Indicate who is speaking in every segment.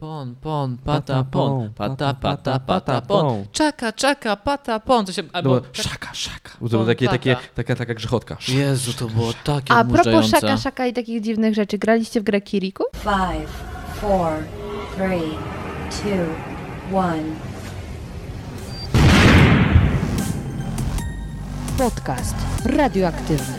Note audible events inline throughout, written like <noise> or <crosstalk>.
Speaker 1: Pon, pon, pata, pon,
Speaker 2: pon,
Speaker 1: pata, pata,
Speaker 2: pata, pata,
Speaker 1: pata,
Speaker 2: pata,
Speaker 1: pon,
Speaker 2: pon.
Speaker 1: czaka, czaka, pata, pon, to się, albo,
Speaker 2: Dobra,
Speaker 1: czak-
Speaker 2: szaka, szaka.
Speaker 1: Pon,
Speaker 2: No, To było takie, takie,
Speaker 1: tata.
Speaker 2: taka, taka grzechotka. Sz-
Speaker 1: Jezu, to było takie
Speaker 3: A propos
Speaker 1: odmurzające.
Speaker 3: szaka, szaka i takich dziwnych rzeczy, graliście w grę Kiriku?
Speaker 4: Five, four, three, two, one.
Speaker 5: Podcast radioaktywny.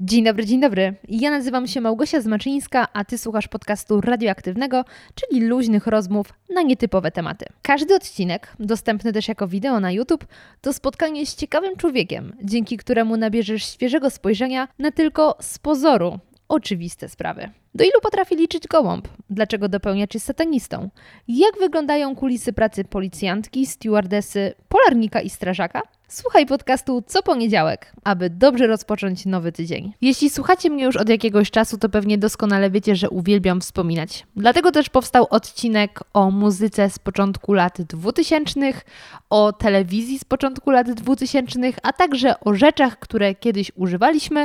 Speaker 3: Dzień dobry, dzień dobry. Ja nazywam się Małgosia Zmaczyńska, a ty słuchasz podcastu radioaktywnego, czyli luźnych rozmów na nietypowe tematy. Każdy odcinek, dostępny też jako wideo na YouTube, to spotkanie z ciekawym człowiekiem, dzięki któremu nabierzesz świeżego spojrzenia na tylko z pozoru oczywiste sprawy. Do ilu potrafi liczyć gołąb? Dlaczego dopełniacz jest satanistą? Jak wyglądają kulisy pracy policjantki, stewardesy, polarnika i strażaka? Słuchaj podcastu co poniedziałek, aby dobrze rozpocząć nowy tydzień. Jeśli słuchacie mnie już od jakiegoś czasu, to pewnie doskonale wiecie, że uwielbiam wspominać. Dlatego też powstał odcinek o muzyce z początku lat 2000, o telewizji z początku lat 2000, a także o rzeczach, które kiedyś używaliśmy,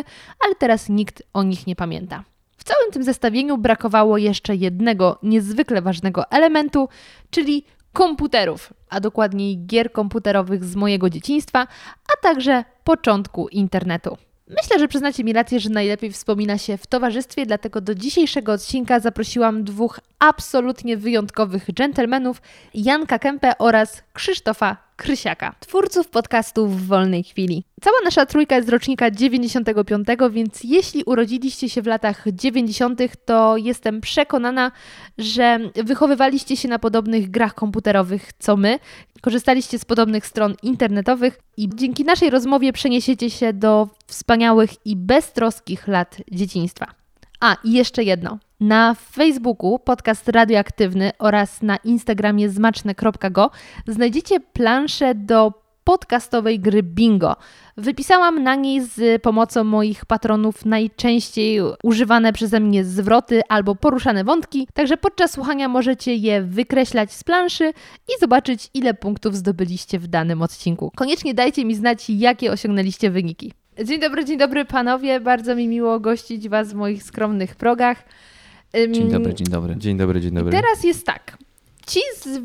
Speaker 3: ale teraz nikt o nich nie pamięta. W całym tym zestawieniu brakowało jeszcze jednego niezwykle ważnego elementu, czyli komputerów, a dokładniej gier komputerowych z mojego dzieciństwa, a także początku internetu. Myślę, że przyznacie mi rację, że najlepiej wspomina się w towarzystwie, dlatego do dzisiejszego odcinka zaprosiłam dwóch absolutnie wyjątkowych dżentelmenów, Janka Kempę oraz Krzysztofa Krysiaka, twórców podcastów w wolnej chwili. Cała nasza trójka jest z rocznika 95, więc jeśli urodziliście się w latach 90., to jestem przekonana, że wychowywaliście się na podobnych grach komputerowych co my, korzystaliście z podobnych stron internetowych i dzięki naszej rozmowie przeniesiecie się do wspaniałych i beztroskich lat dzieciństwa. A, i jeszcze jedno. Na Facebooku podcast radioaktywny oraz na Instagramie zmaczne.go znajdziecie planszę do podcastowej gry Bingo. Wypisałam na niej z pomocą moich patronów najczęściej używane przeze mnie zwroty albo poruszane wątki, także podczas słuchania możecie je wykreślać z planszy i zobaczyć, ile punktów zdobyliście w danym odcinku. Koniecznie dajcie mi znać, jakie osiągnęliście wyniki. Dzień dobry, dzień dobry panowie. Bardzo mi miło gościć was w moich skromnych progach. Ym,
Speaker 1: Dzień dobry, dzień dobry.
Speaker 2: Dzień dobry, dzień dobry.
Speaker 3: Teraz jest tak. Ci, z, y,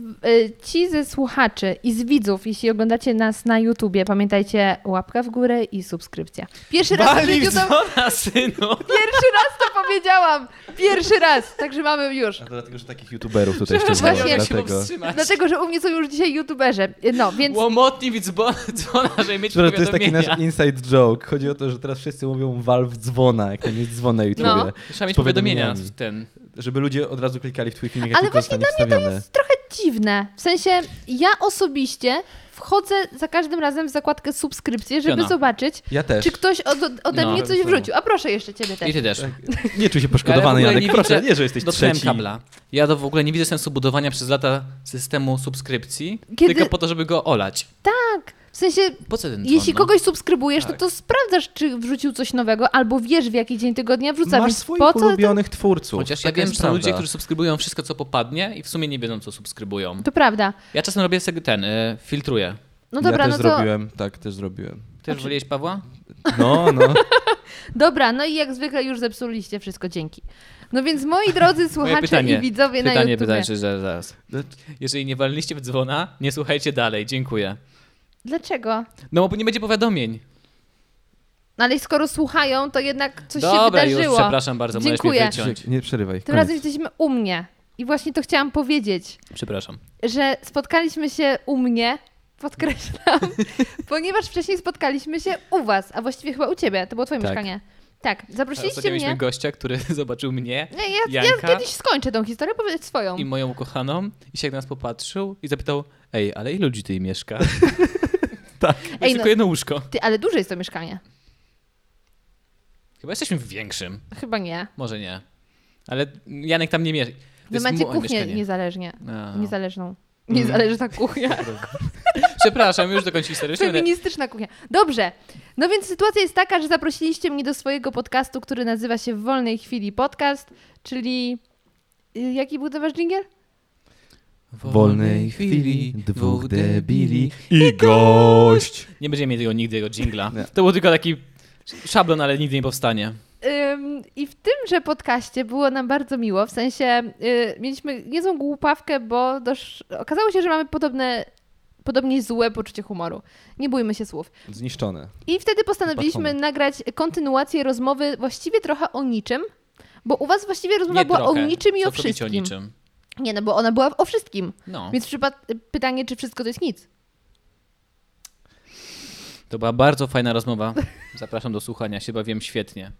Speaker 3: ci ze słuchaczy i z widzów, jeśli oglądacie nas na YouTubie, pamiętajcie łapka w górę i subskrypcja. Pierwszy raz, w życiu to,
Speaker 1: na synu!
Speaker 3: pierwszy raz to powiedziałam! Pierwszy raz! Także mamy już.
Speaker 2: A to dlatego, że takich youtuberów tutaj
Speaker 1: Przepraszam,
Speaker 3: Właśnie-
Speaker 2: ściągnąłem,
Speaker 1: jak się
Speaker 2: dlatego...
Speaker 1: powstrzymać.
Speaker 3: Dlatego, że u mnie są już dzisiaj YouTuberzy. No, więc
Speaker 1: Łomotni widz bo- <laughs> dzwona, żeby mieć
Speaker 2: Dobra, to jest taki nasz <laughs>
Speaker 1: powiadomienia.
Speaker 2: inside joke. Chodzi o to, że teraz wszyscy mówią Valve dzwona, jak tam jest dzwon na YouTubie.
Speaker 3: No.
Speaker 1: Trzeba mieć
Speaker 2: z
Speaker 1: powiadomienia
Speaker 2: powiadomieniami.
Speaker 1: w ten.
Speaker 2: Żeby ludzie od razu klikali w twój filmik, jak
Speaker 3: Ale
Speaker 2: tylko zostanie wstawiony.
Speaker 3: trochę dziwne. W sensie ja osobiście wchodzę za każdym razem w zakładkę subskrypcje, żeby
Speaker 1: Piona.
Speaker 3: zobaczyć,
Speaker 2: Ja też.
Speaker 3: czy ktoś od, ode
Speaker 1: No.
Speaker 3: mnie coś wrzucił. A proszę jeszcze ciebie też.
Speaker 1: I ty też.
Speaker 2: Tak. Nie czuj się
Speaker 1: Ja w
Speaker 2: poszkodowany,
Speaker 1: ogóle
Speaker 2: Janek. Proszę,
Speaker 1: widzę-
Speaker 2: nie, że jesteś
Speaker 1: dotknąłem
Speaker 2: trzeci.
Speaker 1: kabla. Ja to w ogóle nie widzę sensu budowania przez lata systemu subskrypcji,
Speaker 3: Kiedy-
Speaker 1: tylko po to, żeby go olać.
Speaker 3: Tak. W sensie
Speaker 1: Po co ten dzwon,
Speaker 3: Jeśli
Speaker 1: no?
Speaker 3: kogoś subskrybujesz,
Speaker 1: Tak.
Speaker 3: no to sprawdzasz, czy wrzucił coś nowego, albo wiesz, w jaki dzień tygodnia wrzuca.
Speaker 2: Masz
Speaker 3: więc
Speaker 2: swoich
Speaker 3: po co to...
Speaker 2: ulubionych twórców.
Speaker 1: Chociaż ja
Speaker 2: Taka
Speaker 1: wiem,
Speaker 2: jest
Speaker 1: że są ludzie,
Speaker 2: prawda.
Speaker 1: którzy subskrybują wszystko, co popadnie i w sumie nie wiedzą, co subskrybują.
Speaker 3: to prawda.
Speaker 1: Ja czasem robię sobie ten, y, filtruję.
Speaker 3: No dobra,
Speaker 2: ja też
Speaker 3: no to.
Speaker 2: zrobiłem, tak, też zrobiłem.
Speaker 1: Ty już woliłeś Pawła?
Speaker 2: No,
Speaker 1: <laughs>
Speaker 2: no.
Speaker 3: Dobra, no i jak zwykle już zepsuliście wszystko, dzięki. No więc moi drodzy
Speaker 1: <laughs> Moje
Speaker 3: słuchacze
Speaker 1: pytanie.
Speaker 3: i widzowie na
Speaker 1: pytanie,
Speaker 3: YouTube.
Speaker 1: pytanie, że zaraz. Jeżeli nie waliliście w dzwona, nie słuchajcie dalej, dziękuję.
Speaker 3: Dlaczego?
Speaker 1: No bo nie będzie powiadomień.
Speaker 3: No ale skoro słuchają, to jednak coś
Speaker 1: Dobra,
Speaker 3: się wydarzyło.
Speaker 1: już przepraszam bardzo, możesz
Speaker 3: Dziękuję.
Speaker 1: mnie wyciąć.
Speaker 2: Nie przerywaj.
Speaker 3: Tym
Speaker 2: koniec.
Speaker 3: razem jesteśmy u mnie. I właśnie to chciałam powiedzieć,
Speaker 1: Przepraszam.
Speaker 3: że spotkaliśmy się u mnie, podkreślam, ponieważ wcześniej spotkaliśmy się u was, a właściwie chyba u ciebie, to było twoje
Speaker 1: Tak.
Speaker 3: mieszkanie. Tak,
Speaker 1: Ostatnio
Speaker 3: zaprosiliście mnie.
Speaker 1: mieliśmy gościa, który <laughs> zobaczył mnie
Speaker 3: Nie, ja, ja
Speaker 1: Janka.
Speaker 3: kiedyś skończę tą historię, powiedz swoją.
Speaker 1: i moją ukochaną i się jak na nas popatrzył i zapytał, ej, ale ilu ludzi tutaj
Speaker 3: <laughs>
Speaker 1: mieszka? tak, jest
Speaker 3: Ej, no-
Speaker 1: tylko jedno łóżko.
Speaker 3: Ty, ale duże jest to mieszkanie.
Speaker 1: Chyba jesteśmy w większym,
Speaker 3: Chyba nie.
Speaker 1: może nie. Ale Janek tam nie mieszka.
Speaker 3: Wy macie kuchnię niezależnie.
Speaker 1: A. Mm.
Speaker 3: Niezależną. Niezależna
Speaker 1: <laughs>
Speaker 3: kuchnia.
Speaker 1: Przepraszam, już dokończyć historię. Już nie będę-
Speaker 3: Feministyczna kuchnia. Dobrze. No więc sytuacja jest taka, że zaprosiliście mnie do swojego podcastu, który nazywa się W Wolnej Chwili Podcast, czyli... y, Jaki był to wasz dżingiel?
Speaker 1: W
Speaker 2: wolnej chwili dwóch debili i gość.
Speaker 1: Nie będziemy mieli tego nigdy, jego dżingla. To był tylko taki szablon, ale nigdy nie powstanie.
Speaker 3: Ym, I w tymże podcaście było nam bardzo miło, w sensie y, mieliśmy niezłą głupawkę, bo dosz... okazało się, że mamy podobne, podobnie złe poczucie humoru. Nie bójmy się słów.
Speaker 2: Zniszczone.
Speaker 3: I wtedy postanowiliśmy
Speaker 2: Zobaczone.
Speaker 3: nagrać kontynuację rozmowy właściwie trochę o niczym, bo u was właściwie rozmowa była o niczym i o
Speaker 1: Całkowicie
Speaker 3: wszystkim.
Speaker 1: o niczym.
Speaker 3: Nie, no bo ona była o wszystkim.
Speaker 1: No.
Speaker 3: Więc przypad- pytanie, czy wszystko to jest nic.
Speaker 1: To była bardzo fajna rozmowa. Zapraszam do słuchania, się bawiłem świetnie.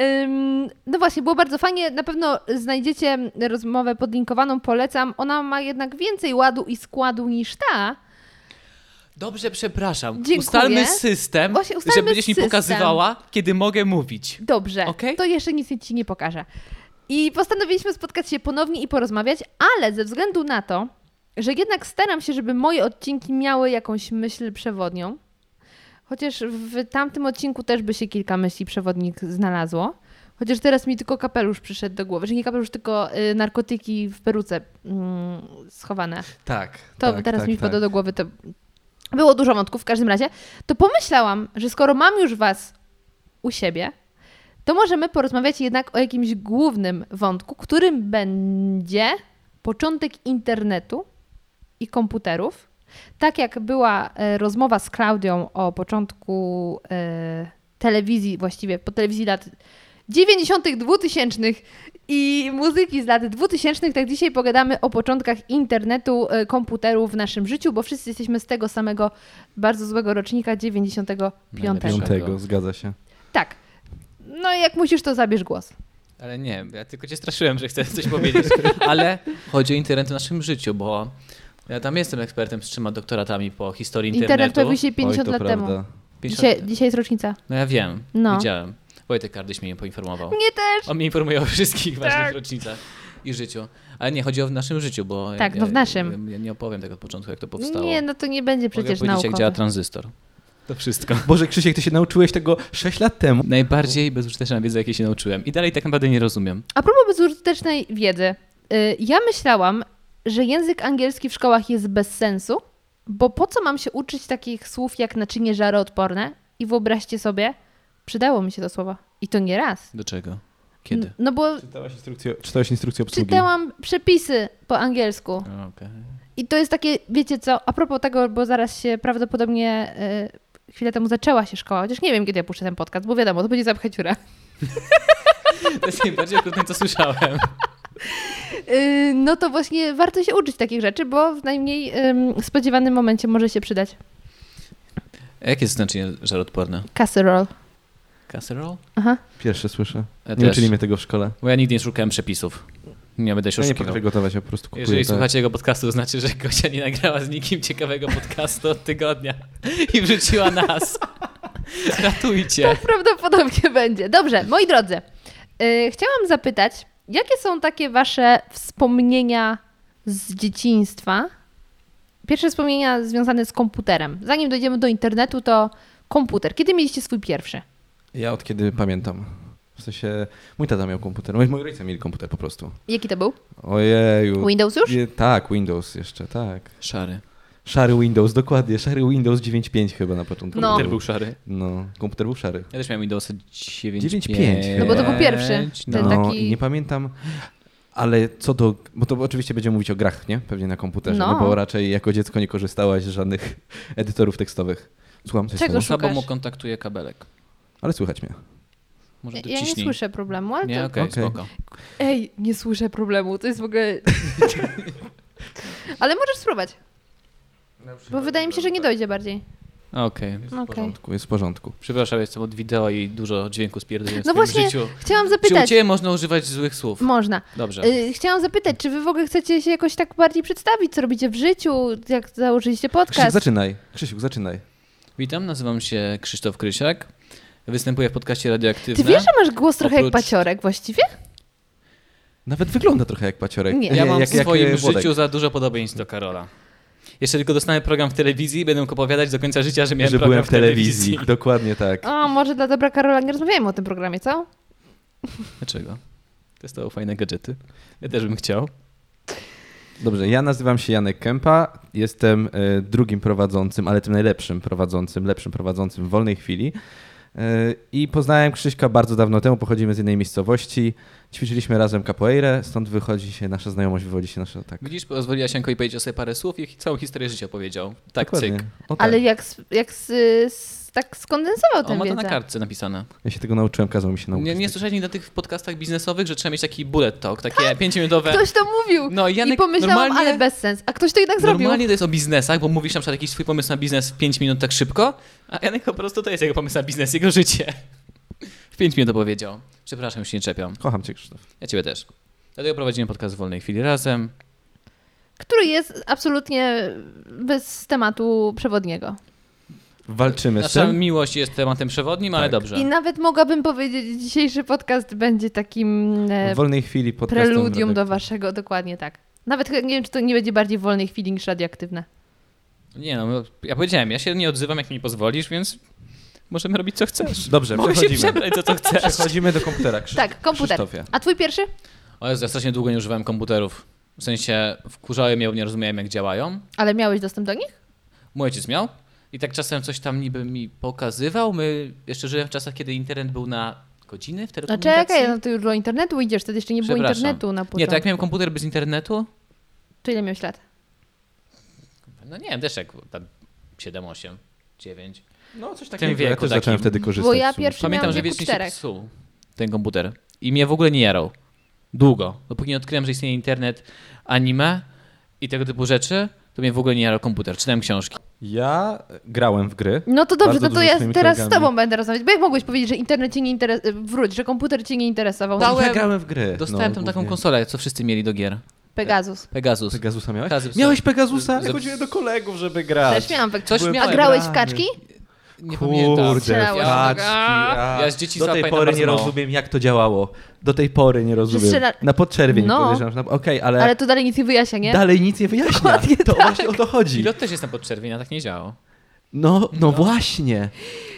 Speaker 3: Ym, no właśnie, było bardzo fajnie. Na pewno znajdziecie rozmowę podlinkowaną, polecam. Ona ma jednak więcej ładu i składu niż ta.
Speaker 1: Dobrze, przepraszam.
Speaker 3: Dziękuję.
Speaker 1: Ustalmy system,
Speaker 3: Właśnie, ustalmy
Speaker 1: że będziesz mi
Speaker 3: system.
Speaker 1: pokazywała, kiedy mogę mówić.
Speaker 3: Dobrze,
Speaker 1: Okej.
Speaker 3: to jeszcze nic ci nie pokażę. I postanowiliśmy spotkać się ponownie i porozmawiać, ale ze względu na to, że jednak staram się, żeby moje odcinki miały jakąś myśl przewodnią, chociaż w tamtym odcinku też by się kilka myśli przewodnik znalazło, chociaż teraz mi tylko kapelusz przyszedł do głowy, że nie kapelusz, tylko y, narkotyki w peruce mm, schowane.
Speaker 2: Tak.
Speaker 3: To
Speaker 2: tak,
Speaker 3: teraz
Speaker 2: tak,
Speaker 3: mi
Speaker 2: tak.
Speaker 3: wpadło do głowy. To było dużo wątków w każdym razie. To pomyślałam, że skoro mam już was u siebie, to możemy porozmawiać jednak o jakimś głównym wątku, którym będzie początek internetu i komputerów. Tak jak była e, rozmowa z Klaudią o początku e, telewizji, właściwie po telewizji lat 90., 2000 i muzyki z lat 2000, tak dzisiaj pogadamy o początkach internetu, e, komputerów w naszym życiu, bo wszyscy jesteśmy z tego samego bardzo złego rocznika 95.
Speaker 1: Najlepiej.
Speaker 2: Piątego, zgadza się.
Speaker 3: Tak. No i jak musisz, to zabierz głos.
Speaker 1: Ale nie, ja tylko cię straszyłem, że chcę coś
Speaker 3: <laughs>
Speaker 1: powiedzieć. Ale chodzi o internet w naszym życiu, bo ja tam jestem ekspertem z trzema doktoratami po historii
Speaker 3: Internet
Speaker 1: internetu.
Speaker 3: pojawił się 50
Speaker 2: Oj, to
Speaker 3: lat
Speaker 2: prawda.
Speaker 3: temu.
Speaker 1: 50
Speaker 3: Dzisiaj, dzisiaj jest rocznica.
Speaker 1: No ja wiem,
Speaker 3: No.
Speaker 1: widziałem. Wojtek Kardyś mnie poinformował.
Speaker 3: Mnie też. Tak.
Speaker 1: On mnie informuje o wszystkich ważnych rocznicach i życiu. Ale nie, chodzi o w naszym życiu, bo...
Speaker 3: Tak,
Speaker 1: ja,
Speaker 3: no w naszym.
Speaker 1: Ja, ja nie opowiem tak od początku, jak to powstało.
Speaker 3: Nie, no to nie będzie przecież
Speaker 1: Mogę powiedzieć, jak działa
Speaker 3: naukowe.
Speaker 1: tranzystor. To wszystko.
Speaker 2: Boże, Krzysiek, ty się nauczyłeś tego 6 lat temu.
Speaker 1: Najbardziej bezużyteczna wiedza, jakiej się nauczyłem. I dalej tak naprawdę nie rozumiem.
Speaker 3: A propos bezużytecznej wiedzy. y, Ja myślałam, że język angielski w szkołach jest bez sensu, bo po co mam się uczyć takich słów jak naczynie żaroodporne? I wyobraźcie sobie, przydało mi się to słowo. I to nie raz.
Speaker 1: Do czego? Kiedy?
Speaker 3: No bo
Speaker 2: Czytałaś instrukcję, czytałaś instrukcję obsługi.
Speaker 3: czytałam przepisy po angielsku.
Speaker 1: A, Okej.
Speaker 3: I to jest takie, wiecie co, a propos tego, bo zaraz się prawdopodobnie y, chwilę temu zaczęła się szkoła, chociaż nie wiem, kiedy ja puszczę ten podcast, bo wiadomo, to będzie zapchać dziura.
Speaker 1: To jest najbardziej okrutne, co słyszałem.
Speaker 3: Y, no to właśnie warto się uczyć takich rzeczy, bo w najmniej ym, spodziewanym momencie może się przydać.
Speaker 1: A Jakie jest znaczenie żarodporne?
Speaker 3: Casserole.
Speaker 1: Casserole?
Speaker 3: Aha.
Speaker 2: Pierwsze słyszę.
Speaker 1: Ja
Speaker 2: nie
Speaker 1: też.
Speaker 2: uczyli mnie tego w szkole.
Speaker 1: Bo ja nigdy nie szukałem przepisów. Nie będę się
Speaker 2: Ja nie
Speaker 1: oszukiwał.
Speaker 2: potrafię gotować, ja po prostu kupuję.
Speaker 1: Jeżeli
Speaker 2: tak.
Speaker 1: słuchacie jego podcastu, to znaczy, że Gosia nie nagrała z nikim ciekawego podcastu od tygodnia i wrzuciła
Speaker 2: <laughs>
Speaker 1: nas. Ratujcie.
Speaker 3: Tak prawdopodobnie <laughs> będzie. Dobrze, moi drodzy, y, chciałam zapytać, jakie są takie wasze wspomnienia z dzieciństwa? Pierwsze wspomnienia związane z komputerem. Zanim dojdziemy do internetu, to komputer. Kiedy mieliście swój pierwszy?
Speaker 2: Ja od kiedy pamiętam. W sensie, mój tata miał komputer, moi, moi rodzice mieli komputer po prostu.
Speaker 3: Jaki to był?
Speaker 2: Ojeju.
Speaker 3: Windows już?
Speaker 2: Je, tak, Windows jeszcze, tak.
Speaker 1: Szary.
Speaker 2: Szary Windows, dokładnie, szary Windows 9.5 chyba na początku.
Speaker 3: No.
Speaker 1: Komputer był szary.
Speaker 2: No, komputer był szary.
Speaker 1: Ja też miałem Windowsa 9.5.
Speaker 2: 9.5, No bo to był
Speaker 3: pierwszy.
Speaker 1: No.
Speaker 3: Ten
Speaker 2: No
Speaker 3: taki-
Speaker 2: i nie pamiętam, ale co do, bo to oczywiście będziemy mówić o grach, nie? Pewnie na komputerze,
Speaker 3: No.
Speaker 2: no. bo raczej jako dziecko nie korzystałaś z żadnych <laughs> edytorów tekstowych. Słucham, coś
Speaker 3: Czego
Speaker 2: stało?
Speaker 3: sz-
Speaker 1: Słabo
Speaker 3: szukasz?
Speaker 1: mu kontaktuje kabelek.
Speaker 2: ale słychać mnie.
Speaker 1: Może
Speaker 3: Ja nie
Speaker 1: dociśnij.
Speaker 3: słyszę problemu, ale
Speaker 1: Nie,
Speaker 3: to...
Speaker 1: okej,
Speaker 2: Okej.
Speaker 1: spoko.
Speaker 3: Ej, nie słyszę problemu, to jest w ogóle... ale możesz spróbować, bo wydaje mi się, że nie dojdzie bardziej. No
Speaker 1: Okej.
Speaker 3: Okej.
Speaker 2: W porządku, jest w porządku.
Speaker 1: Przepraszam, jestem od wideo i dużo dźwięku spierdolę w
Speaker 3: No
Speaker 1: swoim
Speaker 3: właśnie,
Speaker 1: życiu.
Speaker 3: chciałam
Speaker 1: Czy u
Speaker 3: zapytać...
Speaker 1: Ciebie można używać złych słów?
Speaker 3: Można.
Speaker 1: Dobrze.
Speaker 3: Y, Chciałam zapytać, czy wy w ogóle chcecie się jakoś tak bardziej przedstawić, co robicie w życiu, jak założyliście
Speaker 2: Krzysiek,
Speaker 3: podcast?
Speaker 2: zaczynaj. Krzysiek, zaczynaj.
Speaker 1: Witam, nazywam się Krzysztof Krysiak. Występuję w podcaście
Speaker 3: Ty
Speaker 1: radioaktywnym.
Speaker 3: wiesz, że masz głos trochę
Speaker 1: Oprócz-
Speaker 3: jak paciorek właściwie?
Speaker 2: Nawet wygląda trochę jak paciorek.
Speaker 3: Nie.
Speaker 2: <laughs>
Speaker 1: Ja mam
Speaker 2: jak,
Speaker 1: w swoim
Speaker 2: jak Włodek.
Speaker 1: życiu za dużo podobieństw do Karola. Jeszcze tylko dostanę program w telewizji i będę mógł opowiadać do końca życia, że miałem
Speaker 2: że
Speaker 1: program
Speaker 2: byłem w telewizji. Dokładnie tak.
Speaker 3: O, może dla dobra Karola nie rozmawiajmy o tym programie, co?
Speaker 1: Dlaczego? Testował fajne gadżety. Ja też bym chciał.
Speaker 2: Dobrze, ja nazywam się Janek Kępa, jestem e, drugim prowadzącym, ale tym najlepszym prowadzącym, lepszym prowadzącym w wolnej chwili. E, I poznałem Krzyśka bardzo dawno temu, pochodzimy z jednej miejscowości. Ćwiczyliśmy razem capoeirę, stąd wychodzi się nasza znajomość, wywodzi się nasza tak.
Speaker 1: Widzisz, pozwoliła się i powiedział sobie parę słów i całą historię życia powiedział. Tak,
Speaker 2: Dokładnie.
Speaker 1: cyk.
Speaker 2: O, tak.
Speaker 3: Ale jak, s- jak s- s- tak skondensował
Speaker 1: On
Speaker 3: tę
Speaker 1: ma to
Speaker 3: wiedzę.
Speaker 1: na kartce napisane.
Speaker 2: Ja się tego nauczyłem, kazał mi się nauczyć.
Speaker 1: Nie, nie słyszałeś nigdy na tych podcastach biznesowych, że trzeba mieć taki bullet talk, takie pięciominutowe...
Speaker 3: Ktoś Tak. to mówił
Speaker 1: No,
Speaker 3: i
Speaker 1: Janek,
Speaker 3: pomyślałam,
Speaker 1: normalnie-
Speaker 3: ale bez sens. A ktoś to jednak Tak zrobił.
Speaker 1: Normalnie to jest o biznesach, bo mówisz na przykład jakiś swój pomysł na biznes w 5 minut tak szybko, a Janek po prostu to jest jego pomysł na biznes, jego życie. W 5 minut to powiedział. Przepraszam, już się nie czepiam.
Speaker 2: Kocham cię, Krzysztof.
Speaker 1: Ja ciebie też. Dlatego prowadzimy podcast w wolnej chwili razem.
Speaker 3: Który jest absolutnie bez tematu przewodniego.
Speaker 2: Walczymy z
Speaker 1: Nasza
Speaker 2: tym.
Speaker 1: miłość jest tematem przewodnim, ale
Speaker 2: Tak.
Speaker 1: dobrze.
Speaker 3: I nawet mogłabym powiedzieć, że dzisiejszy podcast będzie takim e,
Speaker 2: W wolnej chwili podcastem.
Speaker 3: preludium do
Speaker 2: redakcji.
Speaker 3: waszego, dokładnie tak. Nawet chyba nie wiem, czy to nie będzie bardziej w wolnej chwili niż radioaktywne.
Speaker 1: Nie no, ja powiedziałem, ja się nie odzywam, jak mi pozwolisz, więc możemy robić co chcesz.
Speaker 2: Dobrze,
Speaker 1: Mogę się
Speaker 2: przechodzimy.
Speaker 1: przebrać za co chcesz.
Speaker 2: Przechodzimy do komputera. Krzy...
Speaker 3: Tak, komputer.
Speaker 2: Krzysztofie.
Speaker 3: A twój pierwszy?
Speaker 1: O Jezu, ja strasznie długo nie używałem komputerów. W sensie wkurzały mnie, bo nie rozumiałem jak działają.
Speaker 3: Ale miałeś dostęp do nich?
Speaker 1: Mój ojciec miał i tak czasem coś tam niby mi pokazywał. My jeszcze żyłem w czasach, kiedy internet był na godziny w
Speaker 3: No
Speaker 1: telekomunikacji.
Speaker 3: czekaj, no ty już do internetu idziesz, wtedy jeszcze nie było
Speaker 1: Przepraszam.
Speaker 3: internetu na początku.
Speaker 1: Nie, to jak miałem komputer bez internetu,
Speaker 3: Czy ile miałeś lat?
Speaker 1: no nie wiem, też jak tam 7, 8, 9.
Speaker 2: No, coś
Speaker 1: takiego.
Speaker 2: Ja
Speaker 1: wieku
Speaker 2: też
Speaker 1: takim.
Speaker 2: zacząłem wtedy korzystać.
Speaker 3: Bo ja
Speaker 2: w sumie.
Speaker 3: pierwszy
Speaker 1: Pamiętam,
Speaker 3: miałam
Speaker 1: że
Speaker 3: wieku
Speaker 1: wiecznie się
Speaker 3: czterech.
Speaker 1: psuł ten komputer i mnie w ogóle nie jarał. Długo. Dopóki nie odkryłem, że istnieje internet, anime i tego typu rzeczy, to mnie w ogóle nie jarał komputer. Czytałem książki.
Speaker 2: Ja grałem w gry.
Speaker 3: No to dobrze,
Speaker 2: Bardzo
Speaker 3: no to
Speaker 2: dużo
Speaker 3: ja
Speaker 2: z moimi
Speaker 3: teraz z
Speaker 2: kolegami.
Speaker 3: tobą będę rozmawiać, bo jak mogłeś powiedzieć, że internet cię nie interesował, wróć, że komputer cię nie interesował.
Speaker 1: Dałem-
Speaker 2: Ja grałem w gry.
Speaker 1: Dostałem
Speaker 2: no,
Speaker 1: tam taką
Speaker 2: głównie.
Speaker 1: konsolę, co wszyscy mieli do gier.
Speaker 3: Pegazus.
Speaker 1: Pegasus.
Speaker 2: Pegasusa miałeś?
Speaker 1: Kazy psa.
Speaker 2: Miałeś Pegasusa?
Speaker 1: Z-
Speaker 2: Ja chodziłem do kolegów, żeby grać.
Speaker 3: Też miałam Pegasus.
Speaker 1: Tak. Coś
Speaker 2: Byłem
Speaker 1: miałem.
Speaker 3: A grałeś w
Speaker 2: brany.
Speaker 3: kaczki?
Speaker 1: Nie pamiętam.
Speaker 2: Kurde,
Speaker 3: Strzelałeś.
Speaker 2: paczki.
Speaker 1: Ja
Speaker 2: a.
Speaker 1: z dzieciństwa
Speaker 2: Do tej
Speaker 1: pamiętam
Speaker 2: pory
Speaker 1: bardzo
Speaker 2: nie
Speaker 1: mało.
Speaker 2: rozumiem, jak to działało. Do tej pory nie rozumiem.
Speaker 3: strzela-
Speaker 2: Na podczerwień
Speaker 3: No.
Speaker 2: podejrzewam, że na... Okej,
Speaker 1: Tak.
Speaker 2: ale,
Speaker 3: Ale to dalej nic nie wyjaśnia, nie?
Speaker 2: dalej nic nie wyjaśnia.
Speaker 3: Dokładnie
Speaker 2: To właśnie o to chodzi.
Speaker 1: Pilot też jestem pod czerwienia, tak nie działał.
Speaker 2: No, no, właśnie.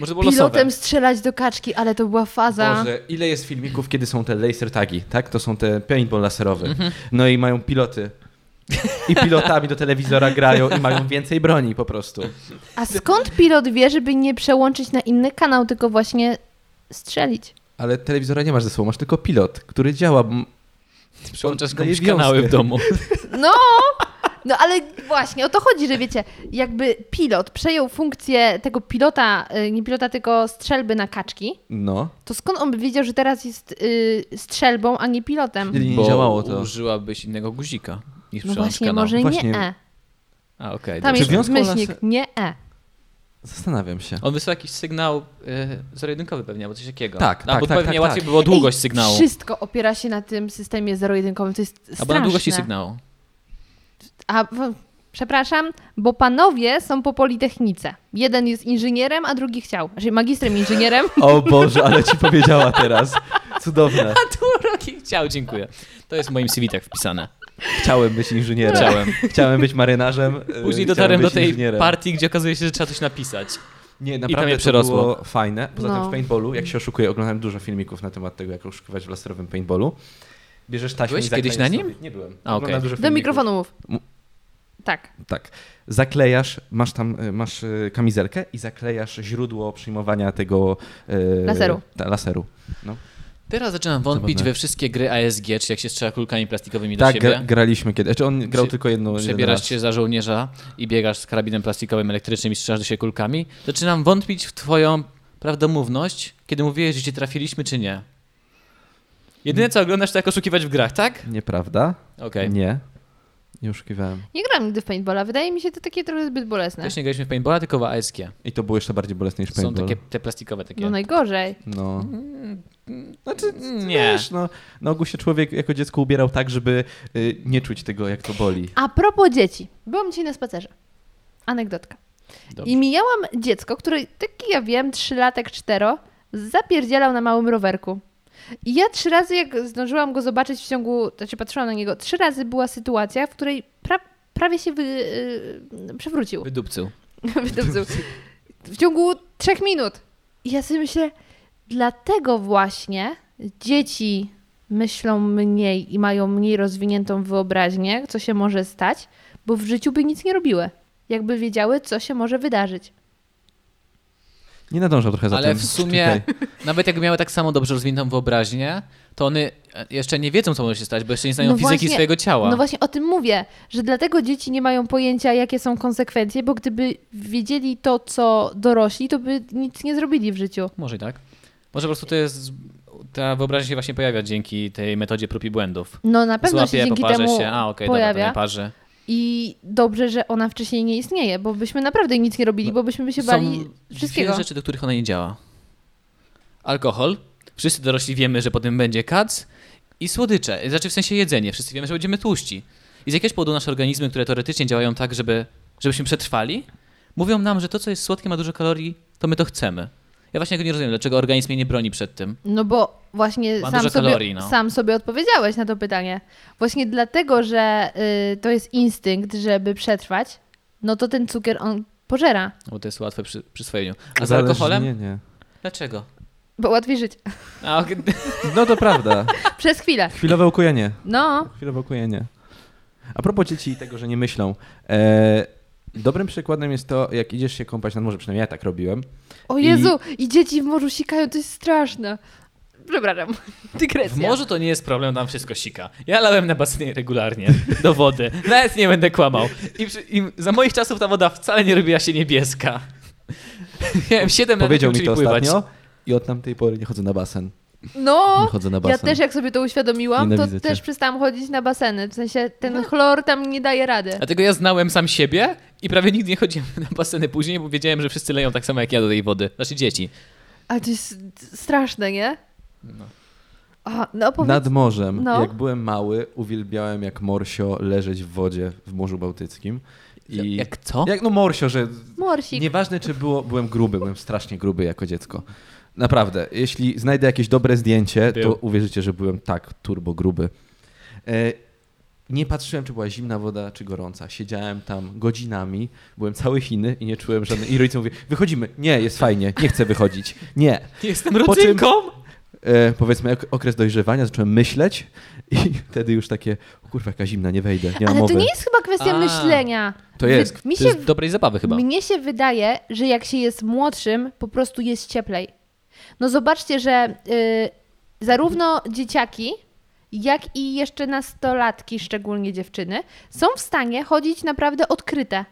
Speaker 1: Może było
Speaker 3: Pilotem
Speaker 1: losowe.
Speaker 3: strzelać do kaczki, ale to była faza.
Speaker 2: Boże, ile jest filmików, kiedy są te laser tagi, tak? To są te paintball laserowe. No i mają piloty. I pilotami do telewizora grają i mają więcej broni po prostu.
Speaker 3: A skąd pilot wie, żeby nie przełączyć na inny kanał, tylko właśnie strzelić?
Speaker 2: Ale telewizora nie masz ze sobą, masz tylko pilot, który działa. m-
Speaker 1: Przełączasz
Speaker 2: daje
Speaker 1: komuś
Speaker 2: wiązkę.
Speaker 1: kanały w
Speaker 2: <laughs>
Speaker 1: domu.
Speaker 3: No! No ale właśnie, o to chodzi, że wiecie, jakby pilot przejął funkcję tego pilota, y, nie pilota, tylko strzelby na kaczki,
Speaker 2: No,
Speaker 3: to skąd on by wiedział, że teraz jest y, strzelbą, a nie pilotem?
Speaker 2: czyli nie
Speaker 1: Bo
Speaker 2: działało to.
Speaker 1: użyłabyś innego guzika niż
Speaker 3: No
Speaker 1: przełącz
Speaker 3: właśnie,
Speaker 1: kanał.
Speaker 3: może
Speaker 2: Właśnie.
Speaker 3: nie E.
Speaker 1: A, okej.
Speaker 3: Tam
Speaker 1: dobrze.
Speaker 2: Czy
Speaker 3: jest
Speaker 2: wiązką
Speaker 3: myślnik,
Speaker 2: laser-
Speaker 3: nie E.
Speaker 2: Zastanawiam się.
Speaker 1: On wysłał jakiś sygnał y, zerojedynkowy pewnie, albo coś takiego.
Speaker 2: Tak,
Speaker 1: Albo
Speaker 2: tak, tak,
Speaker 1: pewnie
Speaker 2: tak,
Speaker 1: łatwiej
Speaker 2: tak.
Speaker 1: było długość
Speaker 3: Ej,
Speaker 1: sygnału.
Speaker 3: Wszystko opiera się na tym systemie zero-jedynkowym, to jest straszne.
Speaker 1: Albo na długości sygnału.
Speaker 3: A, w- przepraszam, bo panowie są po Politechnice. Jeden jest inżynierem, a drugi chciał. Znaczy magistrem inżynierem.
Speaker 2: O Boże, ale ci powiedziała teraz. Cudowne.
Speaker 1: <laughs> A tu roki chciał, dziękuję. To jest w moim CV tak wpisane.
Speaker 2: Chciałem być inżynierem. <laughs>
Speaker 1: Chciałem.
Speaker 2: Chciałem być marynarzem. y,
Speaker 1: Później
Speaker 2: chciałem
Speaker 1: dotarłem do
Speaker 2: być
Speaker 1: tej
Speaker 2: inżynierem.
Speaker 1: partii, gdzie okazuje się, że trzeba coś napisać.
Speaker 2: Nie,
Speaker 1: I to mnie
Speaker 2: naprawdę to
Speaker 1: przerosło.
Speaker 2: było fajne. Poza
Speaker 3: No.
Speaker 2: tym w paintballu, jak się oszukuje, oglądałem dużo filmików na temat tego, jak oszukiwać w laserowym paintballu. Bierzesz taśmę
Speaker 1: Byłeś
Speaker 2: i zaklejesz
Speaker 1: kiedyś na
Speaker 2: sobie-
Speaker 1: nim?
Speaker 2: Nie byłem.
Speaker 1: A, okej.
Speaker 2: Oglądałem dużo
Speaker 3: Do
Speaker 2: filmików.
Speaker 3: mikrofonu mów.
Speaker 2: Mu-
Speaker 3: Tak.
Speaker 2: Tak. Zaklejasz, masz tam, y, masz y, kamizelkę i zaklejasz źródło przyjmowania tego... y,
Speaker 3: Laseru.
Speaker 2: Ta, laseru. No.
Speaker 1: Teraz zaczynam wątpić
Speaker 2: Zabawne.
Speaker 1: we wszystkie gry ASG, czy jak się strzela kulkami plastikowymi do
Speaker 2: Tak,
Speaker 1: siebie.
Speaker 2: gra, graliśmy kiedyś. Znaczy on grał
Speaker 1: Prze-
Speaker 2: tylko jedną... jeden
Speaker 1: Przebierasz
Speaker 2: raz.
Speaker 1: się za żołnierza i biegasz z karabinem plastikowym, elektrycznym i strzelasz do siebie kulkami. Zaczynam wątpić w twoją prawdomówność, kiedy mówiłeś, że cię trafiliśmy, czy nie. Jedyne, co oglądasz, to jak oszukiwać w grach, tak?
Speaker 2: Nieprawda?
Speaker 1: Okej.
Speaker 2: Nie. Nie oszukiwałem.
Speaker 3: Nie grałam nigdy w paintballa. Wydaje mi się to takie trochę zbyt bolesne.
Speaker 1: Też nie graliśmy w paintballa, tylko w ASG.
Speaker 2: I to było jeszcze bardziej bolesne niż
Speaker 1: Są
Speaker 2: paintball.
Speaker 1: takie te plastikowe takie.
Speaker 3: No najgorzej.
Speaker 2: No.
Speaker 1: Znaczy, nie.
Speaker 2: Wiesz, no, na ogół się człowiek jako dziecko ubierał tak, żeby y, nie czuć tego, jak to boli.
Speaker 3: A propos dzieci. Byłam dzisiaj na spacerze. Anegdotka.
Speaker 1: Dobrze.
Speaker 3: I mijałam dziecko, które, taki ja wiem, trzylatek, cztero, zapierdzielał na małym rowerku. I ja trzy razy, jak zdążyłam go zobaczyć w ciągu, znaczy patrzyłam na niego, trzy razy była sytuacja, w której pra, prawie się wy, yy, przewrócił.
Speaker 1: Wydupcył.
Speaker 3: <laughs> Wydupcył. w ciągu trzech minut. I ja sobie myślę, dlatego właśnie dzieci myślą mniej i mają mniej rozwiniętą wyobraźnię, co się może stać, bo w życiu by nic nie robiły, jakby wiedziały, co się może wydarzyć.
Speaker 2: Nie nadążał trochę za
Speaker 1: Ale
Speaker 2: tym.
Speaker 1: w sumie,
Speaker 2: Czekaj.
Speaker 1: nawet jakby miały tak samo dobrze rozwiniętą wyobraźnię, to one e, jeszcze nie wiedzą, co może się stać, bo jeszcze nie znają
Speaker 3: No
Speaker 1: fizyki
Speaker 3: właśnie-
Speaker 1: swojego ciała.
Speaker 3: No właśnie o tym mówię, że dlatego dzieci nie mają pojęcia, jakie są konsekwencje, bo gdyby wiedzieli to, co dorośli, to by nic nie zrobili w życiu.
Speaker 1: Może i tak. Może po prostu to jest. Ta wyobraźnia się właśnie pojawia dzięki tej metodzie prób i błędów.
Speaker 3: No na pewno
Speaker 1: Złapie,
Speaker 3: się dzięki
Speaker 1: poparzę
Speaker 3: temu
Speaker 1: się. A, okej, dobra, to
Speaker 3: pojawia
Speaker 1: nie parzy.
Speaker 3: i dobrze, że ona wcześniej nie istnieje, bo byśmy naprawdę nic nie robili, bo byśmy by się bali wszystkiego.
Speaker 1: No, Są rzeczy, do których ona nie działa. Alkohol. Wszyscy dorośli wiemy, że potem będzie kac. I słodycze. Znaczy w sensie jedzenie. Wszyscy wiemy, że będziemy tłuści. I z jakiegoś powodu nasze organizmy, które teoretycznie działają tak, żeby, żebyśmy przetrwali, mówią nam, że to, co jest słodkie, ma dużo kalorii, to my to chcemy. Ja właśnie tego nie rozumiem, dlaczego organizm mnie nie broni przed tym.
Speaker 3: No bo właśnie
Speaker 1: Ma
Speaker 3: sam
Speaker 1: dużo
Speaker 3: sobie,
Speaker 1: kalorii, no.
Speaker 3: sam sobie odpowiedziałeś na to pytanie. Właśnie dlatego, że y, to jest instynkt, żeby przetrwać, no to ten cukier on pożera,
Speaker 1: Bo to jest łatwe przy przyswojeniu. A z
Speaker 2: Zależy-
Speaker 1: alkoholem?
Speaker 2: Nie, nie.
Speaker 1: Dlaczego?
Speaker 3: bo łatwiej żyć. <laughs>
Speaker 1: A, okej.
Speaker 2: No to prawda.
Speaker 3: Przez chwilę.
Speaker 2: Chwilowe ukojenie.
Speaker 3: No,
Speaker 2: Chwilowe ukojenie. A propos dzieci i tego, że nie myślą. E, dobrym przykładem jest to, jak idziesz się kąpać nad morze, przynajmniej ja tak robiłem.
Speaker 3: o
Speaker 2: I-
Speaker 3: Jezu, i, dzieci w morzu sikają, to jest straszne. Przepraszam, <laughs> dygresja.
Speaker 1: W morzu to nie jest problem, tam wszystko sika. Ja lałem na basenie regularnie, do wody. Nawet nie będę kłamał. I, przy, I za moich czasów ta woda wcale nie robiła się niebieska. <laughs> Miałem 7 lat,
Speaker 2: Powiedział
Speaker 1: jak
Speaker 2: mi to
Speaker 1: uczyli No, pływać.
Speaker 2: ostatnio i od tamtej pory nie chodzę na basen.
Speaker 3: No,
Speaker 2: Nie chodzę na
Speaker 3: ja
Speaker 2: basen.
Speaker 3: też jak sobie to uświadomiłam, to
Speaker 2: Nienawidzę cię. No.
Speaker 3: też przestałam chodzić na baseny. W sensie ten chlor tam nie daje rady.
Speaker 1: Dlatego ja znałem sam siebie i prawie nigdy nie chodziłem na baseny później, bo wiedziałem, że wszyscy leją tak samo jak ja do tej wody. Znaczy dzieci.
Speaker 3: Ale to jest straszne, nie? Aha, no powiedz.
Speaker 2: No. Nad morzem.
Speaker 3: No.
Speaker 2: Jak byłem mały, uwielbiałem jak morsio leżeć w wodzie w Morzu Bałtyckim. I
Speaker 1: Jak co?
Speaker 2: Jak no morsio, że
Speaker 3: Morsik.
Speaker 2: nieważne czy było, byłem gruby, byłem strasznie gruby jako dziecko. Naprawdę, jeśli znajdę jakieś dobre zdjęcie,
Speaker 1: Był.
Speaker 2: to uwierzycie, że byłem tak turbo gruby. E, nie patrzyłem, czy była zimna woda, czy gorąca. Siedziałem tam godzinami, byłem cały Chiny i nie czułem żadnej... I rodzice mówili, wychodzimy. Nie, jest fajnie, nie chcę wychodzić. Nie.
Speaker 1: Jestem
Speaker 2: Po czym-
Speaker 1: rodzinką!
Speaker 2: E, powiedzmy ok- okres dojrzewania, zacząłem myśleć i <laughs> wtedy już takie, o kurwa, jaka zimna, nie wejdę, nie mam
Speaker 3: Ale
Speaker 2: mowy.
Speaker 3: to nie jest chyba kwestia
Speaker 1: A.
Speaker 3: myślenia.
Speaker 2: To jest.
Speaker 3: Mi
Speaker 1: To
Speaker 3: się,
Speaker 1: jest dobrej zabawy chyba.
Speaker 3: mnie się wydaje, że jak się jest młodszym, po prostu jest cieplej. No zobaczcie, że y, zarówno dzieciaki, jak i jeszcze nastolatki, szczególnie dziewczyny, są w stanie chodzić naprawdę odkryte.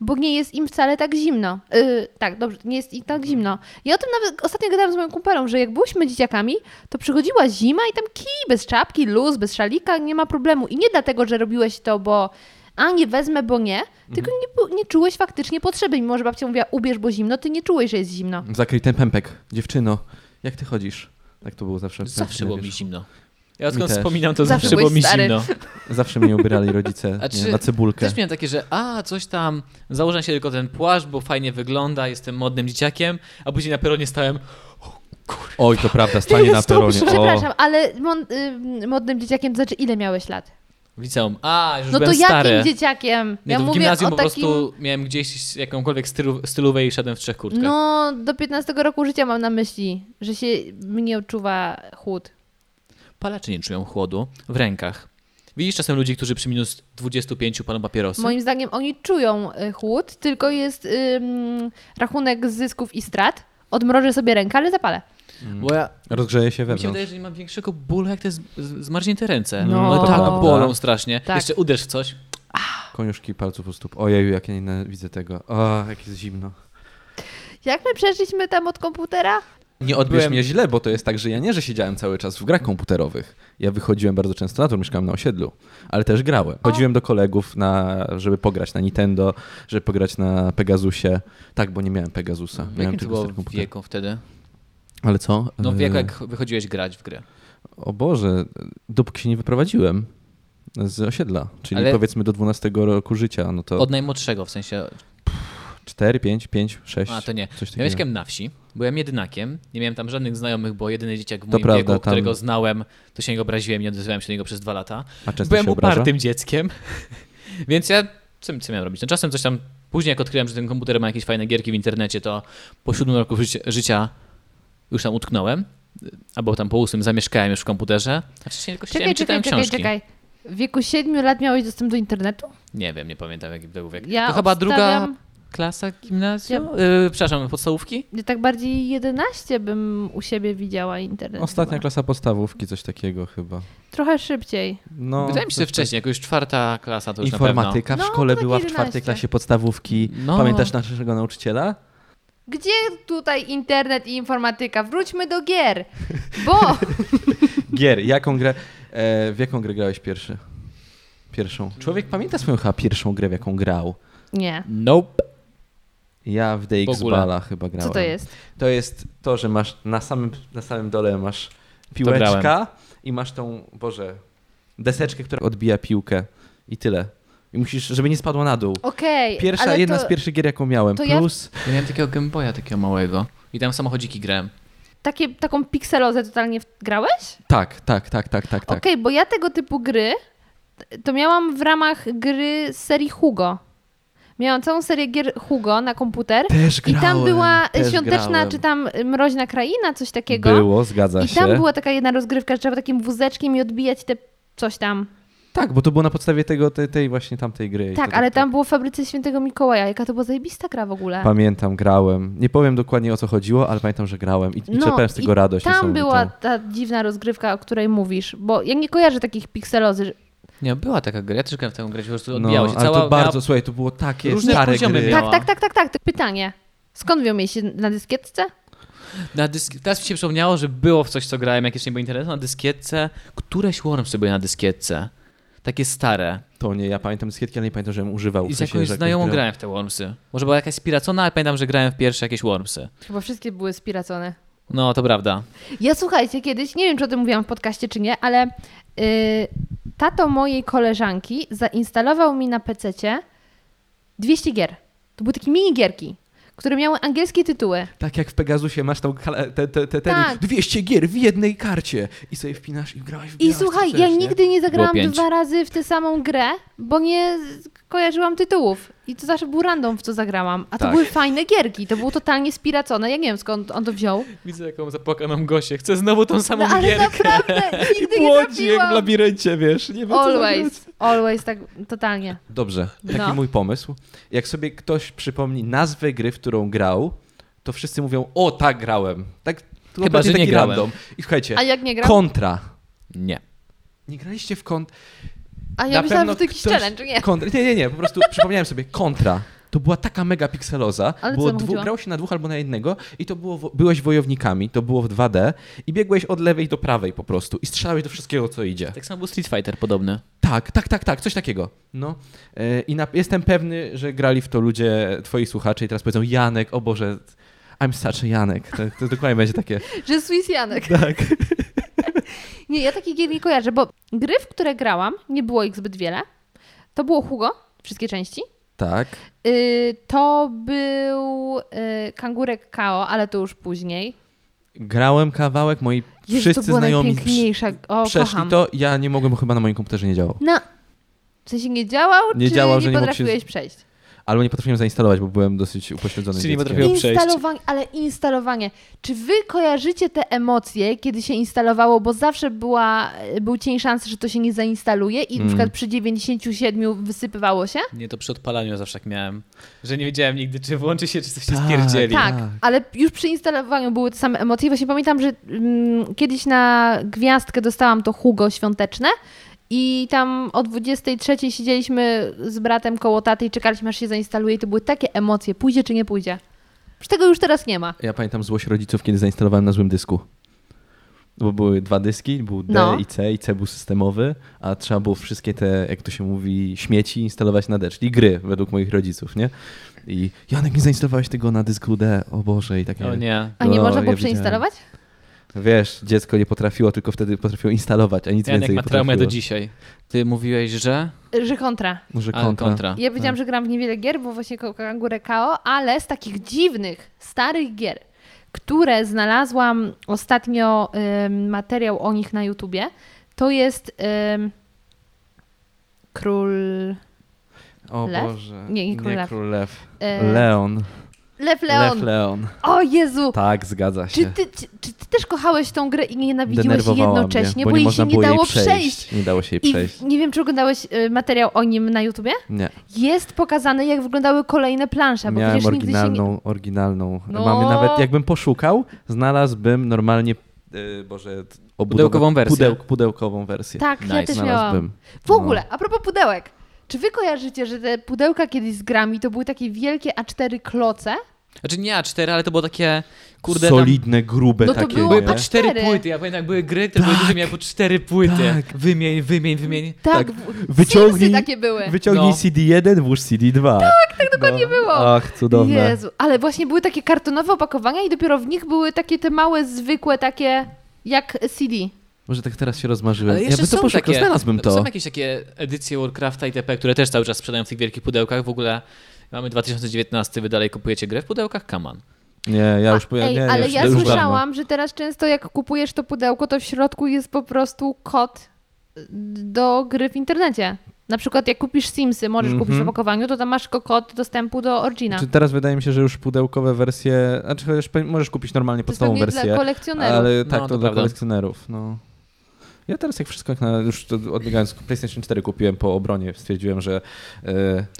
Speaker 3: Bo nie jest im wcale tak zimno. Y, tak, dobrze, nie jest im tak zimno. Ja o tym nawet ostatnio gadałam z moją kumpelą, że jak byłyśmy dzieciakami, to przychodziła zima i tam kij, bez czapki, luz, bez szalika, nie ma problemu. I nie dlatego, że robiłeś to, bo a nie wezmę, bo nie, tylko nie, bu- nie czułeś faktycznie potrzeby. Mimo, że babcia mówiła ubierz, bo zimno, ty nie czułeś, że jest zimno.
Speaker 2: Zakryj ten pępek. Dziewczyno, jak ty chodzisz? Tak to było zawsze.
Speaker 1: Zawsze było mi
Speaker 2: wiesz.
Speaker 1: zimno. Ja
Speaker 2: Mi
Speaker 1: odkąd
Speaker 2: też.
Speaker 1: wspominam, to
Speaker 3: Zawsze
Speaker 1: zawsze było
Speaker 3: byłeś
Speaker 1: mi
Speaker 3: stary.
Speaker 1: zimno.
Speaker 2: Zawsze mnie ubierali rodzice
Speaker 1: A
Speaker 2: nie,
Speaker 1: czy
Speaker 2: na cebulkę.
Speaker 1: Też miałem takie, że a, coś tam, założę się tylko ten płaszcz, bo fajnie wygląda, jestem modnym dzieciakiem, a później na peronie stałem,
Speaker 2: Oj, to
Speaker 1: <laughs>
Speaker 2: prawda, stanie na peronie. O,
Speaker 3: Przepraszam, ale mon, y, modnym dzieciakiem, to znaczy ile miałeś lat?
Speaker 1: w liceum, a, już
Speaker 3: No to
Speaker 1: byłem
Speaker 3: jakim
Speaker 1: stary.
Speaker 3: dzieciakiem?
Speaker 1: Nie,
Speaker 3: ja
Speaker 1: to w
Speaker 3: mówię
Speaker 1: gimnazjum
Speaker 3: o
Speaker 1: po
Speaker 3: takim...
Speaker 1: prostu miałem gdzieś jakąkolwiek stylu, stylówę i szedłem w trzech kurtkach.
Speaker 3: No, do 15 roku życia mam na myśli, że się mnie odczuwa chłód.
Speaker 1: Palacze nie czują chłodu w rękach. Widzisz czasem ludzi, którzy przy minus 25 palą papierosy?
Speaker 3: Moim zdaniem oni czują y, chłód, tylko jest ym, rachunek zysków i strat. Odmrożę sobie rękę, ale zapalę.
Speaker 1: Bo ja,
Speaker 2: rozgrzeje się
Speaker 1: mi się
Speaker 2: wewnątrz.
Speaker 1: wydaje, że nie mam większego bólu, jak te z- z- zmarznięte ręce.
Speaker 3: No.
Speaker 1: One tak
Speaker 2: Prawda.
Speaker 1: bolą strasznie.
Speaker 3: Tak.
Speaker 1: Jeszcze uderz w coś.
Speaker 2: Koniuszki palców u stóp. Ojeju, jak ja nienawidzę tego. O, jak jest zimno.
Speaker 3: Jak my przeszliśmy tam od komputera?
Speaker 2: Nie odbierz
Speaker 1: Byłem-
Speaker 2: mnie źle, bo to jest tak, że ja nie, że siedziałem cały czas w grach komputerowych. Ja wychodziłem bardzo często na to, mieszkałem na osiedlu, ale też grałem. Chodziłem do kolegów, na, żeby pograć na Nintendo, żeby pograć na Pegasusie. Tak, bo nie miałem Pegasusa.
Speaker 1: W
Speaker 2: Miałem
Speaker 1: jakim to było
Speaker 2: stary komputer.
Speaker 1: wieku wtedy?
Speaker 2: Ale co?
Speaker 1: No w wieku,
Speaker 2: Eee,
Speaker 1: jak wychodziłeś grać w grę.
Speaker 2: O Boże, dopóki się nie wyprowadziłem z osiedla, czyli
Speaker 1: Ale-
Speaker 2: powiedzmy do 12 roku życia, no to
Speaker 1: Od najmłodszego, w sensie.
Speaker 2: 4, 5, 5, 6.
Speaker 1: A to nie.
Speaker 2: Coś
Speaker 1: Ja
Speaker 2: takiego.
Speaker 1: mieszkałem na wsi, byłem jedynakiem, nie miałem tam żadnych znajomych, bo jedyny dzieciak w
Speaker 2: To
Speaker 1: moim
Speaker 2: prawda,
Speaker 1: wieku,
Speaker 2: tam-
Speaker 1: którego znałem, to się niego obraziłem, nie odezwałem się do niego przez dwa lata.
Speaker 2: A często
Speaker 1: byłem
Speaker 2: się obraża?
Speaker 1: upartym dzieckiem, <laughs> więc ja co, co miałem robić? No, czasem coś tam, później jak odkryłem, że ten komputer ma jakieś fajne gierki w internecie, to po siódmym roku życia, życia już tam utknąłem, albo tam po ósmym zamieszkałem już w komputerze. Znaczy się tylko siedziałem, i
Speaker 3: Czekaj,
Speaker 1: czytałem
Speaker 3: czekaj, czekaj,
Speaker 1: książki.
Speaker 3: czekaj. W wieku 7 lat miałeś dostęp do internetu?
Speaker 1: Nie wiem, nie pamiętam jaki Tak. to był wiek.
Speaker 3: Ja
Speaker 1: to chyba druga,
Speaker 3: obstawiam-
Speaker 1: klasa gimnazjum? Yy, przepraszam, podstawówki?
Speaker 3: Ja tak bardziej 11 bym u siebie widziała internet.
Speaker 2: Ostatnia
Speaker 3: chyba.
Speaker 2: klasa podstawówki, coś takiego chyba.
Speaker 3: Trochę szybciej.
Speaker 2: No,
Speaker 1: Wydaje mi się, że
Speaker 2: coś tak-
Speaker 1: wcześniej, jak już czwarta klasa to już na
Speaker 2: Informatyka w
Speaker 3: No,
Speaker 2: szkole
Speaker 3: to
Speaker 2: była w
Speaker 3: takie
Speaker 2: czwartej
Speaker 3: 11.
Speaker 2: klasie podstawówki.
Speaker 1: No.
Speaker 2: Pamiętasz naszego nauczyciela?
Speaker 3: Gdzie tutaj internet i informatyka? Wróćmy do gier, bo
Speaker 2: <laughs> Gier, jaką grę, e, w jaką grę grałeś pierwszy? Pierwszą. Człowiek pamięta swoją chyba pierwszą grę, w jaką grał.
Speaker 3: nie.
Speaker 1: pewno. Nope.
Speaker 2: Ja w
Speaker 1: W
Speaker 2: DX
Speaker 1: ogóle.
Speaker 2: Bala chyba grałem.
Speaker 3: Co to jest?
Speaker 2: To jest to, że masz na samym, na samym dole masz
Speaker 1: grałem.
Speaker 2: piłeczka i masz tą, Boże, deseczkę, która odbija piłkę i tyle. I musisz, żeby nie spadła na dół.
Speaker 3: Okej,
Speaker 2: Pierwsza,
Speaker 3: ale
Speaker 2: jedna
Speaker 3: to
Speaker 2: z pierwszych gier, jaką miałem.
Speaker 3: to ja-
Speaker 2: Plus,
Speaker 1: Ja miałem takiego Game Boya, takiego małego. I tam samochodziki grałem.
Speaker 3: takie, taką pikselozę totalnie w- grałeś?
Speaker 2: tak, tak, tak, tak, tak, tak.
Speaker 3: Okej, bo ja tego typu gry t- to miałam w ramach gry z serii Hugo. Miałam całą serię gier Hugo na komputer
Speaker 2: Też
Speaker 3: i
Speaker 2: grałem.
Speaker 3: tam była
Speaker 2: też
Speaker 3: świąteczna,
Speaker 2: grałem.
Speaker 3: czy tam y, mroźna kraina, coś takiego.
Speaker 2: Było, zgadza
Speaker 3: I
Speaker 2: się.
Speaker 3: tam była taka jedna rozgrywka, że trzeba takim wózeczkiem i odbijać te coś tam.
Speaker 2: Tak, bo to było na podstawie tego, tej, tej właśnie tamtej gry. I
Speaker 3: tak,
Speaker 2: to
Speaker 3: ale tam było w fabryce świętego Mikołaja. Jaka to była zajebista gra w ogóle.
Speaker 2: Pamiętam, grałem. Nie powiem dokładnie o co chodziło, ale pamiętam, że grałem i, i czerpałem z tego
Speaker 3: No, i
Speaker 2: radość.
Speaker 3: Tam
Speaker 2: niesamowitą.
Speaker 3: była ta dziwna rozgrywka, o której mówisz, bo ja nie kojarzę takich pikselozy. że-
Speaker 1: Nie, była taka gra, ja też grałem w tę grę, po prostu
Speaker 2: No,
Speaker 1: odbijało się.
Speaker 2: ale
Speaker 1: Cała
Speaker 2: to bardzo,
Speaker 1: miała...
Speaker 2: słuchaj, to było takie
Speaker 1: Różne
Speaker 2: stare
Speaker 1: poziomy
Speaker 2: gry.
Speaker 1: miała.
Speaker 3: Tak, tak, tak, tak, tak. To pytanie. Skąd wy się na dyskietce?
Speaker 1: na dysk... Teraz mi się przypomniało, że było w coś, co grałem, jak jeszcze nie było internetu, na dyskietce. Któreś Wormsy były na dyskietce. Takie stare.
Speaker 2: To nie, ja pamiętam dyskietki, ale nie pamiętam, żebym używał.
Speaker 1: I
Speaker 2: No, w
Speaker 1: z
Speaker 2: sensie,
Speaker 1: jakąś
Speaker 2: że tak
Speaker 1: znajomą
Speaker 2: grałem.
Speaker 1: grałem w te Wormsy. Może była jakaś spiracona, ale pamiętam, że grałem w pierwsze jakieś Wormsy.
Speaker 3: Chyba wszystkie były spiracone.
Speaker 1: No, to prawda.
Speaker 3: Ja słuchajcie, kiedyś, nie wiem czy o tym mówiłam w podcaście czy nie, ale yy, tato mojej koleżanki zainstalował mi na PC 200 gier. To były takie minigierki, które miały angielskie tytuły.
Speaker 2: Tak jak w Pegasusie masz tą kala- te, te, te, te,
Speaker 3: Tak.
Speaker 2: 200 gier w jednej karcie i sobie wpinasz i grałeś w
Speaker 3: I słuchaj, ja nigdy nie zagrałam
Speaker 1: Było pięć.
Speaker 3: dwa razy w tę samą grę, bo nie z- kojarzyłam tytułów. I to zawsze był random, w co zagrałam. A to
Speaker 2: Tak.
Speaker 3: były fajne gierki, to było totalnie spiracone. Ja nie wiem skąd on to wziął.
Speaker 1: Widzę, jaką zapłakaną Gosię. Chcę znowu tą samą
Speaker 3: No, ale
Speaker 1: gierkę.
Speaker 2: <laughs>
Speaker 3: naprawdę, nigdy nie
Speaker 2: Płodziek w
Speaker 3: trafiłam.
Speaker 2: labiryncie, wiesz, nie wiem co zagrać.
Speaker 3: Always, always, tak totalnie.
Speaker 2: Dobrze, taki
Speaker 3: No.
Speaker 2: mój pomysł. Jak sobie ktoś przypomni nazwę gry, w którą grał, to wszyscy mówią, o tak grałem. Tak, kompletnie
Speaker 1: że nie
Speaker 2: taki
Speaker 1: grałem.
Speaker 2: random. I słuchajcie,
Speaker 3: A jak nie gram?
Speaker 2: kontra.
Speaker 3: no-
Speaker 1: Nie.
Speaker 2: Nie graliście w kont...
Speaker 3: A ja
Speaker 2: na
Speaker 3: myślałam,
Speaker 2: pewno
Speaker 3: że to jakiś
Speaker 2: ktoś-
Speaker 3: challenge, nie?
Speaker 2: Kontra. Nie, nie, nie, po prostu przypomniałem sobie, kontra. To była taka mega pikseloza.
Speaker 3: Ale co
Speaker 2: było
Speaker 3: tam
Speaker 2: dwu,
Speaker 3: chodziło?
Speaker 2: grało się na dwóch albo na jednego i to było, wo- byłeś wojownikami, to było w 2D i biegłeś od lewej do prawej po prostu i strzelałeś do wszystkiego, co idzie.
Speaker 1: Tak samo był Street Fighter podobny.
Speaker 2: Tak, tak, tak, tak, coś takiego. No. E, I na, jestem pewny, że grali w to ludzie, twoi słuchacze i teraz powiedzą Janek, o Boże, I'm such a Janek. To, to dokładnie będzie takie.
Speaker 3: Że Swiss Janek.
Speaker 2: Tak.
Speaker 3: <laughs> Nie, ja takich gier nie kojarzę, bo gry, w które grałam, nie było ich zbyt wiele. To było Hugo, wszystkie części.
Speaker 2: Tak.
Speaker 3: Yy, to był yy, Kangurek Kao, ale to już później.
Speaker 2: Grałem kawałek, moi
Speaker 3: Jezu, to
Speaker 2: wszyscy
Speaker 3: była
Speaker 2: znajomi przy,
Speaker 3: najpiękniejsza. O,
Speaker 2: przeszli
Speaker 3: kocham.
Speaker 2: to, ja nie mogłem, bo chyba na moim komputerze nie działał.
Speaker 3: No, w sensie nie działał,
Speaker 2: Nie
Speaker 3: czy
Speaker 2: działał,
Speaker 3: nie
Speaker 2: że nie mógł się-
Speaker 3: potrafiłeś przejść?
Speaker 2: Albo nie potrafiłem zainstalować, bo byłem dosyć upośledzony
Speaker 1: Czyli nie
Speaker 2: dzieckiem.
Speaker 1: potrafiłem- Miał przejść.
Speaker 3: Instalowanie, ale instalowanie. Czy wy kojarzycie te emocje, kiedy się instalowało, bo zawsze była, był cień szansy, że to się nie zainstaluje
Speaker 2: Mm.
Speaker 3: i na przykład przy 97 wysypywało się?
Speaker 1: Nie, to przy odpalaniu zawsze tak miałem. Że nie wiedziałem nigdy, czy włączy się, czy coś się
Speaker 2: Tak.
Speaker 1: spierdzieli.
Speaker 3: Tak,
Speaker 2: Tak.
Speaker 3: ale już przy instalowaniu były te same emocje. Właśnie pamiętam, że mm, kiedyś na gwiazdkę dostałam to Hugo świąteczne i tam o 23 siedzieliśmy z bratem koło taty i czekaliśmy, aż się zainstaluje i to były takie emocje, pójdzie czy nie pójdzie. Przecież tego już teraz nie ma.
Speaker 2: Ja pamiętam złość rodziców, kiedy zainstalowałem na złym dysku. Bo były dwa dyski, był D
Speaker 3: No.
Speaker 2: i C, i C był systemowy, a trzeba było wszystkie te, jak to się mówi, śmieci instalować na D, czyli gry, według moich rodziców, nie? I Janek, nie zainstalowałeś tego na dysku D, o Boże, i takie.
Speaker 1: O nie.
Speaker 3: A nie
Speaker 2: No,
Speaker 3: można było
Speaker 2: ja
Speaker 3: przeinstalować?
Speaker 2: Wiesz, dziecko nie potrafiło, tylko wtedy potrafiło instalować, a nic
Speaker 1: Janek
Speaker 2: więcej
Speaker 1: ma
Speaker 2: nie
Speaker 1: traumę
Speaker 2: potrafiło.
Speaker 1: do dzisiaj. Ty mówiłeś, że...
Speaker 3: Że kontra.
Speaker 2: Może
Speaker 1: Ale
Speaker 2: kontra.
Speaker 1: kontra.
Speaker 3: Ja powiedziałam, że gram w niewiele gier, bo właśnie ko- Kangurę Kao, ale z takich dziwnych, starych gier, które znalazłam ostatnio ym, materiał o nich na YouTubie, to jest ym, Król... e,
Speaker 2: O
Speaker 3: Lew?
Speaker 2: Boże.
Speaker 3: Nie, nie król lew.
Speaker 2: król lew.
Speaker 3: y,
Speaker 2: Leon.
Speaker 3: Lew
Speaker 2: Leon.
Speaker 3: Leon.
Speaker 2: Lew Leon.
Speaker 3: O Jezu!
Speaker 2: Tak, zgadza się.
Speaker 3: Czy ty, czy, czy ty też kochałeś tą grę i nienawidziłeś jej
Speaker 2: Denerwowała
Speaker 3: jednocześnie,
Speaker 2: mnie,
Speaker 3: bo,
Speaker 2: nie
Speaker 3: jej
Speaker 2: można
Speaker 3: się nie
Speaker 2: było
Speaker 3: dało
Speaker 2: jej przejść.
Speaker 3: przejść?
Speaker 2: Nie dało się jej
Speaker 3: I
Speaker 2: przejść.
Speaker 3: w- nie wiem, czy oglądałeś y, materiał o nim na YouTubie?
Speaker 2: Nie.
Speaker 3: Jest pokazane, jak wyglądały kolejne plansze, bo
Speaker 2: Miałem
Speaker 3: przecież nigdy się nie...
Speaker 2: oryginalną, oryginalną.
Speaker 3: No.
Speaker 2: Mamy nawet, jakbym poszukał, znalazłbym normalnie, e, Boże, t- obudowę-
Speaker 1: Pudełkową wersję.
Speaker 2: Pudełk, pudełkową wersję.
Speaker 3: Tak, ja
Speaker 1: Nice.
Speaker 3: też miałam.
Speaker 2: Znalazłbym.
Speaker 3: W ogóle,
Speaker 2: No.
Speaker 3: a propos pudełek. Czy wy kojarzycie, że te pudełka kiedyś z grami to były takie wielkie A4 kloce?
Speaker 1: Znaczy nie A4, ale to było takie, kurde,
Speaker 2: Kurde,
Speaker 1: tam...
Speaker 2: Solidne, grube
Speaker 3: No to
Speaker 2: takie.
Speaker 3: było
Speaker 1: Były
Speaker 2: nie?
Speaker 1: po
Speaker 3: A4.
Speaker 1: cztery płyty, ja pamiętam, jak były gry, to były duże, miały po cztery płyty.
Speaker 2: tak.
Speaker 1: Wymień, wymień, wymień.
Speaker 3: Tak,
Speaker 2: Tak,
Speaker 3: w-
Speaker 2: wyciągnij-
Speaker 3: Simsy takie były.
Speaker 2: Wyciągnij
Speaker 1: No.
Speaker 2: CD1, włóż CD2. Tak, tak
Speaker 3: dokładnie było.
Speaker 2: Ach, cudowne.
Speaker 3: Jezu, ale właśnie były takie kartonowe opakowania i dopiero w nich były takie te małe, zwykłe, takie jak CD.
Speaker 2: Może tak teraz się rozmarzyłem.
Speaker 1: Ale
Speaker 2: Ja
Speaker 1: jeszcze
Speaker 2: bym to
Speaker 1: są
Speaker 2: poszukał,
Speaker 1: takie,
Speaker 2: znalazłbym to.
Speaker 1: Są jakieś takie edycje Warcrafta itp., które też cały czas sprzedają w tych wielkich pudełkach. W ogóle mamy 2019, wy dalej kupujecie grę w pudełkach? Kaman.
Speaker 2: Nie, ja już powiem,
Speaker 3: Ej,
Speaker 2: nie,
Speaker 3: ale
Speaker 2: już,
Speaker 3: ja
Speaker 2: już dawno.
Speaker 3: słyszałam, że teraz często jak kupujesz to pudełko, to w środku jest po prostu kod y, do gry w internecie. Na przykład jak kupisz Simsy, możesz
Speaker 2: Mhm. Znaczy,
Speaker 3: kupić w opakowaniu, to tam masz ko- kod dostępu do Origina.
Speaker 2: Czy teraz wydaje mi się, że już pudełkowe wersje, znaczy chociaż pe- możesz kupić normalnie
Speaker 3: To jest
Speaker 2: podstawową
Speaker 3: pewnie dla
Speaker 2: wersję,
Speaker 3: kolekcjonerów.
Speaker 2: ale
Speaker 1: No,
Speaker 2: tak,
Speaker 1: to
Speaker 2: to dla
Speaker 1: prawda.
Speaker 2: kolekcjonerów, no. Ja teraz jak wszystko, na, już to odbiegając, PlayStation 4 kupiłem po obronie, stwierdziłem, że e,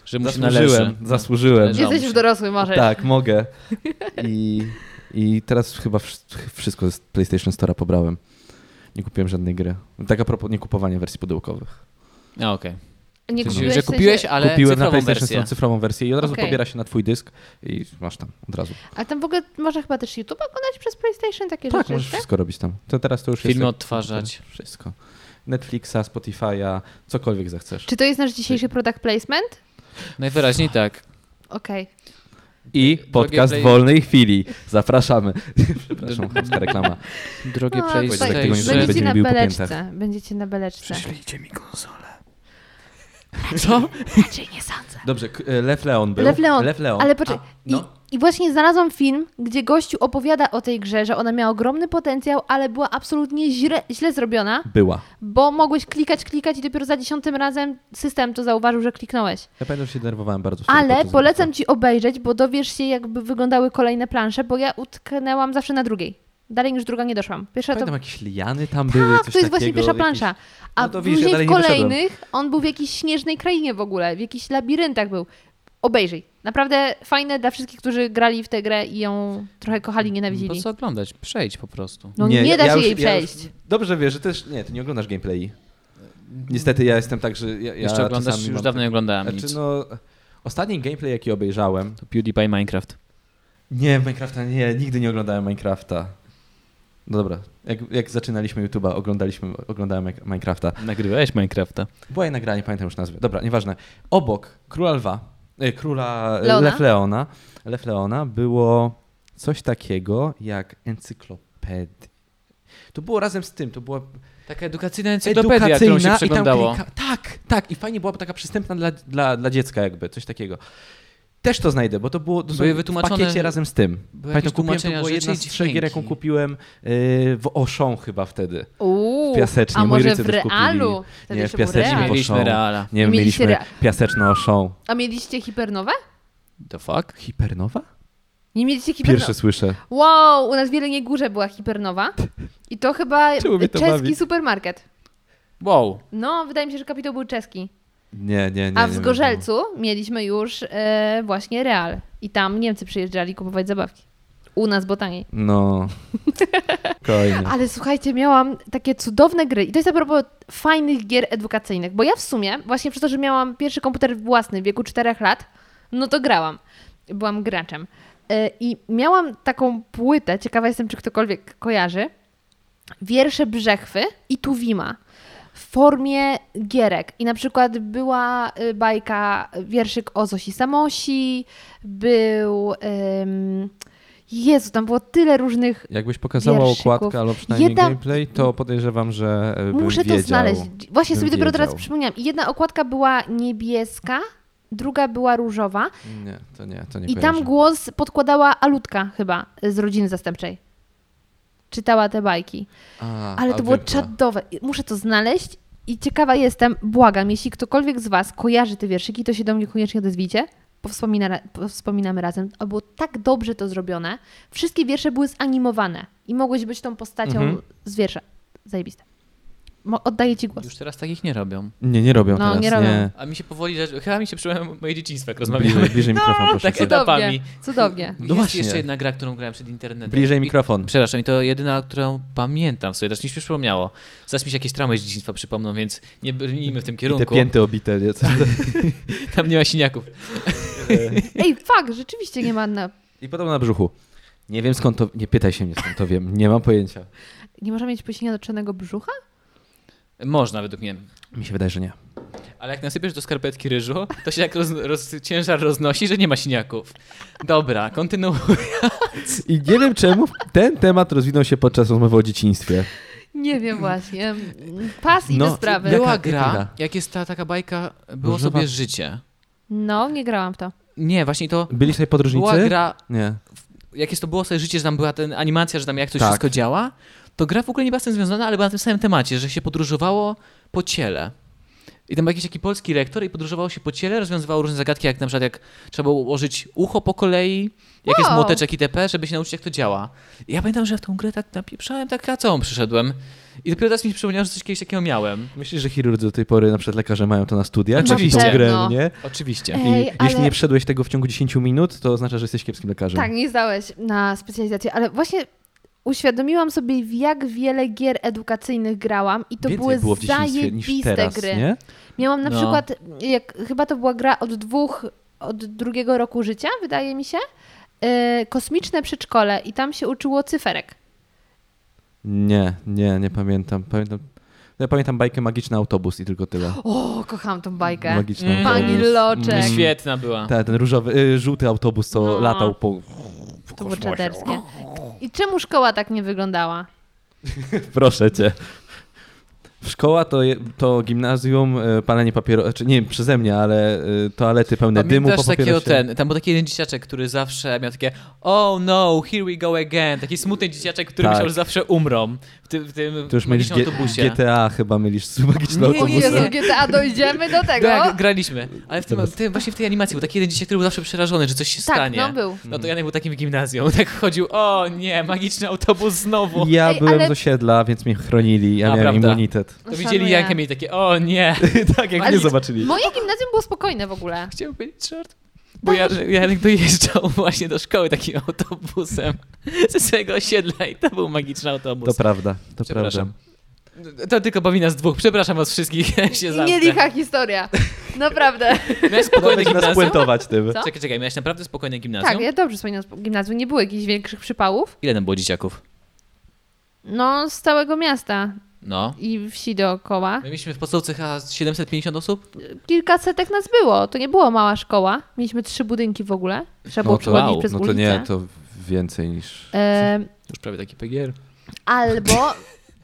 Speaker 1: Że mu się
Speaker 2: zasłużyłem,
Speaker 1: należy.
Speaker 2: zasłużyłem.
Speaker 1: Należało.
Speaker 3: Jesteś już dorosły, możesz.
Speaker 2: Tak, mogę. I, I teraz chyba wsz- wszystko z PlayStation Store'a pobrałem. Nie kupiłem żadnej gry. Tak a propos niekupowania wersji pudełkowych.
Speaker 1: A, No, okej.
Speaker 3: Nie
Speaker 1: Czyli,
Speaker 3: kupiłeś,
Speaker 1: Że
Speaker 3: w sensie-
Speaker 1: kupiłeś, ale
Speaker 2: Kupiłem na
Speaker 1: cyfrową
Speaker 2: PlayStation
Speaker 1: wersję.
Speaker 2: Store cyfrową wersję i od razu
Speaker 3: Okej.
Speaker 2: pobiera się na twój dysk i masz tam od razu.
Speaker 3: Ale tam w ogóle można chyba też YouTube oglądać przez PlayStation takie
Speaker 2: Tak,
Speaker 3: rzeczy,
Speaker 2: możesz
Speaker 3: tak?
Speaker 2: wszystko robić tam. To teraz to już
Speaker 1: Filmy
Speaker 2: jest... tak,
Speaker 1: odtwarzać.
Speaker 2: Wszystko. Netflixa, Spotify'a, cokolwiek zechcesz.
Speaker 3: Czy to jest nasz dzisiejszy
Speaker 2: Tak.
Speaker 3: product placement?
Speaker 1: Najwyraźniej tak.
Speaker 3: Okej.
Speaker 2: I podcast
Speaker 1: play-
Speaker 2: wolnej chwili. Zapraszamy. Przepraszam, chamska reklama.
Speaker 1: Drogie
Speaker 3: A,
Speaker 2: tak, tego nie zrobię,
Speaker 1: PlayStation.
Speaker 3: No, Będziecie
Speaker 2: będziemy
Speaker 3: na
Speaker 2: bił po
Speaker 3: beleczce.
Speaker 2: piętach.
Speaker 3: Będziecie na beleczce.
Speaker 1: mi konsolę. Co?
Speaker 3: Raczej nie sądzę.
Speaker 2: Dobrze, k- e, Lew Leon był.
Speaker 3: Lew Leon.
Speaker 2: Lew Leon.
Speaker 3: Ale poczekaj.
Speaker 2: A, no.
Speaker 3: I, I właśnie znalazłam film, gdzie gościu opowiada o tej grze, że ona miała ogromny potencjał, ale była absolutnie źle, źle zrobiona,
Speaker 2: Była.
Speaker 3: bo mogłeś klikać, klikać i dopiero za dziesiątym razem system to zauważył, że kliknąłeś.
Speaker 2: Ja pamiętam, że się denerwowałem bardzo. wtedy po
Speaker 3: Ale
Speaker 2: to
Speaker 3: polecam ci obejrzeć, bo dowiesz się, jakby wyglądały kolejne plansze, bo ja utknęłam zawsze na drugiej. Dalej niż druga nie doszłam. Pierwsza to
Speaker 2: Pamiętam, jakieś liany tam były,
Speaker 3: Tak,
Speaker 2: coś
Speaker 3: to jest właśnie
Speaker 2: takiego,
Speaker 3: pierwsza
Speaker 2: jakieś-
Speaker 3: plansza. A
Speaker 2: No to widzisz, ja
Speaker 3: później
Speaker 2: dalej
Speaker 3: w
Speaker 2: nie doszedłem.
Speaker 3: kolejnych on był w jakiejś śnieżnej krainie w ogóle, w jakichś labiryntach był. Obejrzyj. Naprawdę fajne dla wszystkich, którzy grali w tę grę i ją trochę
Speaker 2: No
Speaker 3: kochali,
Speaker 1: Po
Speaker 3: nienawidzili.
Speaker 1: No, co oglądać? Przejdź po prostu.
Speaker 3: No nie, da się
Speaker 2: już-
Speaker 3: jej
Speaker 2: już
Speaker 3: przejść.
Speaker 2: dobrze wiesz, że też... Nie, ty nie oglądasz gameplayi. Niestety ja jestem tak, że ja, ja
Speaker 1: Jeszcze oglądasz?
Speaker 2: czasami
Speaker 1: Już
Speaker 2: mam
Speaker 1: dawno nie oglądałem
Speaker 2: tak...
Speaker 1: nic.
Speaker 2: Znaczy, no, ostatni gameplay, jaki obejrzałem...
Speaker 1: To PewDiePie Minecraft.
Speaker 2: Nie, Minecrafta nie, nigdy nie oglądałem Minecrafta. No dobra, jak, jak zaczynaliśmy YouTube'a, oglądaliśmy, oglądałem Min- Minecrafta.
Speaker 1: Nagrywałeś Minecrafta.
Speaker 2: Była jedna gra, nie pamiętam już nazwy. Dobra, nieważne. Obok Króla Lwa, e, Króla
Speaker 3: Leona?
Speaker 2: Leona. Lef Leona, Lef Leona było coś takiego jak encyklopedia. To było razem z tym, to była
Speaker 1: Taka edukacyjna encyklopedia,
Speaker 2: encyklopedia,
Speaker 1: którą
Speaker 2: edukacyjna
Speaker 1: się
Speaker 2: i tam
Speaker 1: przeglądało.
Speaker 2: klika- Tak, tak. I fajnie była bo taka przystępna dla, dla, dla dziecka jakby, coś takiego. Też to znajdę, bo to było dosłownie w
Speaker 1: wytłumaczone-
Speaker 2: pakiecie razem z tym.
Speaker 1: Były
Speaker 2: Pamiętam,
Speaker 1: jakieś
Speaker 2: kupiłem, to
Speaker 1: tłumaczenia
Speaker 2: była
Speaker 1: rzeczy
Speaker 2: jedna
Speaker 1: i
Speaker 2: z trzech gier, jaką
Speaker 1: dźwięki.
Speaker 2: kupiłem yy, w Oszą chyba wtedy.
Speaker 3: Uuu,
Speaker 2: W piasecznie.
Speaker 3: a
Speaker 2: Moi
Speaker 3: może
Speaker 2: rodzice
Speaker 3: w
Speaker 2: też kupili.
Speaker 3: realu? Wtedy
Speaker 2: Nie,
Speaker 3: jeszcze
Speaker 2: w
Speaker 3: był
Speaker 2: piasecznie
Speaker 3: real.
Speaker 2: było-
Speaker 1: Mieliśmy
Speaker 2: Poszło.
Speaker 1: Reala.
Speaker 2: Nie wiem,
Speaker 3: Mieliście
Speaker 2: mieliśmy
Speaker 3: rea-
Speaker 2: piaseczną Oszą.
Speaker 3: A mieliście hipernowe?
Speaker 1: The fuck?
Speaker 2: Hipernowa?
Speaker 3: Nie mieliście hipernowe?
Speaker 2: Pierwsze słyszę.
Speaker 3: Wow, u nas w Wieleniej Górze była <laughs> hipernowa. I to chyba
Speaker 2: Czemu mnie to
Speaker 3: czeski
Speaker 2: bawi?
Speaker 3: supermarket.
Speaker 1: Wow.
Speaker 3: No, wydaje mi się, że kapitał był czeski.
Speaker 2: Nie, nie, nie.
Speaker 3: A
Speaker 2: nie wiem,
Speaker 3: w
Speaker 2: no.
Speaker 3: Zgorzelcu mieliśmy już e, właśnie Real. I tam Niemcy przyjeżdżali kupować zabawki. U nas, bo taniej.
Speaker 2: czemu.
Speaker 3: <laughs>
Speaker 2: No. Kolejny.
Speaker 3: Ale słuchajcie, miałam takie cudowne gry. I to jest a propos fajnych gier edukacyjnych. Bo ja w sumie, właśnie przez to, że miałam pierwszy komputer własny w wieku 4 lat, no to grałam. Byłam graczem. E, I miałam taką płytę, ciekawa jestem, czy ktokolwiek kojarzy, wiersze Brzechwy i Tuwima w formie gierek. I na przykład była y, bajka, y, wierszyk o Zosi Samosi, był... ym, Jezu, tam było tyle różnych
Speaker 2: Jakbyś pokazała
Speaker 3: wierszyków.
Speaker 2: okładkę albo przynajmniej
Speaker 3: Jedna-
Speaker 2: gameplay, to podejrzewam, że e, bym
Speaker 3: Muszę
Speaker 2: wiedział.
Speaker 3: to znaleźć. Właśnie
Speaker 2: Bym
Speaker 3: sobie dopiero teraz
Speaker 2: wiedział.
Speaker 3: przypomniałam. I Jedna okładka była niebieska, druga była różowa
Speaker 2: Nie, to nie, to nie
Speaker 3: i tam
Speaker 2: kojarzę.
Speaker 3: głos podkładała Alutka chyba z rodziny zastępczej. Czytała te bajki.
Speaker 2: A,
Speaker 3: Ale to było
Speaker 2: audiobooka.
Speaker 3: czadowe. I Muszę to znaleźć i ciekawa jestem, błagam, jeśli ktokolwiek z Was kojarzy te wierszyki, to się do mnie koniecznie odezwijcie, powspomina, ra- powspominamy razem. A było tak dobrze to zrobione. Wszystkie wiersze były zanimowane i mogłeś być tą postacią
Speaker 2: Mhm.
Speaker 3: z wiersza. Zajebiste. Mo- oddaję ci głos.
Speaker 1: Już teraz takich nie robią.
Speaker 2: Nie, nie robią
Speaker 3: No,
Speaker 2: teraz.
Speaker 3: nie robią.
Speaker 1: A mi się powoli, że chyba mi się przypomniało moje dzieciństwo, jak
Speaker 2: Bliżej,
Speaker 1: rozmawiamy. <laughs>
Speaker 2: bliżej mikrofon, proszę.
Speaker 1: tak,
Speaker 2: cię.
Speaker 1: to- etapami.
Speaker 3: Cudownie.
Speaker 2: No
Speaker 1: Jest
Speaker 2: właśnie.
Speaker 1: jeszcze jedna gra, którą grałem przed internetem.
Speaker 2: Bliżej
Speaker 1: I-
Speaker 2: mikrofon.
Speaker 1: Przepraszam, i to jedyna, którą pamiętam sobie, też mi się przypomniało. Zaraz mi się jakieś traumy z dzieciństwa przypomną, więc nie brnijmy w tym
Speaker 2: I te
Speaker 1: kierunku.
Speaker 2: pięty obite.
Speaker 1: <laughs>
Speaker 2: nie? Co-
Speaker 1: Tam nie ma siniaków.
Speaker 3: Ej, fuck, rzeczywiście nie ma na...
Speaker 2: I podobno na brzuchu. Nie wiem skąd to... Nie pytaj się mnie skąd to wiem. Nie mam pojęcia.
Speaker 3: Nie można mieć płyśnienia do czarnego brzucha?
Speaker 1: Można, według mnie.
Speaker 2: Mi się wydaje, że nie.
Speaker 1: Ale jak nasypiesz do skarpetki ryżu, to się jak roz, roz, ciężar roznosi, że nie ma siniaków. Dobra, kontynuuj.
Speaker 2: I nie wiem czemu ten temat rozwinął się podczas rozmowy o dzieciństwie.
Speaker 3: Nie <laughs> wiem właśnie. Pas i
Speaker 2: No,
Speaker 3: do sprawy.
Speaker 2: jak-
Speaker 1: Była
Speaker 2: jaka
Speaker 1: gra,
Speaker 2: gra?
Speaker 1: jak jest ta taka bajka, było
Speaker 2: Różowa-
Speaker 1: sobie życie.
Speaker 3: No, nie grałam w to.
Speaker 1: Nie, właśnie to
Speaker 2: Byli sobie
Speaker 1: była
Speaker 2: podróżnicy?
Speaker 1: gra,
Speaker 2: Nie.
Speaker 1: jak jest to było sobie życie, że tam była ten animacja, że tam jak coś
Speaker 2: Tak.
Speaker 1: wszystko działa, to gra w ogóle nie była z tym związana, ale była na tym samym temacie, że się podróżowało po ciele. I tam był jakiś taki polski lektor i podróżowało się po ciele, rozwiązywało różne zagadki, jak na przykład jak trzeba było ułożyć ucho po kolei, jak jest
Speaker 3: Wow.
Speaker 1: młoteczek itp., żeby się nauczyć jak to działa. I ja pamiętam, że w tą grę tak napieprzałem, tak kacą przyszedłem. I dopiero teraz mi się przypomniało, że coś kiedyś takiego miałem.
Speaker 2: Myślisz, że chirurdzy do tej pory, na przykład lekarze mają to na studiach?
Speaker 1: Oczywiście.
Speaker 2: Tą grę, no
Speaker 3: Pewno.
Speaker 2: nie?
Speaker 1: Oczywiście.
Speaker 3: Ej,
Speaker 2: I jeśli
Speaker 3: ale-
Speaker 2: nie przeszedłeś tego w ciągu 10 minut, to oznacza, że jesteś kiepskim lekarzem.
Speaker 3: Tak, nie zdałeś na specjalizację, ale właśnie uświadomiłam sobie, w jak wiele gier edukacyjnych grałam i to
Speaker 2: Więcej
Speaker 3: były
Speaker 2: było w dzieciństwie niż
Speaker 3: zajebiste
Speaker 2: teraz,
Speaker 3: gry.
Speaker 2: nie?
Speaker 3: Miałam na
Speaker 1: No.
Speaker 3: przykład, jak, chyba to była gra od dwóch, od drugiego roku życia, wydaje mi się, yy, kosmiczne przedszkole i tam się uczyło cyferek.
Speaker 2: Nie, nie, nie pamiętam. Pamiętam, no ja pamiętam bajkę Magiczny Autobus i tylko tyle.
Speaker 3: O, kocham tą bajkę.
Speaker 2: Magiczny
Speaker 1: Mm.
Speaker 3: Pani
Speaker 2: autobus.
Speaker 3: Loczek.
Speaker 2: Mm.
Speaker 1: Świetna była.
Speaker 2: Ta, ten różowy, y, żółty autobus, co
Speaker 3: No.
Speaker 2: latał po...
Speaker 3: To było czaderskie. I czemu szkoła tak nie wyglądała?
Speaker 2: Proszę cię. Szkoła to, je- to gimnazjum, y, palenie papierosów, znaczy nie wiem, przeze mnie, ale y, toalety pełne dymu po
Speaker 1: Pamiętasz takiego
Speaker 2: papierosie.
Speaker 1: ten, tam był taki jeden dzieciaczek, który zawsze miał takie oh no, here we go again, taki smutny dzieciaczek, który
Speaker 2: Tak.
Speaker 1: myślał, że zawsze umrą w tym, w tym
Speaker 2: To już mylisz
Speaker 1: magicznym
Speaker 2: G-
Speaker 1: autobusie.
Speaker 2: GTA chyba mylisz z magicznym
Speaker 1: Nie, nie,
Speaker 2: autobusem.
Speaker 1: nie.
Speaker 3: GTA, dojdziemy
Speaker 2: <laughs>
Speaker 3: do tego? no,
Speaker 1: Tak, graliśmy, ale w tym,
Speaker 2: Teraz-
Speaker 1: w tym, właśnie w tej animacji był taki jeden dzieciak, który był zawsze przerażony, że coś się
Speaker 3: tak
Speaker 1: stanie.
Speaker 3: no był.
Speaker 1: No to Janek był takim w gimnazjum, <laughs> tak chodził, o nie, magiczny autobus znowu.
Speaker 2: Ja
Speaker 3: Ej,
Speaker 2: byłem
Speaker 3: ale-
Speaker 2: z osiedla, więc mnie chronili, ja
Speaker 1: A,
Speaker 2: miałem
Speaker 1: prawda.
Speaker 2: immunitet.
Speaker 1: To
Speaker 3: No
Speaker 1: widzieli
Speaker 3: szanuję.
Speaker 1: Jankę mieli takie, o nie.
Speaker 2: <laughs> tak, jak
Speaker 3: Ale-
Speaker 2: nie zobaczyli.
Speaker 3: Moje gimnazjum było spokojne w ogóle.
Speaker 1: Chciałem powiedzieć short. Bo ja, Janek dojeżdżał <laughs> właśnie do szkoły takim autobusem <laughs> ze swojego osiedla i to był magiczny autobus.
Speaker 2: To prawda, to prawda.
Speaker 1: Przepraszam. To tylko bawi nas dwóch. Przepraszam was wszystkich, <laughs> ja się
Speaker 3: Nie
Speaker 1: zamknę.
Speaker 3: licha historia.
Speaker 2: <laughs>
Speaker 3: Naprawdę. Tak, <laughs>
Speaker 1: Miałeś spokojne
Speaker 2: Dawaj nas
Speaker 1: gimnazjum?
Speaker 2: puentować tym.
Speaker 3: Co?
Speaker 1: Czekaj, czekaj, miałeś naprawdę spokojne gimnazjum?
Speaker 3: Tak, ja dobrze wspominam spo- gimnazjum. Nie było jakichś większych przypałów.
Speaker 1: Ile tam było dzieciaków?
Speaker 3: No, z całego miasta
Speaker 1: No.
Speaker 3: i wsi dookoła.
Speaker 1: My mieliśmy w podstawce chyba 750 osób?
Speaker 3: Kilkasetek nas było. To nie była mała szkoła. Mieliśmy trzy budynki w ogóle. Trzeba było
Speaker 2: No to-
Speaker 3: przechodzić
Speaker 1: wow,
Speaker 3: przez
Speaker 2: No to
Speaker 3: ulicę.
Speaker 2: nie, to więcej niż...
Speaker 3: E,
Speaker 1: Już prawie taki PGR.
Speaker 3: Y,
Speaker 2: <laughs>
Speaker 3: albo...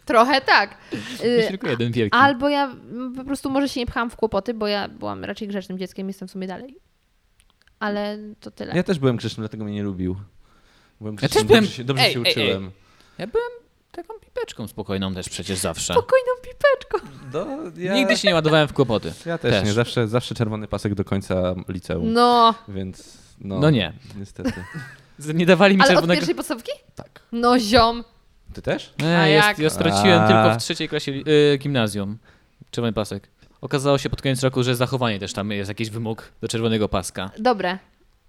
Speaker 3: trochę tak.
Speaker 1: Jest
Speaker 3: E,
Speaker 1: tylko jeden wielki.
Speaker 3: albo ja mm, po prostu może się nie pchałam w kłopoty, bo ja byłam raczej grzecznym dzieckiem. Jestem w sumie dalej. Ale to tyle.
Speaker 2: Ja też byłem grzeczny, dlatego mnie nie lubił. Byłem
Speaker 1: też
Speaker 2: grzeczny,
Speaker 1: byłem-
Speaker 2: dobrze się, dobrze
Speaker 1: Ej,
Speaker 2: się
Speaker 1: ej, ej.
Speaker 2: uczyłem.
Speaker 1: Taką pipeczką spokojną też przecież zawsze.
Speaker 3: Spokojną pipeczką.
Speaker 2: No, ja,
Speaker 1: Nigdy się nie ładowałem w kłopoty.
Speaker 2: ja też,
Speaker 1: też.
Speaker 2: nie, zawsze, zawsze czerwony pasek do końca liceum,
Speaker 3: No.
Speaker 2: więc no,
Speaker 1: No, nie. <laughs>
Speaker 2: niestety.
Speaker 1: Z- Nie dawali mi
Speaker 3: Ale od
Speaker 1: czerwonego...
Speaker 3: pierwszej podstawki?
Speaker 2: Tak.
Speaker 3: No ziom.
Speaker 2: Ty też?
Speaker 1: Nie,
Speaker 3: A jak?
Speaker 1: jest, ja straciłem
Speaker 2: A.
Speaker 1: tylko w trzeciej klasie li- y, gimnazjum. Czerwony pasek. Okazało się pod koniec roku, że zachowanie też tam jest jakiś wymóg do czerwonego paska.
Speaker 3: Dobre.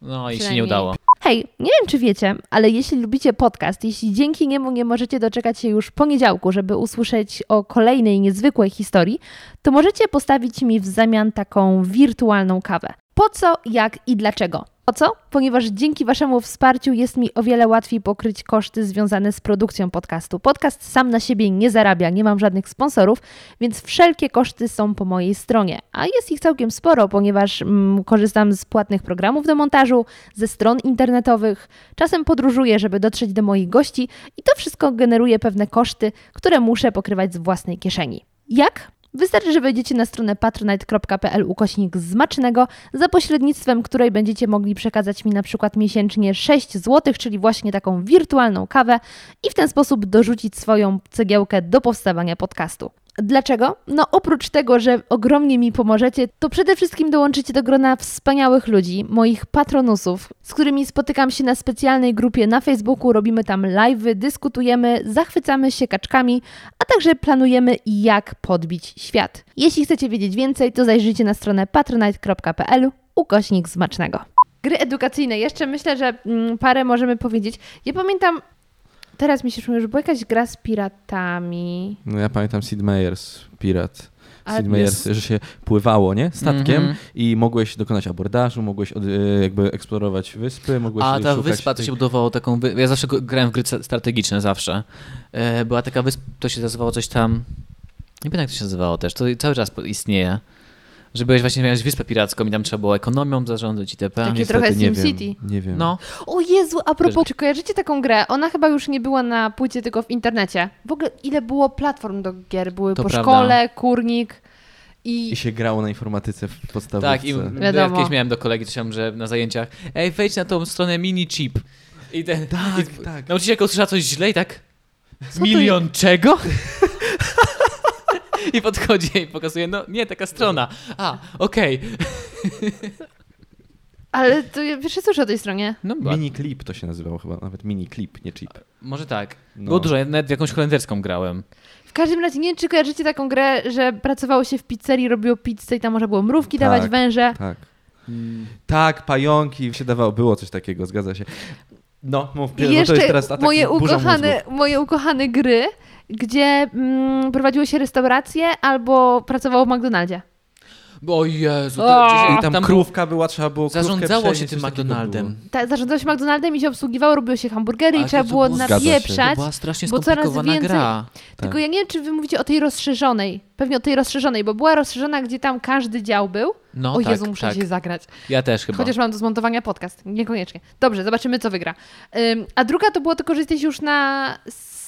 Speaker 1: No i się nie
Speaker 3: Przynajmniej.
Speaker 1: udało.
Speaker 3: Hej, nie wiem czy wiecie, ale jeśli lubicie podcast, jeśli dzięki niemu nie możecie doczekać się już poniedziałku, żeby usłyszeć o kolejnej niezwykłej historii, to możecie postawić mi w zamian taką wirtualną kawę. Po co, jak i dlaczego? Po co? Ponieważ dzięki Waszemu wsparciu jest mi o wiele łatwiej pokryć koszty związane z produkcją podcastu. Podcast sam na siebie nie zarabia, nie mam żadnych sponsorów, więc wszelkie koszty są po mojej stronie. A jest ich całkiem sporo, ponieważ mm, korzystam z płatnych programów do montażu, ze stron internetowych, czasem podróżuję, żeby dotrzeć do moich gości i to wszystko generuje pewne koszty, które muszę pokrywać z własnej kieszeni. Jak? Wystarczy, że wejdziecie na stronę patronite.pl ukośnik zmacznego, za pośrednictwem której będziecie mogli przekazać mi na przykład miesięcznie 6 zł, czyli właśnie taką wirtualną kawę i w ten sposób dorzucić swoją cegiełkę do powstawania podcastu. Dlaczego? No oprócz tego, że ogromnie mi pomożecie, to przede wszystkim dołączycie do grona wspaniałych ludzi, moich patronusów, z którymi spotykam się na specjalnej grupie na Facebooku, robimy tam live'y, dyskutujemy, zachwycamy się kaczkami, a także planujemy jak podbić świat. Jeśli chcecie wiedzieć więcej, to zajrzyjcie na stronę patronite.pl ukośnik smacznego. Gry edukacyjne. Jeszcze myślę, że mm, parę możemy powiedzieć. Ja pamiętam, teraz mi się przypomniał, że była jakaś gra z piratami.
Speaker 2: No ja pamiętam Sid Meier's Pirat.
Speaker 3: Ale
Speaker 2: Sid Meier's, że się pływało, nie? Statkiem
Speaker 1: Mhm.
Speaker 2: i mogłeś dokonać abordażu, mogłeś od, e, jakby eksplorować wyspy, mogłeś
Speaker 1: A
Speaker 2: e,
Speaker 1: ta
Speaker 2: szukać
Speaker 1: wyspa to
Speaker 2: tych-
Speaker 1: się budowało taką. wy- Ja zawsze g- grałem w gry ce- strategiczne, zawsze. E, Była taka wyspa, to się nazywało coś tam. Nie pamiętam, jak to się nazywało też. To cały czas po- istnieje. Że byłeś właśnie miałeś wyspę piracką i tam trzeba było ekonomią zarządzać itp.
Speaker 3: Takie
Speaker 2: Niestety
Speaker 3: trochę
Speaker 2: nie
Speaker 3: SimCity.
Speaker 2: wiem, Nie wiem.
Speaker 1: No,
Speaker 3: O Jezu, a propos, czy kojarzycie taką grę? Ona chyba już nie była na płycie, tylko w internecie. W ogóle ile było platform do gier? Były
Speaker 1: To
Speaker 3: po
Speaker 1: prawda.
Speaker 3: szkole, kurnik i...
Speaker 2: I się grało na informatyce w podstawówce.
Speaker 1: tak. I ja
Speaker 3: Wiadomo.
Speaker 1: kiedyś miałem do kolegi, coś tam, że na zajęciach. Ej, wejdź na tą stronę mini chip. I ten.
Speaker 2: Tak,
Speaker 1: i,
Speaker 2: tak.
Speaker 1: Nauczycielka usłyszała coś źle i tak.
Speaker 3: Co to
Speaker 1: milion
Speaker 3: <laughs>
Speaker 1: czego? I podchodzi i pokazuje, no nie, taka strona. A, okej.
Speaker 3: Ale to ja pierwszy słyszę o tej stronie.
Speaker 1: No, była
Speaker 2: Miniklip to się nazywało chyba, nawet miniklip, nie chip.
Speaker 1: Może tak.
Speaker 2: No.
Speaker 1: Było dużo, ja nawet w jakąś holenderską grałem.
Speaker 3: W każdym razie, nie wiem, czy kojarzycie taką grę, że pracowało się w pizzerii, robiło pizzę i tam można było mrówki
Speaker 2: Tak,
Speaker 3: dawać, węże.
Speaker 2: Tak. Tak, pająki się dawało, było coś takiego, zgadza się. No, mów,
Speaker 3: I
Speaker 2: no to jest
Speaker 3: jeszcze
Speaker 2: teraz atak
Speaker 3: moje,
Speaker 2: burza
Speaker 3: ukochane,
Speaker 2: mózgów.
Speaker 3: moje ukochane gry, gdzie mm, prowadziło się restaurację albo pracowało w McDonaldzie.
Speaker 1: O Jezu,
Speaker 3: O!
Speaker 1: to, gdzieś-
Speaker 2: I tam,
Speaker 1: tam
Speaker 2: krówka była, trzeba było krówkę
Speaker 1: zarządzało się
Speaker 2: przenieść,
Speaker 1: tym
Speaker 2: coś takiego
Speaker 1: McDonaldem.
Speaker 2: było.
Speaker 3: Ta, zarządzało się McDonaldem i się obsługiwało, robiło się
Speaker 1: Ale
Speaker 3: hamburgery i
Speaker 1: to
Speaker 3: trzeba
Speaker 1: co
Speaker 3: było
Speaker 1: było-
Speaker 2: Zgadza się.
Speaker 1: To
Speaker 3: napieprzać.
Speaker 1: była strasznie
Speaker 3: Tak? bo coraz
Speaker 1: skomplikowana
Speaker 3: więcej-
Speaker 1: gra.
Speaker 3: Tylko ja nie wiem, czy wy mówicie o tej rozszerzonej. Pewnie o tej rozszerzonej, bo była rozszerzona, gdzie tam każdy dział był.
Speaker 1: No
Speaker 3: o
Speaker 1: tak,
Speaker 3: Jezu, muszę
Speaker 1: tak.
Speaker 3: się zagrać.
Speaker 1: Ja też chyba.
Speaker 3: Chociaż mam do zmontowania podcast, niekoniecznie. Dobrze, zobaczymy, co wygra. Ym, a druga to było tylko, że jesteś już na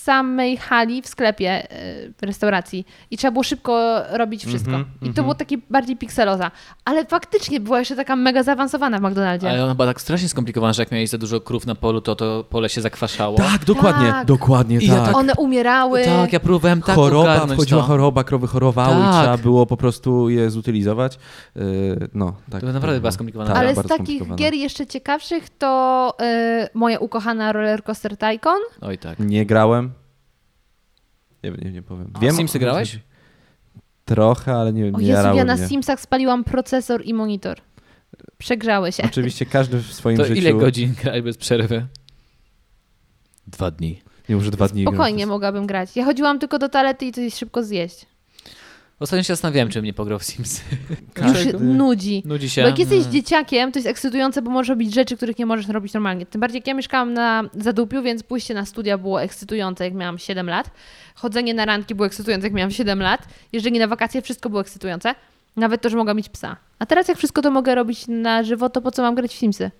Speaker 3: samej hali w sklepie, y, w restauracji i trzeba było szybko robić wszystko.
Speaker 2: Mhm,
Speaker 3: I to
Speaker 2: mhm.
Speaker 3: było takie bardziej pikseloza. Ale faktycznie była jeszcze taka mega zaawansowana w McDonaldzie.
Speaker 1: Ale ona była tak strasznie skomplikowana, że jak miałeś za dużo krów na polu, to to pole się zakwaszało.
Speaker 2: Tak, dokładnie,
Speaker 3: Tak.
Speaker 2: dokładnie
Speaker 1: I ja
Speaker 2: tak.
Speaker 1: tak-
Speaker 3: One umierały.
Speaker 1: tak ja próbowałem tak
Speaker 2: choroba,
Speaker 1: ogarnąć
Speaker 2: wchodziła
Speaker 1: to.
Speaker 2: choroba, krowy chorowały i
Speaker 1: Tak.
Speaker 2: trzeba było po prostu je zutylizować. Yy, No, tak.
Speaker 1: To naprawdę
Speaker 2: tak
Speaker 1: była
Speaker 2: było.
Speaker 1: skomplikowana
Speaker 2: Tak,
Speaker 1: gra.
Speaker 3: Ale z
Speaker 2: bardzo
Speaker 3: takich
Speaker 2: skomplikowana.
Speaker 3: gier jeszcze ciekawszych to y, moja ukochana Rollercoaster Tycoon.
Speaker 1: Oj tak.
Speaker 2: Nie grałem. Nie, nie, nie powiem. Wiem,
Speaker 1: Simsy
Speaker 2: o co
Speaker 1: grałeś?
Speaker 2: chodzi. Trochę, ale nie,
Speaker 3: O
Speaker 2: nie
Speaker 3: Jezu,
Speaker 2: jarały
Speaker 3: ja na
Speaker 2: mnie.
Speaker 3: Simsach spaliłam procesor i monitor. Przegrzały się.
Speaker 2: Oczywiście każdy <laughs> w swoim
Speaker 1: To
Speaker 2: życiu...
Speaker 1: ile godzin grałeś bez przerwy? Dwa dni.
Speaker 2: Nie, może dwa dni.
Speaker 3: <laughs> Spokojnie
Speaker 2: grałem.
Speaker 3: mogłabym grać. Ja chodziłam tylko do toalety i coś szybko zjeść.
Speaker 1: Ostatnio się zastanawiałem, czym nie pograł w Sims.
Speaker 3: Już
Speaker 2: Każdy-
Speaker 3: nudzi.
Speaker 1: Nudzi
Speaker 3: Bo
Speaker 1: się.
Speaker 3: jak jesteś dzieciakiem, to jest ekscytujące, bo możesz robić rzeczy, których nie możesz robić normalnie. Tym bardziej jak ja mieszkałam na Zadupiu, więc pójście na studia było ekscytujące, jak miałam 7 lat. Chodzenie na ranki było ekscytujące, jak miałam 7 lat. Jeżdżenie na wakacje, wszystko było ekscytujące. Nawet to, że mogłam mieć psa. A teraz jak wszystko to mogę robić na żywo, to po co mam grać w Simsy?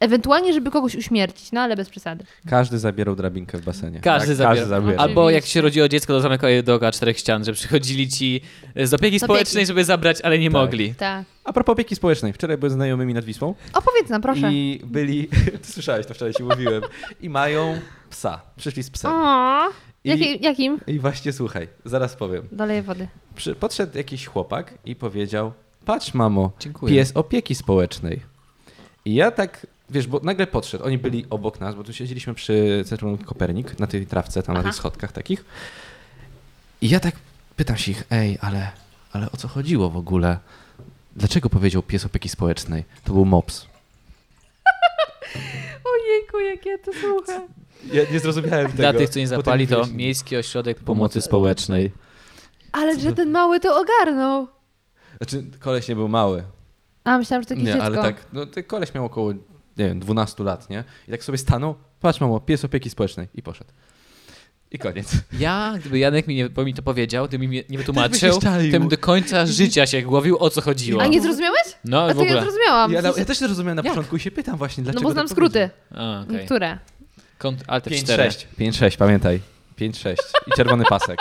Speaker 3: Ewentualnie, żeby kogoś uśmiercić, no ale bez przesady.
Speaker 2: Każdy zabierał drabinkę w basenie.
Speaker 1: Każdy
Speaker 2: tak,
Speaker 1: zabiera.
Speaker 2: Każdy zabiera.
Speaker 3: Albo-
Speaker 1: Albo jak
Speaker 3: Oczywiście.
Speaker 1: się rodziło dziecko, to zamykał je do oka czterech ścian, że przychodzili ci z opieki społecznej, żeby zabrać, ale nie
Speaker 2: Tak.
Speaker 1: mogli.
Speaker 3: Tak.
Speaker 2: A propos opieki społecznej. Wczoraj byłem z znajomymi nad Wisłą
Speaker 3: Opowiedz nam, proszę.
Speaker 2: i byli... <laughs> Ty słyszałeś, to wczoraj ci mówiłem. I mają psa. Przyszli z psem.
Speaker 3: O,
Speaker 2: I-
Speaker 3: jakim, jakim?
Speaker 2: I właśnie słuchaj, zaraz powiem.
Speaker 3: Doleję wody.
Speaker 2: Przy, podszedł jakiś chłopak i powiedział: Patrz, mamo,
Speaker 1: Dziękuję.
Speaker 2: pies opieki społecznej. I ja tak, wiesz, bo nagle podszedł. Oni byli obok nas, bo tu siedzieliśmy przy centrum Kopernik, na tej trawce, tam na tych schodkach takich. I ja tak pytam się ich: Ej, ale, ale o co chodziło w ogóle? Dlaczego powiedział pies opieki społecznej? To był mops.
Speaker 3: Ojejku, jak ja to słucham.
Speaker 2: Ja nie zrozumiałem tego.
Speaker 1: Dla tych, co nie
Speaker 2: Potem
Speaker 1: zapali, to
Speaker 2: wyjaśnij.
Speaker 1: Miejski Ośrodek
Speaker 2: Pomocy
Speaker 1: Pomocy Społecznej.
Speaker 3: Ale że ten mały to ogarnął.
Speaker 2: Znaczy, koleś nie był mały.
Speaker 3: A, myślałam, że takie
Speaker 2: nie,
Speaker 3: dziecko.
Speaker 2: ale tak, no ten koleś miał około, nie wiem, 12 lat, nie? I tak sobie stanął, patrz mamo, pies opieki społecznej i poszedł. I koniec.
Speaker 1: Ja, gdyby Janek mi, nie, bo mi to powiedział, gdyby mi nie
Speaker 2: Ty byś
Speaker 1: wytłumaczył,
Speaker 2: się szczaił.
Speaker 1: to bym do końca życia się głowił, o co chodziło.
Speaker 3: Mhm. A nie zrozumiałeś?
Speaker 1: No,
Speaker 3: A
Speaker 1: w
Speaker 3: to ja
Speaker 1: ogóle.
Speaker 3: zrozumiałam.
Speaker 2: Ja, ja też nie rozumiałem na
Speaker 1: Jak?
Speaker 2: początku i się pytam właśnie,
Speaker 3: no
Speaker 2: dlaczego tak
Speaker 3: bo znam skróty.
Speaker 1: A, okej.
Speaker 3: Które?
Speaker 1: Kont- Alt F4.
Speaker 2: 5-6. 5-6, pamiętaj. 5-6 i czerwony pasek.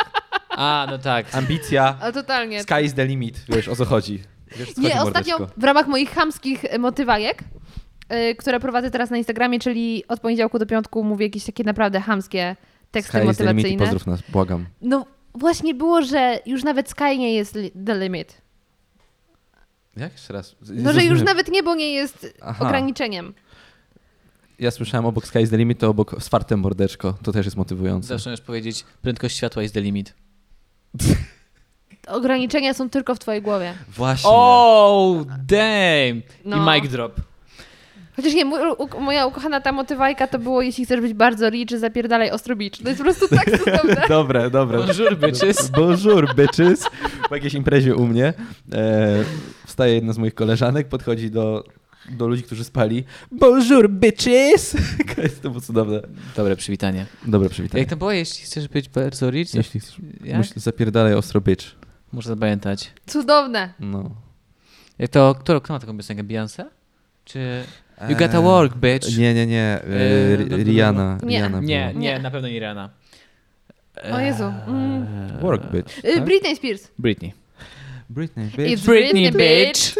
Speaker 1: A, no tak.
Speaker 2: Ambicja,
Speaker 3: A totalnie.
Speaker 2: sky is the limit, wiesz o co chodzi. Wiesz, o co
Speaker 3: Nie,
Speaker 2: chodzi,
Speaker 3: ostatnio
Speaker 2: mordeczko.
Speaker 3: w ramach moich chamskich e, motywajek, y, które prowadzę teraz na Instagramie, czyli od poniedziałku do piątku mówię jakieś takie naprawdę chamskie teksty
Speaker 2: Sky is the limit i
Speaker 3: motywacyjne.
Speaker 2: pozdrów nas, błagam.
Speaker 3: No właśnie było, że już nawet Sky nie jest li- the limit.
Speaker 2: Jak jeszcze raz? Z-
Speaker 3: No, że już
Speaker 2: zrozumiałem.
Speaker 3: nawet niebo nie jest
Speaker 2: Aha.
Speaker 3: ograniczeniem.
Speaker 2: Ja słyszałem obok Sky is the Limit, to obok Swarte Mordeczko. To też jest motywujące.
Speaker 1: Zawsze możesz powiedzieć, prędkość światła jest the limit.
Speaker 3: Ograniczenia są tylko w twojej głowie.
Speaker 2: Właśnie.
Speaker 3: <laughs>
Speaker 1: Oh, damn!
Speaker 3: No.
Speaker 1: I mic drop.
Speaker 3: Chociaż nie, mój, u, moja ukochana ta motywajka to było, jeśli chcesz być bardzo rich, zapierdalaj ostro bicz. To jest po prostu tak cudowne.
Speaker 2: Dobre, dobre.
Speaker 1: Bonjour, bitches.
Speaker 2: Bonjour, bitches. Po jakiejś imprezie u mnie e, wstaje jedna z moich koleżanek, podchodzi do, do ludzi, którzy spali. Bonjour, bitches. Jest to było cudowne.
Speaker 1: Dobre przywitanie.
Speaker 2: Dobre przywitanie.
Speaker 1: Jak to było, jeśli chcesz być bardzo rich?
Speaker 2: Jeśli chcesz,
Speaker 1: Jak?
Speaker 2: myśl, zapierdalaj ostro bitch.
Speaker 1: Muszę zapamiętać.
Speaker 3: Cudowne.
Speaker 2: No.
Speaker 1: Jak to, kto, kto ma taką piosenkę? Beyoncé? Czy You gotta
Speaker 2: Eee,
Speaker 1: work, bitch.
Speaker 2: Nie, nie, nie.
Speaker 1: Eee,
Speaker 2: E, Ri-
Speaker 1: do- do- do-
Speaker 2: Rihanna.
Speaker 3: Nie,
Speaker 2: Rihanna
Speaker 1: nie,
Speaker 2: była.
Speaker 1: nie,
Speaker 3: Nie.
Speaker 1: na pewno nie Rihanna.
Speaker 3: O Jezu. Mm.
Speaker 2: Eee, Work, bitch.
Speaker 3: Y,
Speaker 2: tak?
Speaker 3: Britney Spears.
Speaker 1: Britney.
Speaker 2: Britney, bitch.
Speaker 3: It's Britney, bitch.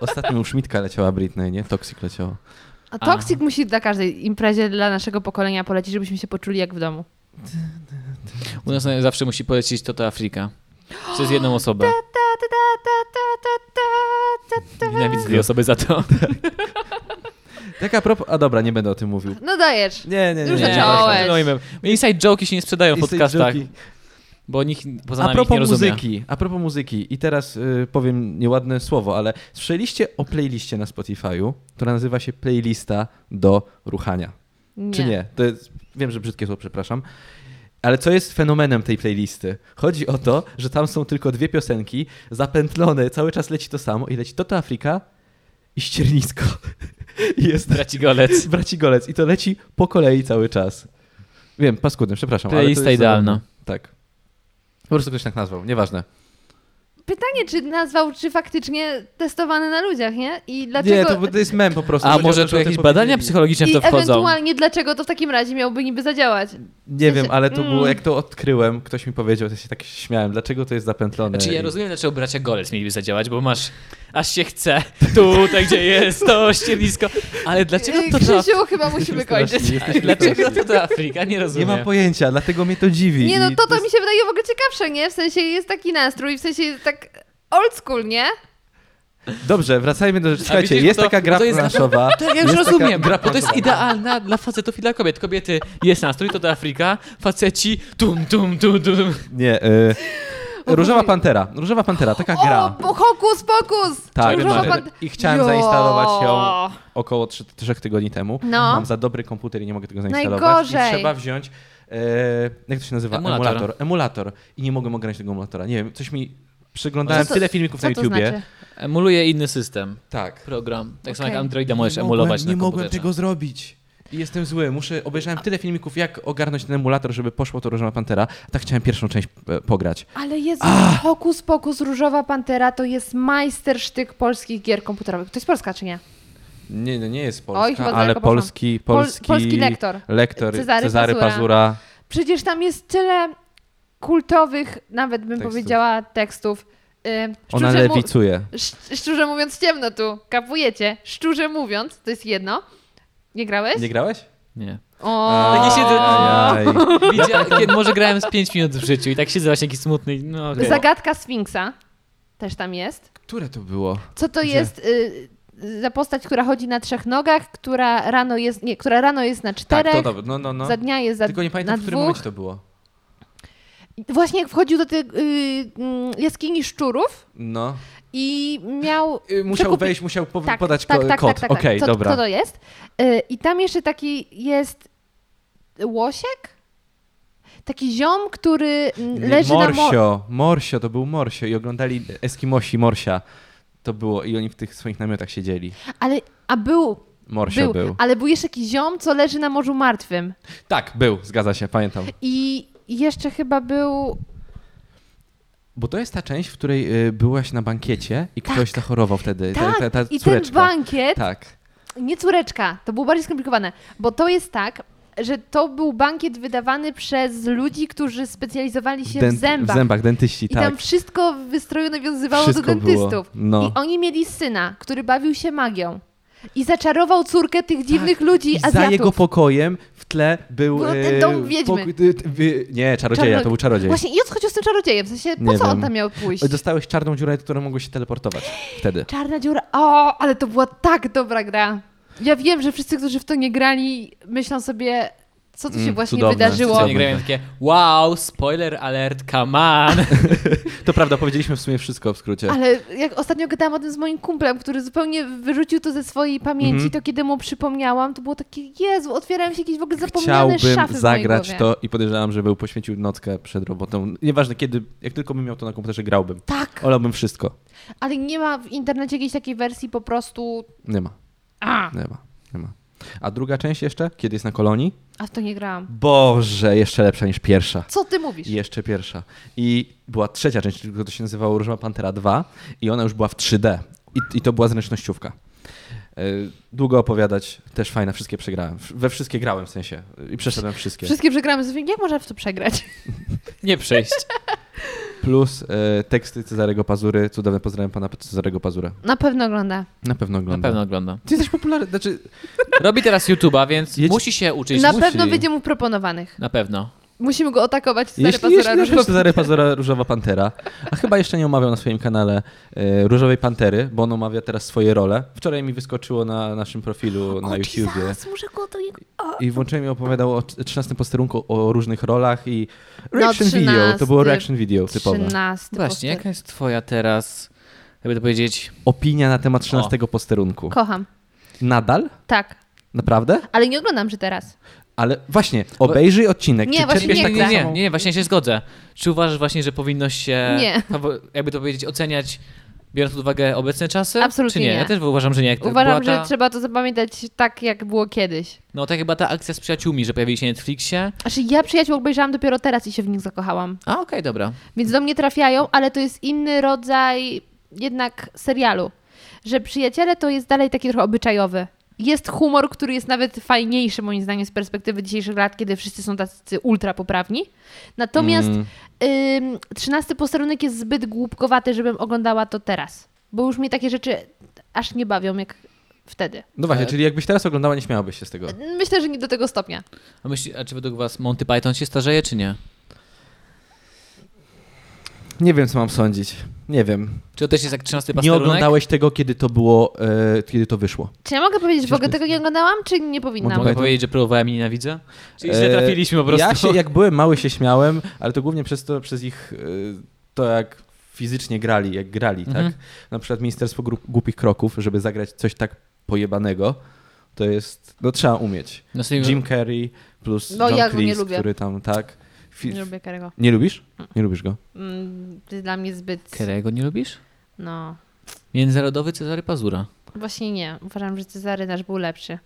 Speaker 2: Ostatnio u Szmitka leciała Britney, nie? Toxic leciała.
Speaker 3: A
Speaker 1: Aha.
Speaker 3: Toxic musi dla każdej imprezie dla naszego pokolenia polecić, żebyśmy się poczuli jak w domu.
Speaker 1: U nas zawsze musi polecić Toto Afrika. Przez jedną osobę.
Speaker 3: Ta, ta, ta, ta, ta, ta, ta, ta, ta.
Speaker 1: Nienawidzę tej osoby za to.
Speaker 2: Tak a propos... A dobra, nie będę o tym mówił.
Speaker 3: No dajesz.
Speaker 2: Nie, nie, nie.
Speaker 3: Już
Speaker 2: nie,
Speaker 3: zacząłeś.
Speaker 1: kontynuujmy. Inside joke'i się nie sprzedają w
Speaker 2: Jesteś
Speaker 1: podcastach,
Speaker 2: joki.
Speaker 1: bo nikt poza
Speaker 2: A
Speaker 1: nami ich
Speaker 2: propos
Speaker 1: nie rozumie.
Speaker 2: muzyki, a propos muzyki i teraz y, powiem nieładne słowo, ale słyszeliście o playliście na Spotify'u, która nazywa się playlista do ruchania. Czy nie? To jest, wiem, że brzydkie słowo, przepraszam. Ale co jest fenomenem tej playlisty? Chodzi o to, że tam są tylko dwie piosenki zapętlone, cały czas leci to samo i leci Toto Afryka i Ściernisko. <laughs> I jest
Speaker 1: Braci Golec.
Speaker 2: braci Golec i to leci po kolei cały czas. Wiem, paskudny, przepraszam. ale to
Speaker 1: Playlista
Speaker 2: jest
Speaker 1: idealna.
Speaker 2: zabawne. Tak. Po prostu ktoś tak nazwał, nieważne.
Speaker 3: Pytanie, czy nazwał, czy faktycznie testowane na ludziach, nie? I dlaczego...
Speaker 2: Nie, to, to jest mem po prostu.
Speaker 1: A
Speaker 2: Chodzi o
Speaker 1: może
Speaker 2: to,
Speaker 1: tu
Speaker 2: że o tym
Speaker 1: jakieś badania
Speaker 2: powiedzieli.
Speaker 1: psychologiczne w
Speaker 3: I
Speaker 1: to wchodzą?
Speaker 3: ewentualnie dlaczego to w takim razie miałoby niby zadziałać?
Speaker 2: Nie wiem, ale to było,
Speaker 3: Mm.
Speaker 2: jak to odkryłem, ktoś mi powiedział, to się tak śmiałem, dlaczego to jest zapętlone.
Speaker 1: Znaczy ja
Speaker 2: i-
Speaker 1: rozumiem, dlaczego bracia Golec mieliby zadziałać, bo masz aż się chce, tutaj gdzie jest to ściernisko, ale dlaczego
Speaker 3: Ej,
Speaker 1: No to ta,
Speaker 3: Krzysiu, chyba musimy kończyć.
Speaker 2: Strasznie, jesteśmy
Speaker 1: dlaczego
Speaker 2: strasznie.
Speaker 1: to ta Afryka? Nie
Speaker 2: Nie
Speaker 1: rozumiem.
Speaker 2: mam pojęcia, dlatego mnie to dziwi.
Speaker 3: Nie no,
Speaker 2: i
Speaker 3: to to
Speaker 2: jest-
Speaker 3: mi się wydaje w ogóle ciekawsze, nie? W sensie jest taki nastrój, w sensie jest tak old school, nie?
Speaker 2: Dobrze, wracajmy do rzeczy.
Speaker 1: A
Speaker 2: Słuchajcie,
Speaker 1: widzisz,
Speaker 2: jest
Speaker 1: to-
Speaker 2: taka
Speaker 1: <laughs>
Speaker 2: gra
Speaker 1: to jest-
Speaker 2: planszowa.
Speaker 1: Tak, ja już
Speaker 2: jest taka
Speaker 1: rozumiem,
Speaker 2: gra
Speaker 1: bo to jest
Speaker 2: planszowa.
Speaker 1: idealna dla facetów i dla kobiet. Kobiety jest nastrój, to do Afryka, faceci tum, tum, tum, tum.
Speaker 2: Nie, y...
Speaker 3: O
Speaker 2: Różowa
Speaker 3: Boże.
Speaker 2: Pantera. Różowa Pantera, taka
Speaker 3: O,
Speaker 2: gra.
Speaker 3: bo hokus pokus!
Speaker 2: Tak,
Speaker 3: Różowa
Speaker 2: tak.
Speaker 3: pan-
Speaker 2: I chciałem
Speaker 3: Jo.
Speaker 2: zainstalować ją. Około 3, tygodni temu.
Speaker 3: No.
Speaker 2: Mam za dobry komputer i nie mogę tego zainstalować.
Speaker 3: Najgorzej.
Speaker 2: I trzeba wziąć. E, jak to się nazywa?
Speaker 1: Emulator.
Speaker 2: Emulator. Emulator. I nie mogę ograć tego emulatora. Nie wiem, coś mi. Przeglądałem
Speaker 3: Co to-
Speaker 2: tyle filmików
Speaker 3: Co
Speaker 2: na
Speaker 3: to
Speaker 2: YouTubie.
Speaker 3: znaczy?
Speaker 1: Emuluje inny system,
Speaker 2: Tak.
Speaker 1: program. Tak samo
Speaker 3: Okej.
Speaker 1: jak Androida możesz
Speaker 2: nie
Speaker 1: emulować
Speaker 2: mogłem, nie
Speaker 1: na
Speaker 2: mogłem
Speaker 1: komputerze.
Speaker 2: tego zrobić. I jestem zły. Muszę. Obejrzałem tyle filmików, jak ogarnąć ten emulator, żeby poszło to Różowa Pantera. A tak chciałem pierwszą część e, pograć.
Speaker 3: Ale Jezu,
Speaker 2: Ah.
Speaker 3: Hokus Pokus, Różowa Pantera to jest majstersztyk polskich gier komputerowych. To jest Polska, czy nie?
Speaker 2: Nie, nie, nie jest
Speaker 3: Oj, chyba
Speaker 2: Polska,
Speaker 3: daleko
Speaker 2: ale
Speaker 3: poszłam.
Speaker 2: polski,
Speaker 3: Pol-
Speaker 2: polski,
Speaker 3: polski lektor.
Speaker 2: lektor
Speaker 3: Cezary
Speaker 2: Cezary, Pazura.
Speaker 3: Pazura. Przecież tam jest tyle kultowych, nawet bym
Speaker 2: Tekstów.
Speaker 3: powiedziała, tekstów. Y,
Speaker 2: Ona
Speaker 3: szczurze mu-
Speaker 2: lewicuje.
Speaker 3: Szcz- Szczurze mówiąc, ciemno tu, kapujecie. Szczurze mówiąc, to jest jedno. Nie grałeś?
Speaker 2: Nie grałeś?
Speaker 1: <laughs> Nie.
Speaker 3: O,
Speaker 2: Tak
Speaker 1: Takie siedzę-
Speaker 2: Ajaj.
Speaker 1: Widzia, kiedy może grałem z 5 minut w życiu i tak siedzę właśnie taki smutny. No, okej.
Speaker 3: Zagadka Sfinksa też tam jest.
Speaker 2: Które to było?
Speaker 3: Co to jest y, za postać, która chodzi na trzech nogach, która rano jest, nie, która rano jest na
Speaker 2: Tak,
Speaker 3: czterech,
Speaker 2: to dobra, no, no, no.
Speaker 3: za dnia jest za
Speaker 2: Tylko nie
Speaker 3: na
Speaker 2: pamiętam, w którym
Speaker 3: dwóch.
Speaker 2: momencie to było.
Speaker 3: Właśnie jak wchodził do tej y, mm, jaskini szczurów
Speaker 2: No.
Speaker 3: i miał...
Speaker 2: Y, Musiał
Speaker 3: przekupi-
Speaker 2: wejść, musiał po-
Speaker 3: tak,
Speaker 2: podać
Speaker 3: tak,
Speaker 2: ko-
Speaker 3: tak,
Speaker 2: kod.
Speaker 3: Tak, tak, tak.
Speaker 2: Okej,
Speaker 3: co,
Speaker 2: dobra.
Speaker 3: Co to jest? Y, I tam jeszcze taki jest łosiek? Taki ziom, który mm,
Speaker 2: Nie,
Speaker 3: leży na morzu.
Speaker 2: Morsio, Morsio, to był Morsio i oglądali Eskimosi Morsia. To było i oni w tych swoich namiotach siedzieli.
Speaker 3: Ale, a był,
Speaker 2: Morsio
Speaker 3: był,
Speaker 2: był.
Speaker 3: ale był jeszcze jakiś ziom, co leży na Morzu Martwym.
Speaker 2: Tak, był, zgadza się, pamiętam.
Speaker 3: I jeszcze chyba był...
Speaker 2: Bo to jest ta część, w której y, byłaś na bankiecie i ktoś zachorował wtedy.
Speaker 3: Tak,
Speaker 2: ta, ta, ta
Speaker 3: i
Speaker 2: córeczka.
Speaker 3: ten bankiet,
Speaker 2: Tak.
Speaker 3: nie córeczka, to było bardziej skomplikowane, bo to jest tak, że to był bankiet wydawany przez ludzi, którzy specjalizowali się
Speaker 2: Den-
Speaker 3: w zębach.
Speaker 2: W zębach, dentyści,
Speaker 3: I
Speaker 2: tak.
Speaker 3: tam wszystko w wystroju nawiązywało do
Speaker 2: Wszystko było,
Speaker 3: dentystów.
Speaker 2: no.
Speaker 3: I oni mieli syna, który bawił się magią. I zaczarował córkę tych dziwnych ludzi
Speaker 2: Tak. I za
Speaker 3: Azjatów.
Speaker 2: jego pokojem w w tle był...
Speaker 3: Był ten
Speaker 2: e,
Speaker 3: dom wiedźmy.
Speaker 2: pokój- ty- ty- wy- nie, czarodzieja,
Speaker 3: Czarno-
Speaker 2: to był czarodziej.
Speaker 3: Właśnie i odchodził z tym czarodziejem, w sensie po
Speaker 2: Nie
Speaker 3: co on
Speaker 2: wiem.
Speaker 3: tam miał pójść?
Speaker 2: Dostałeś czarną dziurę, która mogła się teleportować wtedy.
Speaker 3: Czarna dziura, o, ale to była tak dobra gra. Ja wiem, że wszyscy, którzy w to nie grali, myślą sobie, co tu się
Speaker 2: Mm,
Speaker 3: właśnie
Speaker 2: cudowne,
Speaker 3: wydarzyło.
Speaker 1: Co nie grają takie, wow, spoiler alert, come on.
Speaker 2: To prawda, powiedzieliśmy w sumie wszystko w skrócie.
Speaker 3: Ale jak ostatnio gadałam o tym z moim kumplem, który zupełnie wyrzucił to ze swojej pamięci,
Speaker 2: Mhm.
Speaker 3: to kiedy mu przypomniałam, to było takie, Jezu, otwierają się jakieś w ogóle zapomniane
Speaker 2: Chciałbym
Speaker 3: szafy w
Speaker 2: zagrać
Speaker 3: mojej głowie.
Speaker 2: to i podejrzewam, że był poświęcił nockę przed robotą. Nieważne kiedy, jak tylko bym miał to na komputerze, grałbym.
Speaker 3: Tak,
Speaker 2: Olałbym wszystko.
Speaker 3: ale nie ma w internecie jakiejś takiej wersji po prostu...
Speaker 2: Nie ma,
Speaker 3: A,
Speaker 2: nie ma, nie ma. A druga część jeszcze, kiedy jest na kolonii?
Speaker 3: a w to nie grałam.
Speaker 2: Boże, jeszcze lepsza niż pierwsza.
Speaker 3: Co ty mówisz?
Speaker 2: Jeszcze pierwsza. I była trzecia część, tylko to się nazywało Różowa Pantera 2 i ona już była w 3D. I, i to była zręcznościówka. Yy, Długo opowiadać, też fajna, wszystkie przegrałem. W- We wszystkie grałem w sensie yy, i przeszedłem wszystkie.
Speaker 3: Wszystkie przegramy. z- Jak można w to przegrać?
Speaker 1: Nie <laughs> przejść.
Speaker 2: Plus yy, teksty Cezarego Pazury. Cudowne pozdrawiam pana Cezarego Pazurę.
Speaker 3: <laughs> Na pewno ogląda.
Speaker 2: Na pewno
Speaker 1: Na
Speaker 2: oglądam.
Speaker 1: pewno oglądam.
Speaker 2: Ty jesteś popularny, znaczy
Speaker 1: Robi teraz YouTube'a, więc
Speaker 2: Jedź-
Speaker 1: musi się uczyć.
Speaker 3: Na
Speaker 1: musi.
Speaker 3: pewno będzie mu proponowanych.
Speaker 1: Na pewno.
Speaker 3: Musimy go atakować stary
Speaker 2: jeśli,
Speaker 3: pazura
Speaker 2: jeśli nasz
Speaker 3: różowy.
Speaker 2: Cezary Pazura Różowa Pantera, a chyba jeszcze nie omawiał na swoim kanale e, Różowej Pantery, bo on omawia teraz swoje role. Wczoraj mi wyskoczyło na naszym profilu na YouTubie
Speaker 3: muszę go do jego...
Speaker 2: i włączyłem i opowiadał o 13 posterunku o różnych rolach i
Speaker 3: No,
Speaker 2: reaction video, to
Speaker 3: 13,
Speaker 2: było reaction video typowe.
Speaker 3: 13
Speaker 1: Właśnie, jaka
Speaker 3: poster.
Speaker 1: jest twoja teraz, jakby to powiedzieć,
Speaker 2: Opinia na temat 13 posterunku.
Speaker 3: Kocham.
Speaker 2: Nadal?
Speaker 3: Tak.
Speaker 2: Naprawdę?
Speaker 3: Ale nie oglądam, że teraz.
Speaker 2: Ale właśnie, obejrzyj odcinek.
Speaker 3: Nie,
Speaker 2: czy
Speaker 3: właśnie
Speaker 2: czerpiesz
Speaker 1: nie,
Speaker 2: tak
Speaker 1: nie, nie,
Speaker 2: samo?
Speaker 1: nie, właśnie ja się zgodzę. Czy uważasz właśnie, że powinno się,
Speaker 3: Nie.
Speaker 1: fawo- jakby to powiedzieć, oceniać, biorąc pod uwagę obecne czasy?
Speaker 3: Absolutnie
Speaker 1: czy nie?
Speaker 3: nie.
Speaker 1: Ja też uważam, że nie. Jak to
Speaker 3: Uważam,
Speaker 1: była
Speaker 3: że
Speaker 1: ta,
Speaker 3: trzeba to zapamiętać tak, jak było kiedyś.
Speaker 1: No tak chyba ta akcja z przyjaciółmi, że pojawili się na Netflixie.
Speaker 3: Znaczy, ja przyjaciół obejrzałam dopiero teraz i się w nich zakochałam.
Speaker 1: A okej, dobra.
Speaker 3: Więc do mnie trafiają, ale to jest inny rodzaj jednak serialu. Że przyjaciele to jest dalej taki trochę obyczajowy. Jest humor, który jest nawet fajniejszy moim zdaniem z perspektywy dzisiejszych lat, kiedy wszyscy są tacy ultra poprawni. Natomiast
Speaker 2: Mm.
Speaker 3: ym, 13 posterunek jest zbyt głupkowaty, żebym oglądała to teraz. Bo już mnie takie rzeczy aż nie bawią jak wtedy.
Speaker 2: No właśnie, czyli jakbyś teraz oglądała, nie śmiałabyś się z tego.
Speaker 3: Myślę, że nie do tego stopnia.
Speaker 1: A, myśli, a czy według was Monty Python się starzeje, czy nie?
Speaker 2: Nie wiem, co mam sądzić. Nie wiem.
Speaker 1: Czy to też jest jak 13
Speaker 2: Nie
Speaker 1: pasterunek?
Speaker 2: oglądałeś tego, kiedy to było, e, kiedy to wyszło.
Speaker 3: Czy ja mogę powiedzieć, że w
Speaker 2: Przecież
Speaker 3: ogóle
Speaker 2: to
Speaker 3: tego nie oglądałam, czy nie
Speaker 2: Mogę
Speaker 3: powinnam?
Speaker 1: Mogę
Speaker 2: Python?
Speaker 1: powiedzieć, że próbowałem i nienawidzę? Czyli źle
Speaker 2: E,
Speaker 1: trafiliśmy po prostu.
Speaker 2: Ja się, jak byłem mały, się śmiałem, ale to głównie przez to, przez ich e, to, jak fizycznie grali, jak grali,
Speaker 1: Mhm.
Speaker 2: tak? Na przykład Ministerstwo Gru- Głupich Kroków, żeby zagrać coś tak pojebanego, to jest, no trzeba umieć.
Speaker 1: No, sobie-
Speaker 2: Jim Carrey plus
Speaker 3: No,
Speaker 2: John
Speaker 3: ja go nie
Speaker 2: Cleese,
Speaker 3: lubię.
Speaker 2: który tam, tak? Fi-
Speaker 3: Nie lubię Karego.
Speaker 2: Nie lubisz? Nie lubisz go?
Speaker 3: Mm, to jest dla mnie zbyt...
Speaker 1: Kerego nie lubisz?
Speaker 3: No,
Speaker 1: Międzynarodowy Cezary Pazura.
Speaker 3: właśnie nie. Uważam, że Cezary nasz był lepszy.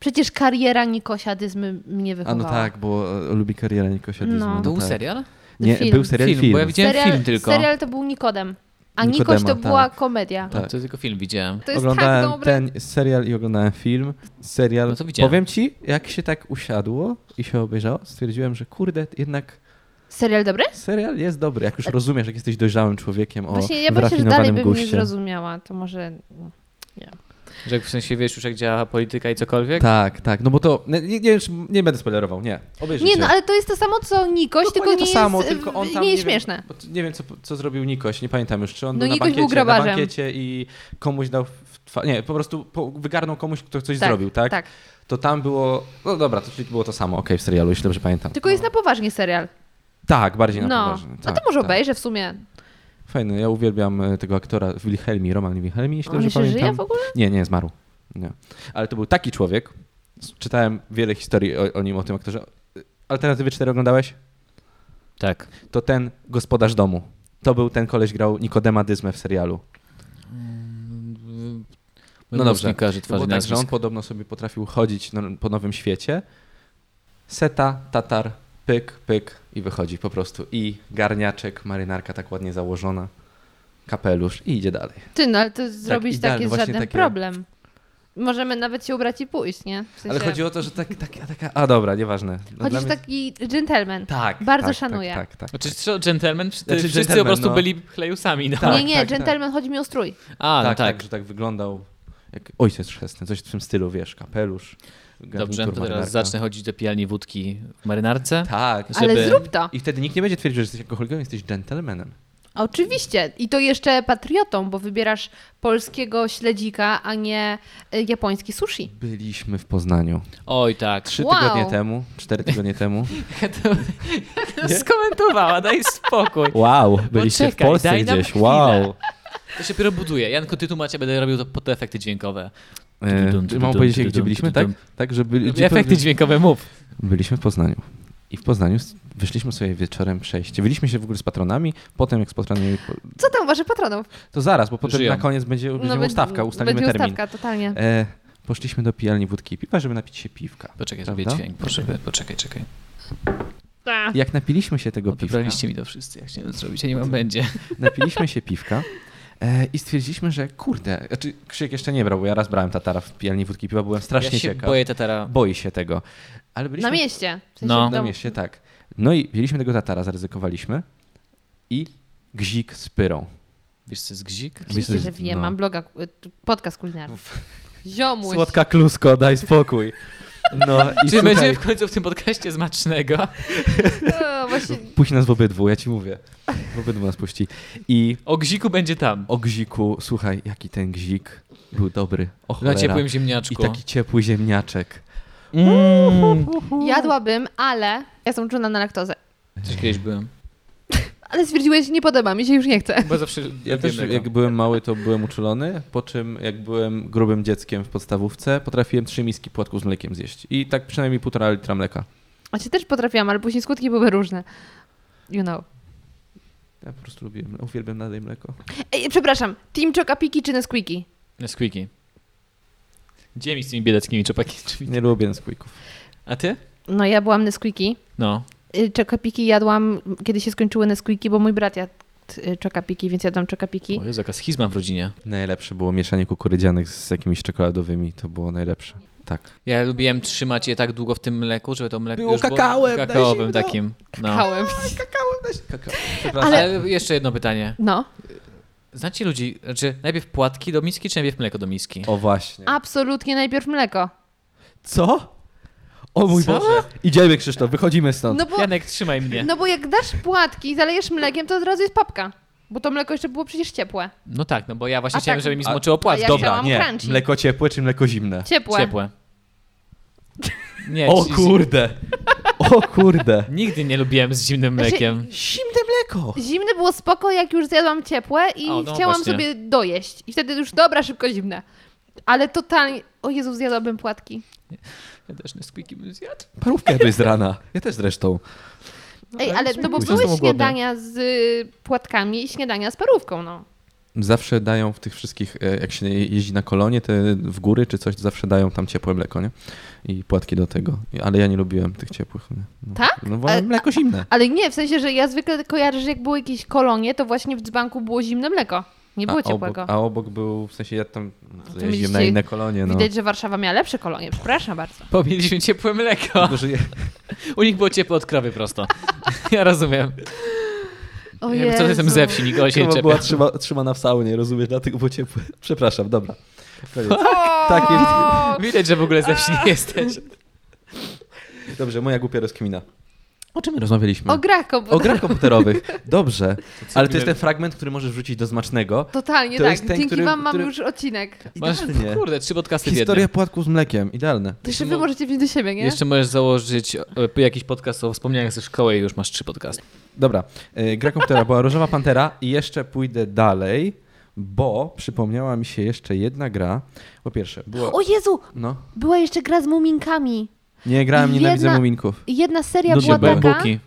Speaker 3: Przecież kariera Nikosia Dyzmy mnie
Speaker 2: A no
Speaker 3: wychowała.
Speaker 2: tak, bo e, lubi karierę Nikosiadyzmu.
Speaker 3: No.
Speaker 1: To był
Speaker 2: tak.
Speaker 1: serial?
Speaker 2: Nie,
Speaker 3: Film.
Speaker 2: był serial film.
Speaker 1: Film, bo ja widziałem
Speaker 3: serial,
Speaker 1: film tylko.
Speaker 3: Serial to był Nikodem. A
Speaker 2: Nikodema,
Speaker 3: Nikoś to
Speaker 2: tak.
Speaker 3: była komedia.
Speaker 2: Tak.
Speaker 1: No, To tylko film widziałem.
Speaker 3: To jest
Speaker 2: oglądałem
Speaker 3: tak dobre.
Speaker 2: ten serial i oglądałem film. Serial.
Speaker 1: No to widziałem.
Speaker 2: Powiem ci, jak się tak usiadło i się obejrzało, stwierdziłem, że kurde, jednak
Speaker 3: Serial dobry?
Speaker 2: serial jest dobry. Jak już rozumiesz, jak jesteś dojrzałym człowiekiem o
Speaker 3: Właśnie ja myślę, że dalej
Speaker 2: wyrafinowanym
Speaker 3: bym nie
Speaker 2: guście.
Speaker 3: zrozumiała. To może...
Speaker 1: Że w sensie wiesz już jak działa polityka i cokolwiek?
Speaker 2: Tak, tak. No bo to. Nie, nie, wiem, czy- nie będę spoilerował, nie. Obejrzyjcie.
Speaker 3: Nie no, ale to jest to samo co Nikoś, tylko nie
Speaker 2: Dokładnie to
Speaker 3: jest,
Speaker 2: samo, tylko on
Speaker 3: w-
Speaker 2: tam,
Speaker 3: nie jest
Speaker 2: nie wiem,
Speaker 3: śmieszne.
Speaker 2: Bo t- nie wiem, co, co zrobił Nikoś, nie pamiętam już, czy on
Speaker 3: No,
Speaker 2: był na
Speaker 3: Nikoś był
Speaker 2: bankiecie,
Speaker 3: grabarzem.
Speaker 2: na bankiecie i komuś dał... W twa- nie, po prostu po, wygarnął komuś, kto coś
Speaker 3: Tak,
Speaker 2: zrobił, tak?
Speaker 3: tak.
Speaker 2: To tam było... No dobra, to czyli było to samo, okej, w serialu, jeśli dobrze pamiętam.
Speaker 3: Tylko jest na poważnie serial.
Speaker 2: Tak, bardziej No. na
Speaker 3: No,
Speaker 2: poważnie.
Speaker 3: no
Speaker 2: Tak,
Speaker 3: to może
Speaker 2: tak.
Speaker 3: obejrzę w sumie.
Speaker 2: Fajny, ja uwielbiam e, tego aktora Wilhelmi, Roman Wilhelmi, jeśli
Speaker 3: On
Speaker 2: dobrze
Speaker 3: się
Speaker 2: pamiętam.
Speaker 3: żyje w ogóle?
Speaker 2: Nie, nie, zmarł. Nie. Ale to był taki człowiek, s- czytałem wiele historii o, o nim, o tym aktorze. E, Alternatywy 4 oglądałeś?
Speaker 1: Tak.
Speaker 2: To ten gospodarz domu. To był ten koleś, grał Nikodema Dyzmę w serialu.
Speaker 1: No
Speaker 2: dobrze.
Speaker 1: dobrze. Nie kojarzy
Speaker 2: To
Speaker 1: twarzy
Speaker 2: było tak, że on
Speaker 1: nazwisk.
Speaker 2: podobno sobie potrafił chodzić no, po nowym świecie. Seta, tatar, pyk, pyk i wychodzi po prostu. I garniaczek, marynarka tak ładnie założona, kapelusz i idzie dalej.
Speaker 3: Ty, no ale to zrobić tak,
Speaker 2: idealny,
Speaker 3: jest
Speaker 2: właśnie
Speaker 3: żaden
Speaker 2: takie-
Speaker 3: problem. Możemy nawet się ubrać i pójść, nie? W sensie,
Speaker 2: Ale chodzi o to, że tak, tak, taka... A dobra, nieważne. No,
Speaker 3: chodzisz
Speaker 2: dla mnie-
Speaker 3: taki dżentelmen.
Speaker 2: Tak.
Speaker 3: tak Bardzo
Speaker 2: tak,
Speaker 3: szanuję.
Speaker 2: Tak, tak, tak.
Speaker 1: Znaczy, co, gentleman? Czy ty,
Speaker 2: Znaczy,
Speaker 1: wszyscy
Speaker 2: gentleman,
Speaker 1: po prostu
Speaker 2: no.
Speaker 1: byli chlejusami. No.
Speaker 2: Tak,
Speaker 3: nie, nie,
Speaker 2: tak,
Speaker 3: dżentelmen chodzi mi o strój.
Speaker 1: A,
Speaker 2: tak,
Speaker 1: no
Speaker 2: tak,
Speaker 1: tak.
Speaker 2: że tak wyglądał jak ojciec chrzestny, coś w tym stylu, wiesz, kapelusz, garnitur
Speaker 1: Dobrze, to teraz
Speaker 2: marynarka.
Speaker 1: zacznę chodzić do pijalni wódki w marynarce.
Speaker 2: Tak.
Speaker 1: żeby-
Speaker 3: Ale zrób to.
Speaker 2: I wtedy nikt nie będzie twierdził, że jesteś alkoholikiem, jesteś gentlemanem.
Speaker 3: Oczywiście. I to jeszcze patriotą, bo wybierasz polskiego śledzika, a nie y, japoński sushi.
Speaker 2: Byliśmy w Poznaniu.
Speaker 1: Oj
Speaker 2: <laughs>
Speaker 1: tak.
Speaker 2: Trzy
Speaker 3: Wow.
Speaker 2: tygodnie temu, cztery tygodnie
Speaker 1: <laughs>
Speaker 2: temu.
Speaker 1: Skomentowała, daj spokój.
Speaker 2: Wow,
Speaker 1: byliście
Speaker 2: byliście
Speaker 1: w
Speaker 2: w
Speaker 1: Poczekaj, Polsce
Speaker 2: Polsce
Speaker 1: No daj nam gdzieś,
Speaker 2: gdzieś.
Speaker 1: chwilę. wow.
Speaker 2: Wow.
Speaker 1: To się dopiero buduje. Janku, ty tłumaczę, będę robił to po te efekty dźwiękowe. Dum, dum,
Speaker 2: Mam
Speaker 1: dum,
Speaker 2: E, powiedzieć,
Speaker 1: dum,
Speaker 2: gdzie
Speaker 1: dum,
Speaker 2: byliśmy, tak?
Speaker 1: dum,
Speaker 2: Tak, że byli, gdzie-
Speaker 1: Efekty dźwiękowe mów.
Speaker 2: Byliśmy w Poznaniu. I w Poznaniu s- wyszliśmy sobie wieczorem przejście. Byliśmy się w ogóle z patronami, potem jak z patronami...
Speaker 3: Co tam uważa patronów?
Speaker 2: To zaraz, bo potem
Speaker 1: Żyją.
Speaker 2: na koniec będzie, będzie
Speaker 3: No be-
Speaker 2: ustawka, ustalimy
Speaker 3: będzie
Speaker 2: termin.
Speaker 3: ustawka, totalnie.
Speaker 2: E, poszliśmy do pijalni wódki i piwa, żeby napić się piwka.
Speaker 1: Poczekaj,
Speaker 2: Prawda?
Speaker 1: zrobię dźwięk. Proszę, be- poczekaj, czekaj.
Speaker 3: A,
Speaker 2: Jak napiliśmy się tego piwka,
Speaker 1: Wybraliście mi to wszyscy, ja chciałem zrobić, a nie mam będzie.
Speaker 2: <laughs> napiliśmy się piwka e, i stwierdziliśmy, że kurde, znaczy Krzysiek jeszcze nie brał, bo ja raz brałem tatara w pijalni wódki i piwa, byłem strasznie
Speaker 1: ja się
Speaker 2: ciekaw.
Speaker 1: boję tatara.
Speaker 2: Boi się tego. Ale byliśmy
Speaker 3: na mieście. W sensie
Speaker 1: No.
Speaker 3: w
Speaker 2: Na
Speaker 3: domu.
Speaker 2: mieście, tak. No i wzięliśmy tego tatara, zaryzykowaliśmy i gzik z pyrą.
Speaker 1: Wiesz co jest gzik?
Speaker 3: Oczywiście,
Speaker 2: Myślę,
Speaker 3: że wiem,
Speaker 2: no.
Speaker 3: mam bloga, y, podcast kulinarny. Ziomuś.
Speaker 2: Słodka klusko, daj spokój. No i
Speaker 1: Czy
Speaker 2: słuchaj,
Speaker 1: będzie w końcu w tym podcaście smacznego?
Speaker 3: <laughs> O, właśnie,
Speaker 2: puści nas w obydwu, ja ci mówię. W obydwu nas puści. I
Speaker 1: O gziku będzie tam.
Speaker 2: o gziku, słuchaj, jaki ten gzik był dobry. O
Speaker 1: Na
Speaker 2: cholera.
Speaker 1: ciepłym
Speaker 2: I
Speaker 1: Znaczy, ziemniaczku.
Speaker 2: taki ciepły ziemniaczek.
Speaker 1: Mm.
Speaker 3: jadłabym, ale ja jestem czujna na laktozę.
Speaker 1: Też kiedyś byłem.
Speaker 3: Ale stwierdziłeś, nie podoba mi się, już nie chcę.
Speaker 1: Bo zawsze
Speaker 2: Ja też, jak byłem mały, to byłem uczulony, po czym jak byłem grubym dzieckiem w podstawówce, potrafiłem trzy miski płatków z mlekiem zjeść. I tak przynajmniej półtora litra mleka.
Speaker 3: A się też potrafiłam, ale później skutki były różne. You know.
Speaker 2: Ja po prostu lubiłem, uwielbiam nadaj mleko.
Speaker 3: Ej, przepraszam, Team Chokapiki czy Nesquiki?
Speaker 1: Squeaky. Gdzie mi z tymi biedackimi czopakami?
Speaker 2: Nie lubię Nesquików.
Speaker 1: A ty?
Speaker 3: No ja byłam Nesquiki.
Speaker 1: No.
Speaker 3: Y, Chokapiki jadłam, kiedy się skończyły Nesquiki, bo mój brat jadł y, Chokapiki, więc jadłam Chokapiki.
Speaker 1: O Jezu, jaka schizma w rodzinie.
Speaker 2: Najlepsze było mieszanie kukurydzianych z jakimiś czekoladowymi, to było najlepsze. Tak.
Speaker 1: Ja lubiłem trzymać je tak długo w tym mleku, żeby to mleko
Speaker 2: Było
Speaker 1: już
Speaker 2: kakałem,
Speaker 1: było kakaoowym
Speaker 2: daj zimno.
Speaker 1: takim. No.
Speaker 3: Kałem.
Speaker 1: Ale... jeszcze jedno pytanie.
Speaker 3: No,
Speaker 1: Znacie ludzi, znaczy najpierw płatki do miski, czy najpierw mleko do miski?
Speaker 2: O właśnie.
Speaker 3: absolutnie najpierw mleko.
Speaker 2: Co? O mój
Speaker 1: Co?
Speaker 2: Boże. Idziemy Krzysztof, wychodzimy stąd.
Speaker 3: No bo,
Speaker 1: Janek, trzymaj mnie. No,
Speaker 3: no bo jak dasz płatki i zalejesz mlekiem, to od razu jest papka. Bo to mleko jeszcze było przecież ciepłe.
Speaker 1: tak, no bo ja właśnie
Speaker 3: A
Speaker 1: chciałem,
Speaker 3: tak.
Speaker 1: żeby mi zmoczyło płat.
Speaker 3: A ja
Speaker 1: Dobra,
Speaker 3: chciałam
Speaker 2: nie.
Speaker 3: crunchy.
Speaker 2: Mleko ciepłe czy mleko zimne?
Speaker 3: Ciepłe.
Speaker 1: ciepłe. Nie,
Speaker 2: O
Speaker 1: z- z-
Speaker 2: kurde. O kurde.
Speaker 1: Nigdy nie lubiłem z zimnym
Speaker 3: Znaczy,
Speaker 1: mlekiem.
Speaker 2: Zimne mleko.
Speaker 3: Zimne było spoko, jak już zjadłam ciepłe i
Speaker 1: O, no
Speaker 3: chciałam
Speaker 1: właśnie.
Speaker 3: sobie dojeść. I wtedy już dobra, szybko zimne. Ale totalnie, o Jezu, zjadłabym płatki.
Speaker 1: Ja też na squeaky bym zjadł.
Speaker 2: Parówkę jadłeś z rana. Ja też zresztą.
Speaker 3: Ej, ale no bo
Speaker 1: później
Speaker 3: były
Speaker 1: znowu głodny.
Speaker 3: śniadania z y, płatkami i śniadania z parówką, no.
Speaker 2: Zawsze dają w tych wszystkich, e, jak się jeździ na kolonie, te w góry czy coś, to zawsze dają tam ciepłe mleko, nie? I płatki do tego. I- Ale ja nie lubiłem tych ciepłych. nie? No.
Speaker 3: Tak?
Speaker 2: No bo
Speaker 3: Ale-
Speaker 2: mleko zimne.
Speaker 3: Ale nie, w sensie, że ja zwykle kojarzę, że jak były jakieś kolonie, to właśnie w dzbanku było zimne mleko. Nie było
Speaker 2: a
Speaker 3: ciepłego.
Speaker 2: Obok, a obok był, w sensie ja tam
Speaker 3: mieliście-
Speaker 2: jeździłem na inne kolonie, no.
Speaker 3: Widać, że Warszawa miała lepsze kolonie, przepraszam bardzo.
Speaker 1: Bo mieliśmy ciepłe mleko.
Speaker 2: <laughs> Tylko, że je-
Speaker 1: U nich było ciepło od krowy prosto. <laughs> Ja rozumiem.
Speaker 3: O
Speaker 1: ja co jestem ze wsi, nikogo się nie
Speaker 2: Krowa
Speaker 1: czepia.
Speaker 2: była trzyma, trzymana w saunie, rozumiesz? Dlatego było ciepłe. Przepraszam, dobra. Koniec.
Speaker 3: Tak,
Speaker 2: Takie-
Speaker 1: Widać, że w ogóle ze wsi nie jesteś.
Speaker 2: Dobrze, moja głupia rozkmina. O czym my rozmawialiśmy?
Speaker 3: O grach
Speaker 2: No. O
Speaker 3: komputerowych.
Speaker 2: grach komputerowych. Dobrze. Ale to
Speaker 1: miałem-
Speaker 2: jest ten fragment, który możesz wrzucić do smacznego.
Speaker 3: Totalnie
Speaker 2: To
Speaker 3: tak.
Speaker 2: jest ten,
Speaker 3: Dzięki
Speaker 2: który-
Speaker 3: wam mam
Speaker 2: który-
Speaker 3: już odcinek.
Speaker 1: Masz,
Speaker 2: Idealnie.
Speaker 1: kurde, trzy podcasty w jednym.
Speaker 2: Historia płatków z mlekiem. Idealne.
Speaker 3: Jeszcze wy możecie wziąć do siebie, nie?
Speaker 1: Jeszcze możesz założyć e, jakiś podcast o wspomnieniach ze szkoły i już masz trzy podcasty.
Speaker 2: Dobra. Y, Gra komputera była Różowa Pantera i jeszcze pójdę dalej, bo przypomniała mi się jeszcze jedna gra. Po pierwsze, było...
Speaker 3: O Jezu!
Speaker 2: No.
Speaker 3: Była jeszcze gra z muminkami.
Speaker 2: Nie grałem, nienawidzę
Speaker 3: Jedna-
Speaker 2: muminków.
Speaker 3: I Jedna seria
Speaker 2: Nudne
Speaker 3: była
Speaker 2: były.
Speaker 3: taka,
Speaker 1: Buki.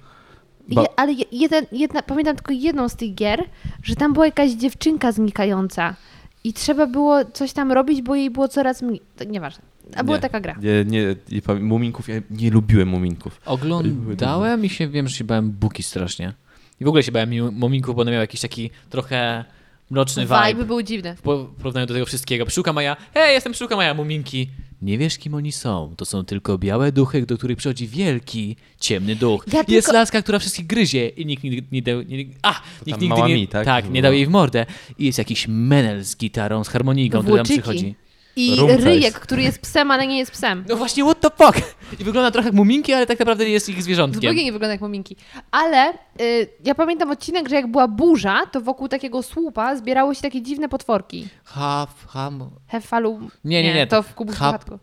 Speaker 2: Ba-
Speaker 3: je, ale je- jeden, jedna, pamiętam tylko jedną z tych gier, że tam była jakaś dziewczynka znikająca i trzeba było coś tam robić, bo jej było coraz mniej. To Nieważne. A była
Speaker 2: Nie.
Speaker 3: taka gra.
Speaker 2: Nie, nie, nie, pamię- muminków, ja nie lubiłem muminków.
Speaker 1: Oglądałem i się wiem, że się bałem Buki strasznie. I w ogóle się bałem Mu- Muminków, bo one miały jakiś taki trochę mroczny vibe.
Speaker 3: Vibe był dziwny.
Speaker 1: W po- w porównaniu do tego wszystkiego. Pszczółka Maja, hej, jestem Pszczółka Maja, Muminki. Nie wiesz, kim oni są. To są tylko białe duchy, do których przychodzi wielki, ciemny duch.
Speaker 3: Ja
Speaker 1: Jest
Speaker 3: tylko-
Speaker 1: laska, która wszystkich gryzie i nikt nigdy nie dał... Nie, a, nikt
Speaker 2: tam
Speaker 1: nigdy
Speaker 2: mała
Speaker 1: nie,
Speaker 2: mi, tak?
Speaker 1: nie dał jej w mordę. I jest jakiś menel z gitarą, z harmonijką, który tam
Speaker 3: Włóczyki.
Speaker 1: przychodzi.
Speaker 3: I
Speaker 2: Room face.
Speaker 3: ryjek, który jest psem, ale nie jest psem.
Speaker 1: No właśnie, what the fuck? I wygląda trochę jak muminki, ale tak naprawdę jest ich
Speaker 3: W
Speaker 1: zwierzątkiem.
Speaker 3: ogóle nie wygląda jak muminki. Ale y, ja pamiętam odcinek, że jak była burza, to wokół takiego słupa zbierały się takie dziwne potworki.
Speaker 1: Haf, ham,
Speaker 3: Hefalu.
Speaker 1: Nie, nie, nie,
Speaker 3: To w kubu
Speaker 1: Hap-
Speaker 3: Hap...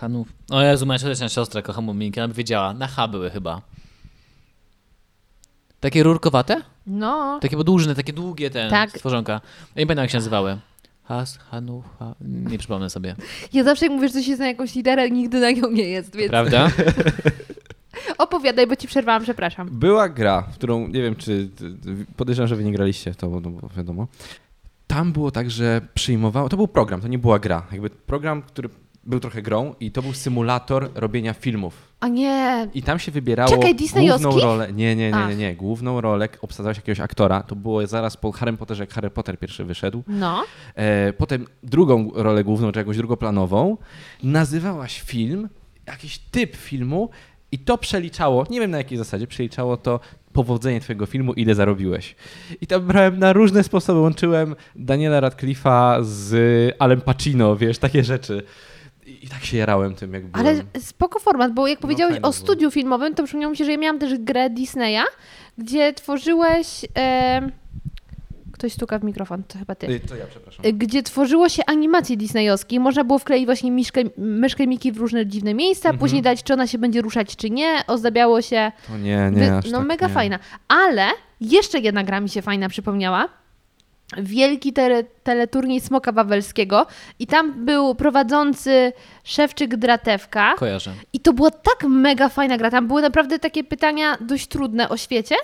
Speaker 1: hanów. O Jezu, moja siostra, siostra kocha muminki, ona by wiedziała. Na H były chyba. Takie rurkowate?
Speaker 3: No.
Speaker 1: Takie podłużne, takie długie te
Speaker 3: Tak.
Speaker 1: stworzonka. Ja nie pamiętam jak się nazywały. Has, hanu, ha... Nie przypomnę sobie.
Speaker 3: Ja zawsze jak mówię, że coś jest na jakąś literę, nigdy na nią nie jest, <laughs> więc
Speaker 1: Prawda?
Speaker 3: opowiadaj, bo ci przerwałam, przepraszam.
Speaker 2: Była gra, w którą nie wiem, czy ty- ty- podejrzewam, że wy nie graliście w to, bo, no, bo wiadomo. Tam było tak, że przyjmowało. To był program, to nie była gra. Jakby program, który był trochę grą i to był symulator robienia filmów.
Speaker 3: A nie,
Speaker 2: I tam się wybierało
Speaker 3: Czekaj, disneyowski?
Speaker 2: główną rolę. Nie, nie, nie, nie,
Speaker 3: Ach.
Speaker 2: nie. Główną rolę obsadzałeś jakiegoś aktora. To było zaraz po Harry Potterze, jak Harry Potter pierwszy wyszedł.
Speaker 3: no.
Speaker 2: E, potem drugą rolę główną, czy jakąś drugoplanową, nazywałaś film, jakiś typ filmu i to przeliczało, nie wiem na jakiej zasadzie, przeliczało to powodzenie twojego filmu, ile zarobiłeś. I tam brałem na różne sposoby, łączyłem Daniela Radcliffe'a z Alem Pacino, wiesz, takie rzeczy. I i tak się jarałem tym, jak byłem. No,
Speaker 3: Ale spoko format, bo jak powiedziałeś
Speaker 2: fajne
Speaker 3: o
Speaker 2: było.
Speaker 3: studiu filmowym, to przypomniało mi się, że ja miałam też grę Disneya, gdzie tworzyłeś... em, Ktoś stuka w mikrofon, to chyba ty.
Speaker 2: Y, To ja, przepraszam.
Speaker 3: Y, Gdzie tworzyło się animacje disneyowskie. i Można było wkleić właśnie miszkę, myszkę Miki w różne dziwne miejsca,
Speaker 2: Mhm.
Speaker 3: później dać, czy ona się będzie ruszać, czy nie. Ozdabiało się...
Speaker 2: To nie, nie,
Speaker 3: Wy-
Speaker 2: aż
Speaker 3: no
Speaker 2: tak,
Speaker 3: mega
Speaker 2: nie.
Speaker 3: fajna. Ale jeszcze jedna gra mi się fajna przypomniała. Wielki tele, teleturniej Smoka Wawelskiego i tam był prowadzący Szewczyk Dratewka
Speaker 1: Kojarzę.
Speaker 3: i to była tak mega fajna gra. Tam były naprawdę takie pytania dość trudne o świecie.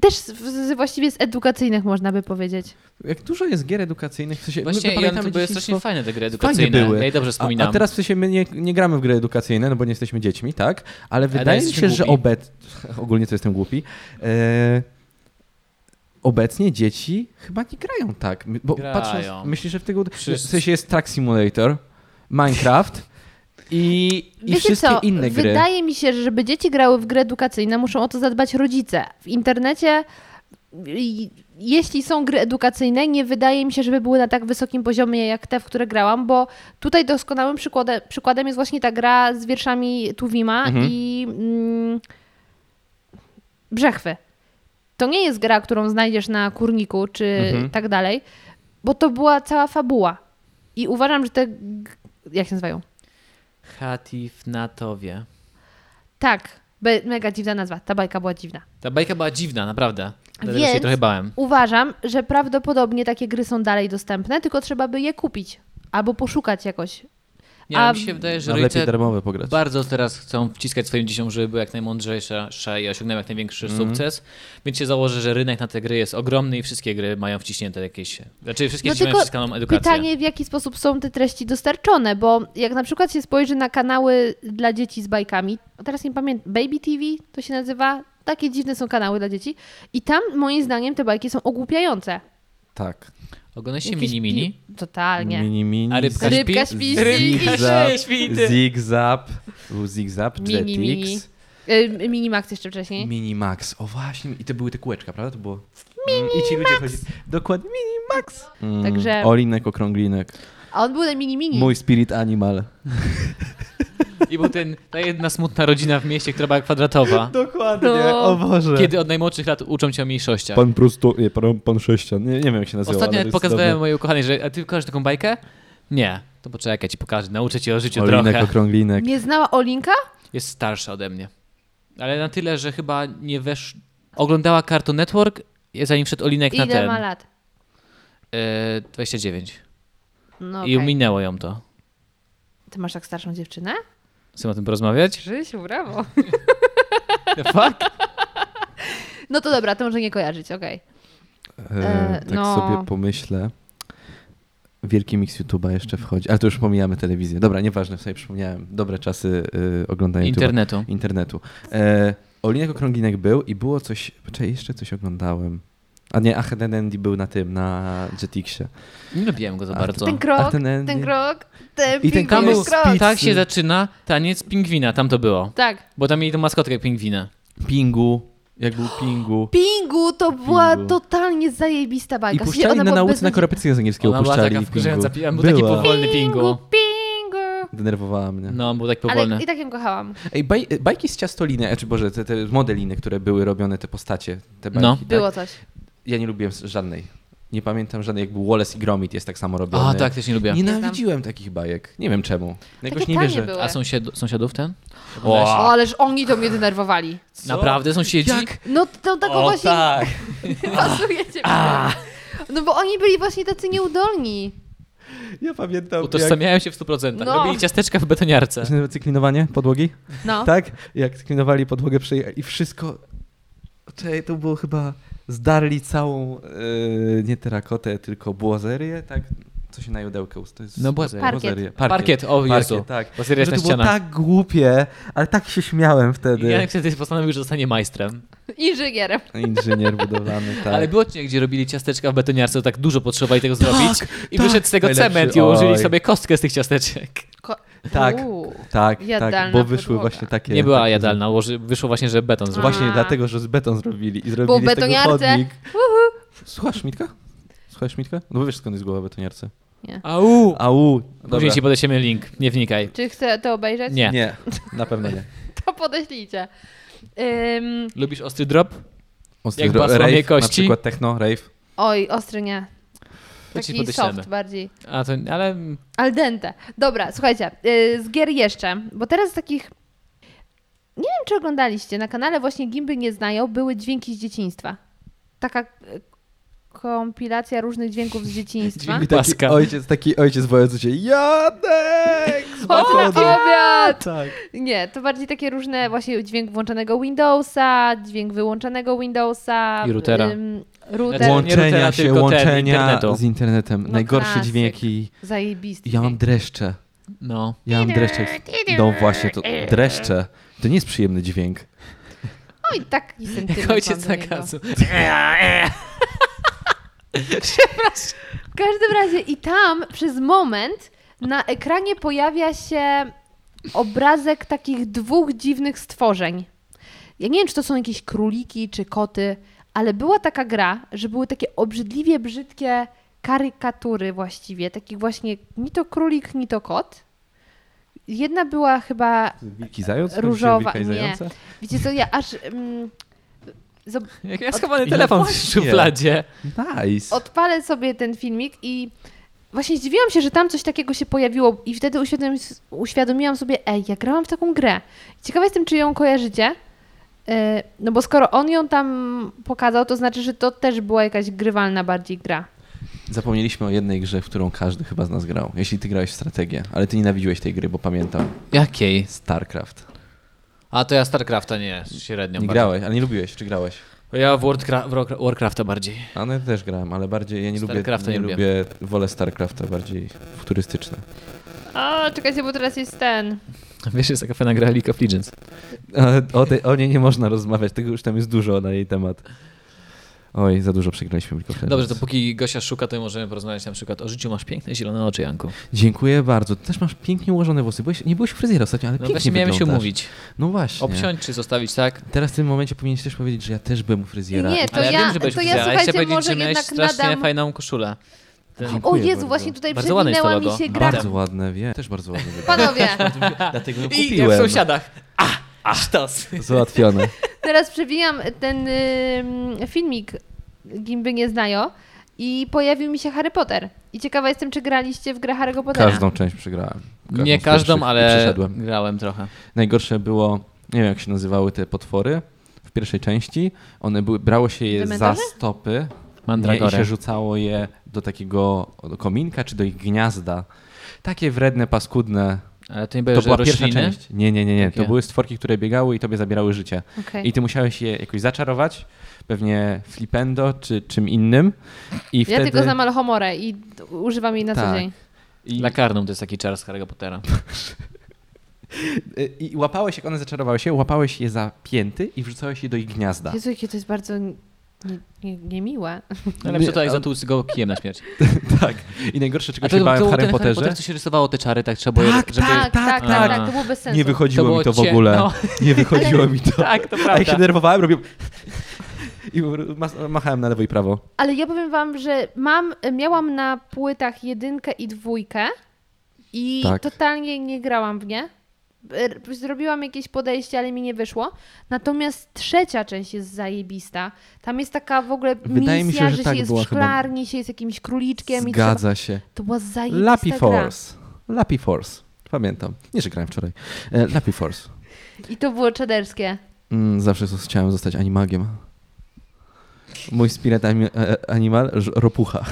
Speaker 3: Też z, z, właściwie z edukacyjnych można by powiedzieć.
Speaker 2: Jak dużo jest gier edukacyjnych, w sensie <laughs> no my
Speaker 1: Właśnie i one
Speaker 2: pamiętamy
Speaker 1: to były
Speaker 2: dzieciństwo-
Speaker 1: strasznie fajne te gry
Speaker 2: Fajnie
Speaker 1: edukacyjne.
Speaker 2: były.
Speaker 1: Ja je dobrze
Speaker 2: a,
Speaker 1: wspominam.
Speaker 2: a teraz w sensie my nie, nie gramy w gry edukacyjne, no bo nie jesteśmy dziećmi, tak? Ale wydaje mi
Speaker 1: jesteśmy
Speaker 2: się, że
Speaker 1: głupi.
Speaker 2: obec... <laughs> ogólnie to jestem głupi. E... Obecnie dzieci chyba nie grają tak. My- Bo
Speaker 1: Grają.
Speaker 2: patrząc, myślisz, że w tego w
Speaker 1: Wszyscy.
Speaker 2: sensie jest Track Simulator, Minecraft i, i
Speaker 3: Wiecie
Speaker 2: wszystkie
Speaker 3: co?
Speaker 2: inne gry.
Speaker 3: Wydaje mi się, że żeby dzieci grały w gry edukacyjne, muszą o to zadbać rodzice. W internecie, i- jeśli są gry edukacyjne, nie wydaje mi się, żeby były na tak wysokim poziomie jak te, w które grałam, bo tutaj doskonałym przykładem, przykładem jest właśnie ta gra z wierszami Tuwima
Speaker 2: Mhm.
Speaker 3: i mm, Brzechwy. To nie jest gra, którą znajdziesz na kurniku czy
Speaker 2: Mhm.
Speaker 3: tak dalej, bo to była cała fabuła. I uważam, że te. g- Jak się nazywają?
Speaker 1: Hatif Natowie.
Speaker 3: Tak, be, mega dziwna nazwa. Ta bajka była dziwna.
Speaker 1: Ta bajka była dziwna, naprawdę. Dlatego
Speaker 3: Więc-
Speaker 1: się jej trochę bałem.
Speaker 3: Uważam, że prawdopodobnie takie gry są dalej dostępne, tylko trzeba by je kupić albo poszukać jakoś.
Speaker 1: Nie,
Speaker 3: a-
Speaker 1: mi się wydaje, że
Speaker 2: No, lepiej
Speaker 1: rodzice
Speaker 2: darmowe pograć.
Speaker 1: bardzo teraz chcą wciskać swoim dzieciom, żeby były jak najmądrzejsze i osiągnęły jak największy
Speaker 2: Mhm.
Speaker 1: sukces, więc się założę, że rynek na te gry jest ogromny i wszystkie gry mają wciśnięte jakieś... Znaczy wszystkie
Speaker 3: No
Speaker 1: wciśnięte
Speaker 3: tylko
Speaker 1: wciskaną edukację.
Speaker 3: Pytanie, w jaki sposób są te treści dostarczone, bo jak na przykład się spojrzy na kanały dla dzieci z bajkami, teraz nie pamiętam, Baby TV to się nazywa, takie dziwne są kanały dla dzieci i tam moim zdaniem te bajki są ogłupiające.
Speaker 2: Tak.
Speaker 1: Oglądaliście
Speaker 3: Jakieś
Speaker 1: Mini Mini?
Speaker 3: pi- Totalnie.
Speaker 2: Mini, mini,
Speaker 1: A rybka
Speaker 3: Rybka
Speaker 1: śpi?
Speaker 3: śpi,
Speaker 1: Rybka
Speaker 2: zigzag,
Speaker 1: śpi, ty.
Speaker 2: zigzag, był zigzag,
Speaker 3: Mini,
Speaker 2: Jetix.
Speaker 3: mini. Y, Minimax jeszcze wcześniej.
Speaker 2: Minimax, o właśnie. I to były te kółeczka, prawda? To było. Minimax. I ci ludzie chodzili. Dokładnie, Minimax. Mm,
Speaker 3: Także-
Speaker 2: Olinek, okrąglinek.
Speaker 3: A on był na mini-mini.
Speaker 2: Mój spirit animal.
Speaker 1: I był ten, ta jedna smutna rodzina w mieście, która była
Speaker 2: <laughs>
Speaker 1: kwadratowa.
Speaker 2: Dokładnie,
Speaker 3: No.
Speaker 2: o Boże.
Speaker 1: Kiedy od najmłodszych lat uczą cię o mniejszościach.
Speaker 2: Pan prosto, nie, pan, pan sześcian, nie, nie wiem jak się nazywa.
Speaker 1: Tak. Ostatnio
Speaker 2: ale
Speaker 1: nawet
Speaker 2: to jest
Speaker 1: pokazywałem mojej ukochanej, że a ty kochasz taką bajkę? Nie. To poczekaj, ja ci pokażę, nauczę cię o życiu
Speaker 2: cudowne. Olinek,
Speaker 1: trochę.
Speaker 2: okrąglinek.
Speaker 3: Nie znała Olinka?
Speaker 1: Jest starsza ode mnie. Ale na tyle, że chyba nie wesz... Oglądała Cartoon Network, zanim wszedł Olinek na
Speaker 3: Ile
Speaker 1: ten.
Speaker 3: ma lat?
Speaker 1: E, 29.
Speaker 3: No
Speaker 1: I
Speaker 3: okej.
Speaker 1: minęło ją to.
Speaker 3: Ty masz tak starszą dziewczynę?
Speaker 1: Chcemy o tym porozmawiać?
Speaker 3: Krzysiu, brawo.
Speaker 1: The <laughs> fuck?
Speaker 3: No to dobra, to może nie kojarzyć, okej.
Speaker 2: E,
Speaker 3: E,
Speaker 2: tak
Speaker 3: no.
Speaker 2: sobie pomyślę. Wielki mix YouTube'a jeszcze wchodzi, ale to już pomijamy telewizję. Dobra, nieważne, sobie przypomniałem. Dobre czasy y, oglądania YouTube'a.
Speaker 1: <laughs> Internetu.
Speaker 2: internetu. E, Olinek Okrąglinek był i było coś. Poczekaj, jeszcze coś oglądałem. A nie, Achenenendi był na tym, na Jetixie.
Speaker 1: Nie lubiłem go za
Speaker 2: A,
Speaker 1: bardzo.
Speaker 3: Ten krok,
Speaker 2: Achenenendi.
Speaker 3: ten krok, ten
Speaker 2: I ten
Speaker 1: Tam
Speaker 3: pingwin
Speaker 1: był,
Speaker 2: Jest
Speaker 3: krok.
Speaker 2: pizzy.
Speaker 1: tak się zaczyna taniec pingwina, tam to było.
Speaker 3: Tak,
Speaker 1: Bo tam mieli tą maskotkę pingwina.
Speaker 2: Pingu. Jak był pingu.
Speaker 3: Pingu to była
Speaker 2: Pingu.
Speaker 3: totalnie zajebista
Speaker 2: I
Speaker 3: bajka. Znaczy,
Speaker 2: puszczali
Speaker 3: Ona
Speaker 2: na
Speaker 3: była
Speaker 2: nauce
Speaker 3: bez-
Speaker 2: na korepetycjach z angielskiego.
Speaker 1: Ona była
Speaker 2: puszczali
Speaker 1: No, taka wkurzająca,
Speaker 2: pingu.
Speaker 1: pi- był taki
Speaker 2: Była.
Speaker 1: powolny pingu.
Speaker 3: Pingu.
Speaker 2: Denerwowała mnie.
Speaker 1: No, on był tak powolny.
Speaker 3: Ale i tak ją kochałam.
Speaker 2: Ej, baj, bajki z ciastoliny, e, czy Boże, te, te modeliny, które były robione, te postacie, te bajki.
Speaker 1: No.
Speaker 2: tak?
Speaker 3: Było coś.
Speaker 2: Ja nie lubiłem s- żadnej. Nie pamiętam żadnej, jak był Wallace i Gromit, jest tak samo robiony.
Speaker 1: A, tak, też nie lubię.
Speaker 2: Nienawidziłem takich bajek. Nie wiem czemu. Jakoś
Speaker 3: Takie
Speaker 2: nie
Speaker 3: tanie
Speaker 2: wierzę.
Speaker 3: były.
Speaker 1: A sąsiad, sąsiadów ten?
Speaker 2: O,
Speaker 1: Oglądałeś?
Speaker 3: O, ależ oni to mnie denerwowali.
Speaker 1: Naprawdę sąsiedzi?
Speaker 2: Jak?
Speaker 3: No to taką
Speaker 1: O,
Speaker 3: właśnie
Speaker 1: tak.
Speaker 3: <laughs> pasujecie. No bo oni byli właśnie tacy nieudolni.
Speaker 2: Ja pamiętam. Jak...
Speaker 1: Utożsamiają się w 100%.
Speaker 3: No.
Speaker 1: Robili ciasteczka w betoniarce.
Speaker 2: To się nazywa Cyklinowanie podłogi?
Speaker 3: No.
Speaker 2: Tak? Jak cyklinowali podłogę przejechali i wszystko. Czekaj, to było chyba. Zdarli całą e, nie terakotę, tylko błazerię, tak? Co się na judełkę ust. To jest
Speaker 1: No, błazerię.
Speaker 3: Parkiet.
Speaker 2: Błazerię.
Speaker 1: Parkiet, o Jezu.
Speaker 2: tak.
Speaker 1: Bazylia jest na
Speaker 2: Że to było
Speaker 1: ściana.
Speaker 2: tak głupie, ale tak się śmiałem wtedy.
Speaker 1: Janek wtedy postanowił, że zostanie majstrem.
Speaker 3: Inżynierem.
Speaker 2: <laughs> Inżynier budowlany, tak.
Speaker 1: Ale był odcinek, gdzie robili ciasteczka w betoniarce, to tak dużo potrzeba i tego zrobić. I
Speaker 2: tak.
Speaker 1: wyszedł z tego
Speaker 2: Najlepszy,
Speaker 1: cement i ułożyli
Speaker 2: oj.
Speaker 1: sobie kostkę z tych ciasteczek.
Speaker 3: Ko-
Speaker 2: Tak.
Speaker 3: Uuu.
Speaker 2: Tak, tak,
Speaker 3: Jadalna
Speaker 2: bo wyszły
Speaker 3: podłoga.
Speaker 2: właśnie takie...
Speaker 1: Nie była
Speaker 2: takie-
Speaker 1: jadalna, ułoży, wyszło właśnie, że beton zrobił.
Speaker 2: Właśnie
Speaker 3: A.
Speaker 2: dlatego, że z beton zrobili i
Speaker 3: Bo w
Speaker 2: zrobili z tego
Speaker 3: betoniarce.
Speaker 2: chodnik. Słuchasz, Mitka? Słuchasz, Mitka? No bo wiesz, skąd jest głowa betoniarce.
Speaker 1: Au!
Speaker 2: Au!
Speaker 1: Później ci podesiemy link, nie wnikaj.
Speaker 3: Czy chcę to obejrzeć?
Speaker 1: Nie.
Speaker 2: Nie, na pewno nie.
Speaker 3: To podeślijcie. Ym,
Speaker 1: Lubisz ostry drop?
Speaker 2: Ostry
Speaker 1: Jak
Speaker 2: dro-
Speaker 1: basłamie
Speaker 2: rave, na
Speaker 1: kości?
Speaker 2: przykład techno, rave.
Speaker 3: oj, ostry nie.
Speaker 1: To ci
Speaker 3: Taki
Speaker 1: podeślemy.
Speaker 3: soft bardziej.
Speaker 1: A to, ale mm,
Speaker 3: Al dente. Dobra, słuchajcie, yy, z gier jeszcze, bo teraz z takich... Nie wiem, czy oglądaliście, na kanale właśnie Gimby nie znają, były dźwięki z dzieciństwa. Taka y, kompilacja różnych dźwięków z dzieciństwa.
Speaker 1: Dźwięki
Speaker 2: I taki
Speaker 1: Paska.
Speaker 2: ojciec, taki ojciec wojący się
Speaker 1: Tak.
Speaker 2: Jadek! z
Speaker 3: Chodź
Speaker 2: balkonu.
Speaker 3: na obiad!
Speaker 2: Tak.
Speaker 3: Nie, to bardziej takie różne właśnie dźwięk włączonego Windowsa, dźwięk wyłączonego Windowsa.
Speaker 1: I routera.
Speaker 3: ym,
Speaker 1: Znaczy, nie
Speaker 3: router.
Speaker 2: Łączenia
Speaker 1: routera,
Speaker 2: się,
Speaker 1: tylko ten,
Speaker 2: łączenia
Speaker 1: internetu.
Speaker 2: z internetem.
Speaker 3: No
Speaker 2: Najgorsze
Speaker 3: klasyk.
Speaker 2: dźwięki.
Speaker 3: Zajebisty.
Speaker 2: Ja mam
Speaker 3: dźwięk.
Speaker 2: dreszcze.
Speaker 1: no.
Speaker 2: Ja mam dreszcze. No właśnie, to dreszcze. To nie jest przyjemny dźwięk.
Speaker 3: Oj, taki sentyment
Speaker 1: Jak
Speaker 3: mam
Speaker 1: ojciec
Speaker 3: do niego.
Speaker 1: zakazu.
Speaker 3: W każdym razie i tam przez moment na ekranie pojawia się obrazek takich dwóch dziwnych stworzeń. Ja nie wiem, czy to są jakieś króliki czy koty, ale była taka gra, że były takie obrzydliwie brzydkie karykatury właściwie, takich właśnie ni to królik, ni to kot. Jedna była chyba,
Speaker 2: Wilki zając?
Speaker 3: Różowa-
Speaker 2: Wilka i
Speaker 3: nie.
Speaker 2: zająca?
Speaker 3: wiecie co, ja aż mm, zob-
Speaker 1: Jak miał schowany
Speaker 2: Od-
Speaker 1: telefon w
Speaker 2: No Właśnie.
Speaker 1: szufladzie.
Speaker 2: Nice.
Speaker 3: odpalę sobie ten filmik i właśnie zdziwiłam się, że tam coś takiego się pojawiło i wtedy uświadomi, uświadomiłam sobie, ej, ja grałam w taką grę. Ciekawa jestem, czy ją kojarzycie, E, no bo skoro on ją tam pokazał, to znaczy, że to też była jakaś grywalna bardziej gra.
Speaker 2: Zapomnieliśmy o jednej grze, w którą każdy chyba z nas grał. Jeśli ty grałeś w strategię, ale ty nienawidziłeś tej gry, bo pamiętam.
Speaker 1: Jakiej?
Speaker 2: StarCraft.
Speaker 1: A to ja StarCrafta nie, średnio.
Speaker 2: Nie
Speaker 1: bardzo.
Speaker 2: grałeś, ale nie lubiłeś, czy grałeś?
Speaker 1: Ja w Warcra- w Warcrafta bardziej.
Speaker 2: A no ja też grałem, ale bardziej ja nie lubię,
Speaker 1: StarCrafta
Speaker 2: nie
Speaker 1: nie lubię.
Speaker 2: lubię, wolę StarCrafta bardziej futurystyczne.
Speaker 3: A, czekajcie, bo teraz jest ten.
Speaker 1: Wiesz, jest taka fajna gra League of Legends.
Speaker 2: Ale O, tej, o niej nie można rozmawiać, tego już tam jest dużo na jej temat. Oj, za dużo przegraliśmy tylko wtedy.
Speaker 1: Dobrze, to póki Gosia szuka, to możemy porozmawiać na przykład o życiu. Masz piękne zielone oczy, Janku. No
Speaker 2: Dziękuję bardzo. Ty też masz pięknie ułożone włosy. Byłeś, nie byłeś u fryzjera ostatnio, ale
Speaker 1: No
Speaker 2: pięknie
Speaker 1: właśnie miałem się
Speaker 2: wyglądasz.
Speaker 1: umówić.
Speaker 2: No właśnie.
Speaker 1: Obciąć czy zostawić, tak?
Speaker 2: Teraz w tym momencie powinieneś też powiedzieć, że ja też byłem u fryzjera.
Speaker 3: Nie,
Speaker 2: I-
Speaker 3: To
Speaker 1: Ale ja,
Speaker 3: ja-
Speaker 1: wiem, że byłeś
Speaker 3: to
Speaker 1: u
Speaker 3: ja,
Speaker 1: fryzjera.
Speaker 3: słuchajcie,
Speaker 1: chcę powiedzieć,
Speaker 3: może
Speaker 1: że miałeś
Speaker 3: jednak
Speaker 1: strasznie
Speaker 3: nadam-
Speaker 1: fajną koszulę. Ten...
Speaker 3: O
Speaker 2: Dziękuję
Speaker 3: Jezu,
Speaker 2: bardzo.
Speaker 3: właśnie tutaj
Speaker 1: Bardzo ładne jest to
Speaker 3: przewinęła mi
Speaker 1: logo.
Speaker 3: się gra.
Speaker 2: Bardzo ładne, wie. Też bardzo ładne. wygląda.
Speaker 1: <laughs>
Speaker 3: Panowie,
Speaker 2: Dlatego ją
Speaker 1: I jak w
Speaker 2: kupiłem.
Speaker 1: sąsiadach. A! A! Sztos!
Speaker 2: Załatwione. <laughs>
Speaker 3: teraz przewijam ten ym, filmik Gimby nie znają i pojawił mi się Harry Potter. I ciekawa jestem, czy graliście w grę Harry'ego Pottera.
Speaker 2: Każdą część przegrałem. Każdą
Speaker 1: Nie
Speaker 2: z
Speaker 1: każdą,
Speaker 2: pierwszych i
Speaker 1: ale
Speaker 2: Przeszedłem.
Speaker 1: grałem trochę.
Speaker 2: Najgorsze było, nie wiem jak się nazywały te potwory w pierwszej części. One były, brało się je za
Speaker 3: Dementorzy?
Speaker 2: stopy nie, i
Speaker 1: Mandragorę.
Speaker 2: się rzucało je do takiego kominka czy do ich gniazda. Takie wredne, paskudne.
Speaker 1: Ale to nie
Speaker 2: To
Speaker 1: były
Speaker 2: była
Speaker 1: rośliny?
Speaker 2: pierwsza część. Nie, nie, nie, nie. To
Speaker 1: Takie.
Speaker 2: były stworki, które biegały i tobie zabierały życie.
Speaker 3: Okej.
Speaker 2: I ty musiałeś je jakoś zaczarować, pewnie flipendo czy czym innym. I
Speaker 3: Ja
Speaker 2: wtedy...
Speaker 3: tylko znam Alchomorę i d- używam jej na co
Speaker 2: Tak.
Speaker 3: dzień.
Speaker 2: I...
Speaker 1: Lakarnum to jest taki czar z Harry'ego
Speaker 2: <laughs>
Speaker 1: Pottera.
Speaker 2: Y, I łapałeś, jak one zaczarowały się, łapałeś je za pięty i wrzucałeś je do ich gniazda.
Speaker 3: Jezu, jakie to jest bardzo Nie, nie, niemiłe.
Speaker 2: Tak,
Speaker 1: Ale tutaj
Speaker 2: a-
Speaker 1: za tłusty go kijem na śmierć.
Speaker 2: <laughs> tak. I najgorsze, czego
Speaker 1: A to,
Speaker 2: się
Speaker 1: to,
Speaker 2: bałem
Speaker 1: był
Speaker 2: w Harry
Speaker 1: ten Harry
Speaker 2: Potterze,
Speaker 1: Potter, co się rysowało te czary, tak trzeba było... je-
Speaker 2: Tak,
Speaker 1: żeby...
Speaker 3: Tak, tak,
Speaker 1: A.
Speaker 3: tak, tak, to było bez sensu.
Speaker 2: nie wychodziło
Speaker 1: To
Speaker 2: mi to
Speaker 1: było
Speaker 2: w ogóle.
Speaker 1: cie- no. <laughs>
Speaker 2: Nie wychodziło mi to.
Speaker 1: Tak, to
Speaker 2: A jak się
Speaker 1: <laughs> prawda.
Speaker 2: denerwowałem, robiłem... <laughs> I ma- machałem na lewo i prawo.
Speaker 3: Ale ja powiem wam, że mam, miałam na płytach jedynkę i dwójkę i
Speaker 2: Tak.
Speaker 3: totalnie nie grałam w nie. R- Zrobiłam jakieś podejście, ale mi nie wyszło. Natomiast trzecia część jest zajebista. Tam jest taka w ogóle
Speaker 2: Wydaje mi
Speaker 3: misja,
Speaker 2: się, że
Speaker 3: że,
Speaker 2: tak
Speaker 3: się jest
Speaker 2: była
Speaker 3: w
Speaker 2: chyba.
Speaker 3: szklarni, się jest jakimś króliczkiem i trzeba...
Speaker 2: Zgadza się.
Speaker 3: To była zajebista
Speaker 2: Lapi
Speaker 3: gra.
Speaker 2: Force. Lapi Force. Pamiętam. Nie, że grałem wczoraj. E, Lapi Force.
Speaker 3: I to było czaderskie.
Speaker 2: Mm, zawsze s- chciałem zostać animagiem. Mój spirit ani- e, animal ż- ropucha.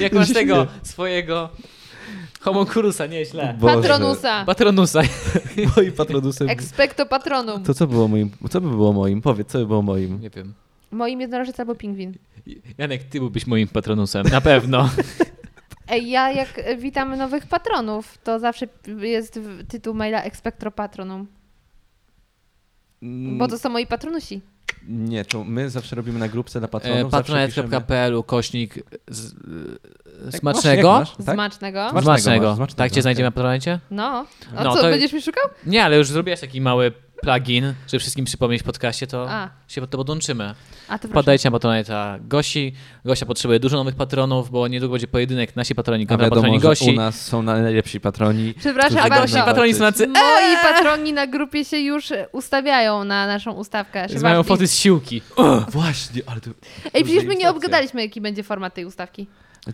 Speaker 1: Jak masz
Speaker 2: Źle.
Speaker 1: tego swojego homokurusa, nieźle.
Speaker 2: Boże. <laughs>
Speaker 3: Patronusa.
Speaker 1: Patronusa.
Speaker 2: Moim patronusem.
Speaker 3: Expecto patronum.
Speaker 2: To co było moim? Co by było moim? Powiedz, co by było moim?
Speaker 1: Nie wiem.
Speaker 3: Moim jednorożec albo pingwin.
Speaker 1: Janek, ty byłbyś moim patronusem, na
Speaker 2: <laughs>
Speaker 1: pewno.
Speaker 3: Ej, ja jak e, witam nowych patronów, to zawsze p- jest w- tytuł maila Expectro Patronum,
Speaker 2: Mm,
Speaker 3: bo to są moi patronusi.
Speaker 2: Nie, to my zawsze robimy na grupce dla
Speaker 1: E,
Speaker 2: patronów. zawsze piszemy-
Speaker 1: Patronite.pl, kośnik z, e,
Speaker 2: Jak masz, jak
Speaker 1: smacznego.
Speaker 2: masz, tak?
Speaker 3: Smacznego.
Speaker 2: Smacznego.
Speaker 1: Smacznego.
Speaker 2: masz, smacznego,
Speaker 1: Tak cię
Speaker 2: tak.
Speaker 1: znajdziemy na Patronite?
Speaker 3: No. A
Speaker 1: No,
Speaker 3: co,
Speaker 1: to-
Speaker 3: będziesz mi szukał?
Speaker 1: Nie, ale już zrobiłaś taki mały plugin, żeby wszystkim przypomnieć w podcaście, to
Speaker 3: A.
Speaker 1: się pod to podłączymy.
Speaker 3: A to proszę.
Speaker 1: Wpadajcie na Patronite'a Gosi. Gosia potrzebuje dużo nowych patronów, bo niedługo będzie pojedynek nasi patroni
Speaker 2: A
Speaker 1: kontra patroni
Speaker 2: wiadomo, że u
Speaker 1: Gosi.
Speaker 2: nas są najlepsi patroni.
Speaker 3: Przepraszam
Speaker 2: którzy
Speaker 1: A Gosi i
Speaker 2: będą
Speaker 3: bardzo.
Speaker 1: patroni są
Speaker 2: walczyć.
Speaker 1: tacy,
Speaker 3: Moi patroni na grupie się już e, ustawiają na naszą ustawkę.
Speaker 1: e, mają
Speaker 3: Szybaki.
Speaker 1: foty z siłki.
Speaker 2: Właśnie, ale to...
Speaker 3: Ej, przecież my nie
Speaker 2: Różne
Speaker 3: obgadaliśmy, jaki będzie format tej ustawki.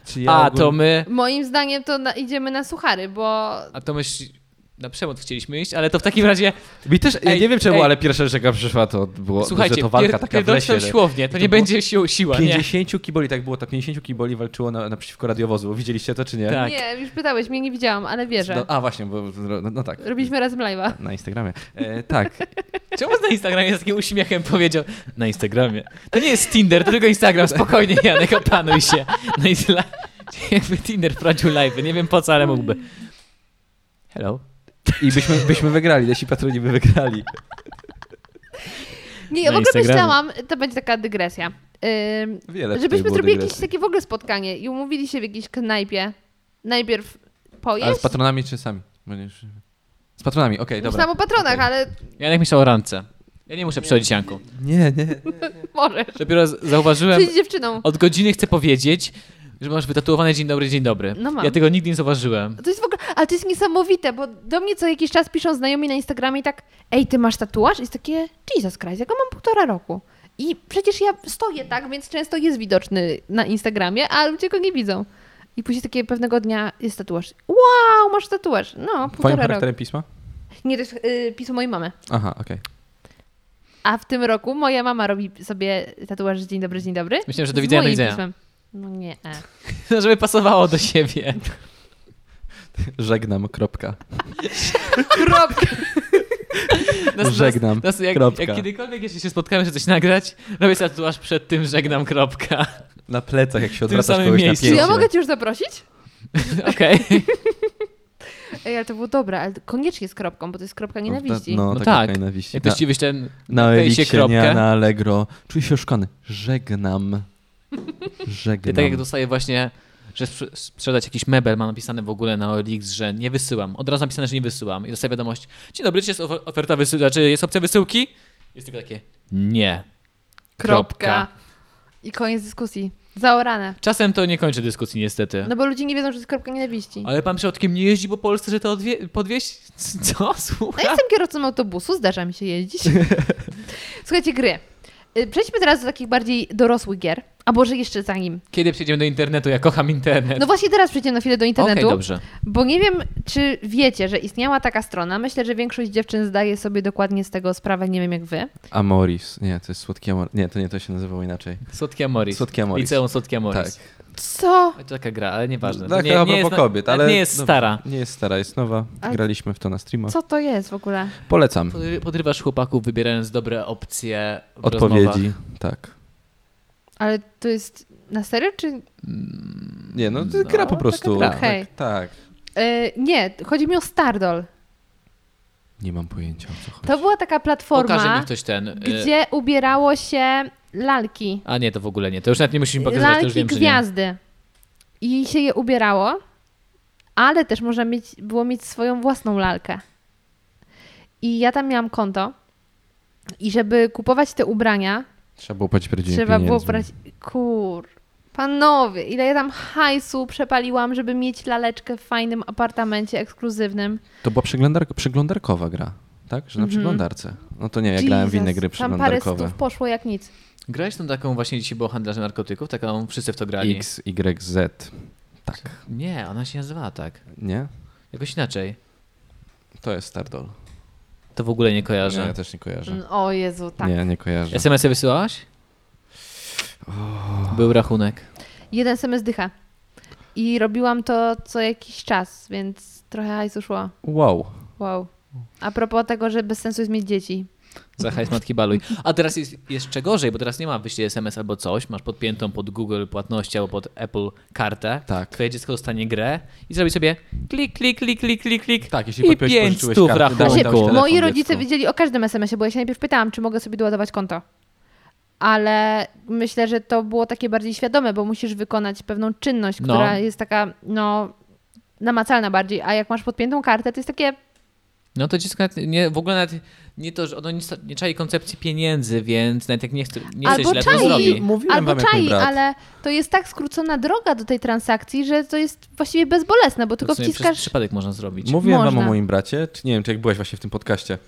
Speaker 2: Czy ja
Speaker 1: A
Speaker 2: ogólnie-
Speaker 1: to my,
Speaker 3: Moim zdaniem to na, idziemy na suchary, bo
Speaker 1: a to my ś- na przemoc chcieliśmy iść, ale to w takim razie,
Speaker 2: Mi też, ja
Speaker 1: Ej,
Speaker 2: nie wiem czemu,
Speaker 1: ej.
Speaker 2: ale pierwsza rzecz, jaka przyszła, to było, że
Speaker 1: słuchajcie,
Speaker 2: to walka
Speaker 1: pier-
Speaker 2: taka w lesie.
Speaker 1: pierdolcie
Speaker 2: że-
Speaker 1: siłownię, to
Speaker 2: to
Speaker 1: nie
Speaker 2: było-
Speaker 1: będzie sił- siła, nie.
Speaker 2: 50 kiboli, tak było, to 50 kiboli walczyło na, naprzeciwko radiowozu. Widzieliście to, czy nie?
Speaker 1: Tak.
Speaker 3: nie, już pytałeś, mnie nie widziałam, ale wierzę.
Speaker 2: No, a właśnie, bo no, no tak.
Speaker 3: Robiliśmy razem live'a.
Speaker 2: Na Instagramie. E, tak.
Speaker 1: Czemu na Instagramie z takim uśmiechem powiedział? Na Instagramie. To nie jest Tinder, to tylko Instagram. Spokojnie, Janek, opanuj się. No i dla... Jakby Tinder prowadził live. Nie wiem po co, ale mógłby. Hello.
Speaker 2: I byśmy, byśmy wygrali, nasi patroni by wygrali.
Speaker 3: Nie, ja w
Speaker 1: Na
Speaker 3: ogóle
Speaker 1: Instagramie.
Speaker 3: myślałam, to będzie taka dygresja. Ym,
Speaker 2: Wiele tutaj
Speaker 3: Żebyśmy
Speaker 2: było
Speaker 3: zrobili jakieś
Speaker 2: dygresji.
Speaker 3: takie w ogóle spotkanie i umówili się w jakiejś knajpie. Najpierw
Speaker 2: Ale z
Speaker 3: pojeść.
Speaker 2: patronami czy sami? Będziesz- Z patronami, okej, dobra.
Speaker 3: Myślałam o patronach,
Speaker 2: Okej.
Speaker 3: ale
Speaker 1: Janek myślał o randce. Ja nie muszę przychodzić, Janku.
Speaker 2: Nie, nie.
Speaker 3: możesz.
Speaker 1: Dopiero z- zauważyłem,
Speaker 3: Przyjdź dziewczyną.
Speaker 1: od godziny chcę powiedzieć, że masz wytatuowane dzień dobry, dzień dobry.
Speaker 3: No mam.
Speaker 1: Ja tego nigdy nie zauważyłem.
Speaker 3: To jest w ogóle, ale to jest niesamowite, bo do mnie co jakiś czas piszą znajomi na Instagramie i tak ej, ty masz tatuaż? I jest takie, Jesus Christ, ja go mam półtora roku. I przecież ja stoję tak, więc często jest widoczny na Instagramie, a ludzie go nie widzą. I później takie pewnego dnia jest tatuaż. Wow, masz tatuaż. No,
Speaker 2: Twoim
Speaker 3: półtora roku.
Speaker 2: charakterem pisma?
Speaker 3: Nie, to jest y, pismo mojej mamy.
Speaker 2: Aha, okej.
Speaker 3: A w tym roku moja mama robi sobie tatuaż z dzień dobry, dzień dobry.
Speaker 1: Myślałem, że
Speaker 3: Z
Speaker 1: do widzenia, do
Speaker 3: moim
Speaker 1: widzenia.
Speaker 3: pismem. No nie. e.
Speaker 1: <laughs> Żeby pasowało do siebie.
Speaker 2: Żegnam, kropka.
Speaker 3: Kropka.
Speaker 2: Żegnam,
Speaker 1: Nas, jak,
Speaker 2: kropka.
Speaker 1: jak kiedykolwiek jeszcze się spotkamy, żeby coś nagrać, robię sobie tatuaż przed tym, żegnam, kropka. <laughs>
Speaker 2: Na plecach, jak się
Speaker 1: tym
Speaker 2: odwracasz
Speaker 1: samym
Speaker 2: kogoś na
Speaker 1: miejscu.
Speaker 3: Czy
Speaker 2: pięcie.
Speaker 3: ja mogę cię już zaprosić?
Speaker 1: Okej.
Speaker 3: Ej, ale to było dobre, ale koniecznie z kropką, bo to jest kropka nienawiści.
Speaker 2: No,
Speaker 1: No
Speaker 2: tak.
Speaker 1: tak.
Speaker 2: taka nienawiści.
Speaker 1: Jak
Speaker 2: Na-
Speaker 1: ktoś ci tak wyśle ten
Speaker 2: Na
Speaker 1: Wejście
Speaker 2: Eliksie, nie,
Speaker 1: kropkę.
Speaker 2: na Allegro. Czuję się oszukany.
Speaker 1: <laughs>
Speaker 2: Żegnam.
Speaker 1: Ja
Speaker 2: Żegnam.
Speaker 1: tak jak dostaję właśnie, że sprze- sprzedać jakiś mebel, ma napisane w ogóle na OLX, że nie wysyłam. Od razu napisane, że nie wysyłam. I dostaję wiadomość, dzień dobry, czy jest ofer- oferta wysyłki, czy jest opcja wysyłki? Jest tylko takie, nie.
Speaker 3: Kropka. I koniec dyskusji. Zaorane.
Speaker 1: Czasem to nie kończy dyskusji niestety.
Speaker 3: No bo ludzie nie wiedzą, że to jest kropka nienawiści.
Speaker 1: Ale pan przypadkiem nie jeździ po Polsce, że to odwie- podwieźć? <laughs> Co?
Speaker 3: No,
Speaker 1: Słucham?
Speaker 3: jestem kierowcą autobusu, zdarza mi się
Speaker 1: <laughs>
Speaker 3: jeździć. Słuchajcie, gry. Y, Przejdźmy teraz do takich bardziej dorosłych gier. A Boże, jeszcze zanim.
Speaker 1: Kiedy przejdziemy do internetu? Ja kocham internet.
Speaker 3: No właśnie teraz przejdziemy na chwilę do
Speaker 1: Okej,
Speaker 3: internetu.
Speaker 1: dobrze.
Speaker 3: Bo nie wiem, czy wiecie, że istniała taka strona. Myślę, że większość dziewczyn zdaje sobie dokładnie z tego sprawę, nie wiem jak wy.
Speaker 2: Amoris. Nie, to jest słodki Amoris. Nie, to nie, to się nazywało inaczej.
Speaker 1: Słodki Amoris.
Speaker 2: Słodki Amoris.
Speaker 1: Liceum Słodki Amoris.
Speaker 2: Tak.
Speaker 3: Co?
Speaker 1: Tak. To taka gra, ale nieważne. To
Speaker 2: Tak,
Speaker 1: nie,
Speaker 2: a
Speaker 1: nie jest
Speaker 2: propos
Speaker 1: na-
Speaker 2: kobiet, ale...
Speaker 1: Nie jest
Speaker 2: no,
Speaker 1: stara.
Speaker 2: Nie jest stara, jest nowa.
Speaker 3: Ale-
Speaker 2: Graliśmy w to na
Speaker 1: No.
Speaker 2: streamach.
Speaker 3: Co to jest w ogóle?
Speaker 2: Polecam.
Speaker 1: Podry- Podrywasz chłopaków, wybierając dobre opcje w
Speaker 2: Odpowiedzi.
Speaker 1: rozmowach.
Speaker 2: Tak.
Speaker 3: Ale to jest na serio, czy...
Speaker 2: Nie, no, to gra po
Speaker 1: taka
Speaker 2: prostu.
Speaker 1: gra.
Speaker 3: Okej.
Speaker 2: Tak, tak.
Speaker 3: E, nie, chodzi mi o Stardoll.
Speaker 2: Nie mam pojęcia o co chodzi.
Speaker 3: To była taka platforma,
Speaker 1: Pokaże mi ktoś ten. y,
Speaker 3: gdzie ubierało się lalki.
Speaker 1: A nie, to w ogóle nie. To już nawet nie musimy pokazywać, to już
Speaker 3: Lalki
Speaker 1: wiem, czy nie.
Speaker 3: gwiazdy. I się je ubierało, ale też można mieć, było mieć swoją własną lalkę. I ja tam miałam konto. I żeby kupować te ubrania,
Speaker 2: Trzeba było płacić prawdziwie
Speaker 3: Trzeba było
Speaker 2: pieniędzmi.
Speaker 3: brać. Kur. Panowie, ile ja tam hajsu przepaliłam, żeby mieć laleczkę w fajnym apartamencie ekskluzywnym.
Speaker 2: To była przeglądark- przeglądarkowa gra, tak? Że na przeglądarce. No to nie, ja grałem w inne
Speaker 3: Mhm. Jesus,
Speaker 2: gry
Speaker 3: Tam parę
Speaker 2: przeglądarkowe.
Speaker 3: stów poszło jak nic.
Speaker 1: Grałeś tą taką właśnie dzisiaj było handlarzem narkotyków, taką wszyscy w to grali.
Speaker 2: X, Y, Z. Tak,
Speaker 1: Nie, ona się nazywała tak.
Speaker 2: nie?
Speaker 1: Jakoś inaczej.
Speaker 2: To jest Stardoll.
Speaker 1: To w ogóle nie
Speaker 2: Nie, ja
Speaker 1: kojarzę.
Speaker 2: też nie kojarzę.
Speaker 3: O Jezu, tak.
Speaker 2: Nie, nie kojarzę.
Speaker 1: SMS-y wysyłałaś? Był rachunek.
Speaker 3: Jeden SMS dycha. I robiłam to co jakiś czas, więc trochę hajsu szło.
Speaker 2: Wow.
Speaker 3: Wow. A propos tego, że bez sensu jest mieć dzieci.
Speaker 1: Zachaj z matki baluj. A teraz jest jeszcze gorzej, bo teraz nie ma wyślij SMS albo coś, masz podpiętą pod Google płatności albo pod Apple kartę.
Speaker 2: Tak.
Speaker 1: Twoje dziecko dostanie grę i zrobi sobie klik, klik, klik, klik, klik, klik.
Speaker 2: Tak, jeśli
Speaker 1: I
Speaker 2: podpiąłeś,
Speaker 1: pięć
Speaker 2: pożyczyłeś
Speaker 1: stów w
Speaker 2: kartę, dałeś
Speaker 1: rachunku.
Speaker 2: Dałeś
Speaker 3: Właśnie,
Speaker 2: telefon
Speaker 3: moi rodzice
Speaker 2: dziecku.
Speaker 3: wiedzieli o każdym SMS-ie, bo ja się najpierw pytałam, czy mogę sobie doładować konto. Ale myślę, że to było takie bardziej świadome, bo musisz wykonać pewną czynność,
Speaker 1: No.
Speaker 3: która jest taka, no, namacalna bardziej. A jak masz podpiętą kartę, to jest takie,
Speaker 1: No to dziecko nawet nie, w ogóle nawet nie to, że ono nie, sta- nie czai koncepcji pieniędzy, więc nawet jak nie chce, nie chce
Speaker 3: Albo
Speaker 1: źle, to
Speaker 3: czai.
Speaker 1: zrobi.
Speaker 2: Mówiłem
Speaker 3: albo
Speaker 2: wam, jak mój
Speaker 3: czai,
Speaker 2: brat.
Speaker 3: ale to jest tak skrócona droga do tej transakcji, że to jest właściwie bezbolesne, bo
Speaker 1: To
Speaker 3: tylko
Speaker 1: w sumie przez
Speaker 3: wciskasz
Speaker 1: przypadek można zrobić.
Speaker 2: Mówiłem wam
Speaker 3: Można.
Speaker 2: o moim bracie, czy nie wiem, czy jak byłaś właśnie w tym podcaście.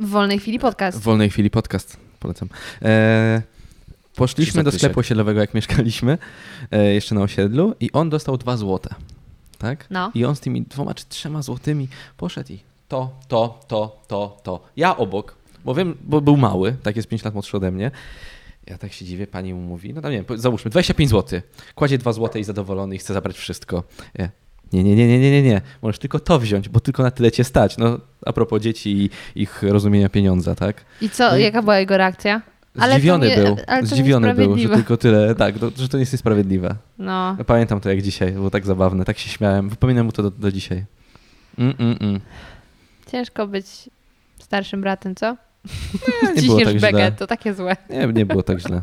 Speaker 3: w wolnej chwili podcast.
Speaker 2: W wolnej chwili podcast, polecam. E, poszliśmy do
Speaker 1: Krzysztof
Speaker 2: sklepu
Speaker 1: Tysiak.
Speaker 2: osiedlowego, jak mieszkaliśmy, e, jeszcze na osiedlu i on dostał dwa złote, tak?
Speaker 3: No.
Speaker 2: I on z tymi dwoma czy trzema złotymi poszedł i to, to, to, to, to. Ja obok, bo wiem, bo był mały, tak jest 5 lat młodszy ode mnie. Ja tak się dziwię, pani mu mówi, no tam nie wiem, po- załóżmy 25 zł. Kładzie 2 zł i zadowolony i chce zabrać wszystko. Ja, Nie, nie, nie, nie, nie, nie, nie. Możesz tylko to wziąć, bo tylko na tyle cię stać. No a propos dzieci i ich rozumienia pieniądza, tak?
Speaker 3: I co,
Speaker 2: No i-
Speaker 3: jaka była jego reakcja? Ale to
Speaker 2: Zdziwiony
Speaker 3: nie-
Speaker 2: był.
Speaker 3: ale to
Speaker 2: Zdziwiony był, że
Speaker 3: niesprawiedliwe.
Speaker 2: tylko tyle, tak, no, że to nie jest niesprawiedliwe.
Speaker 3: No,
Speaker 2: Pamiętam to jak dzisiaj, było tak zabawne, tak się śmiałem. Wypominam mu to do, do dzisiaj. Mm, mm, mm.
Speaker 3: ciężko być starszym bratem, co?
Speaker 2: Nie było
Speaker 3: Ciśniesz
Speaker 2: tak
Speaker 3: bekę,
Speaker 2: źle.
Speaker 3: to takie złe.
Speaker 2: Nie, nie było tak źle.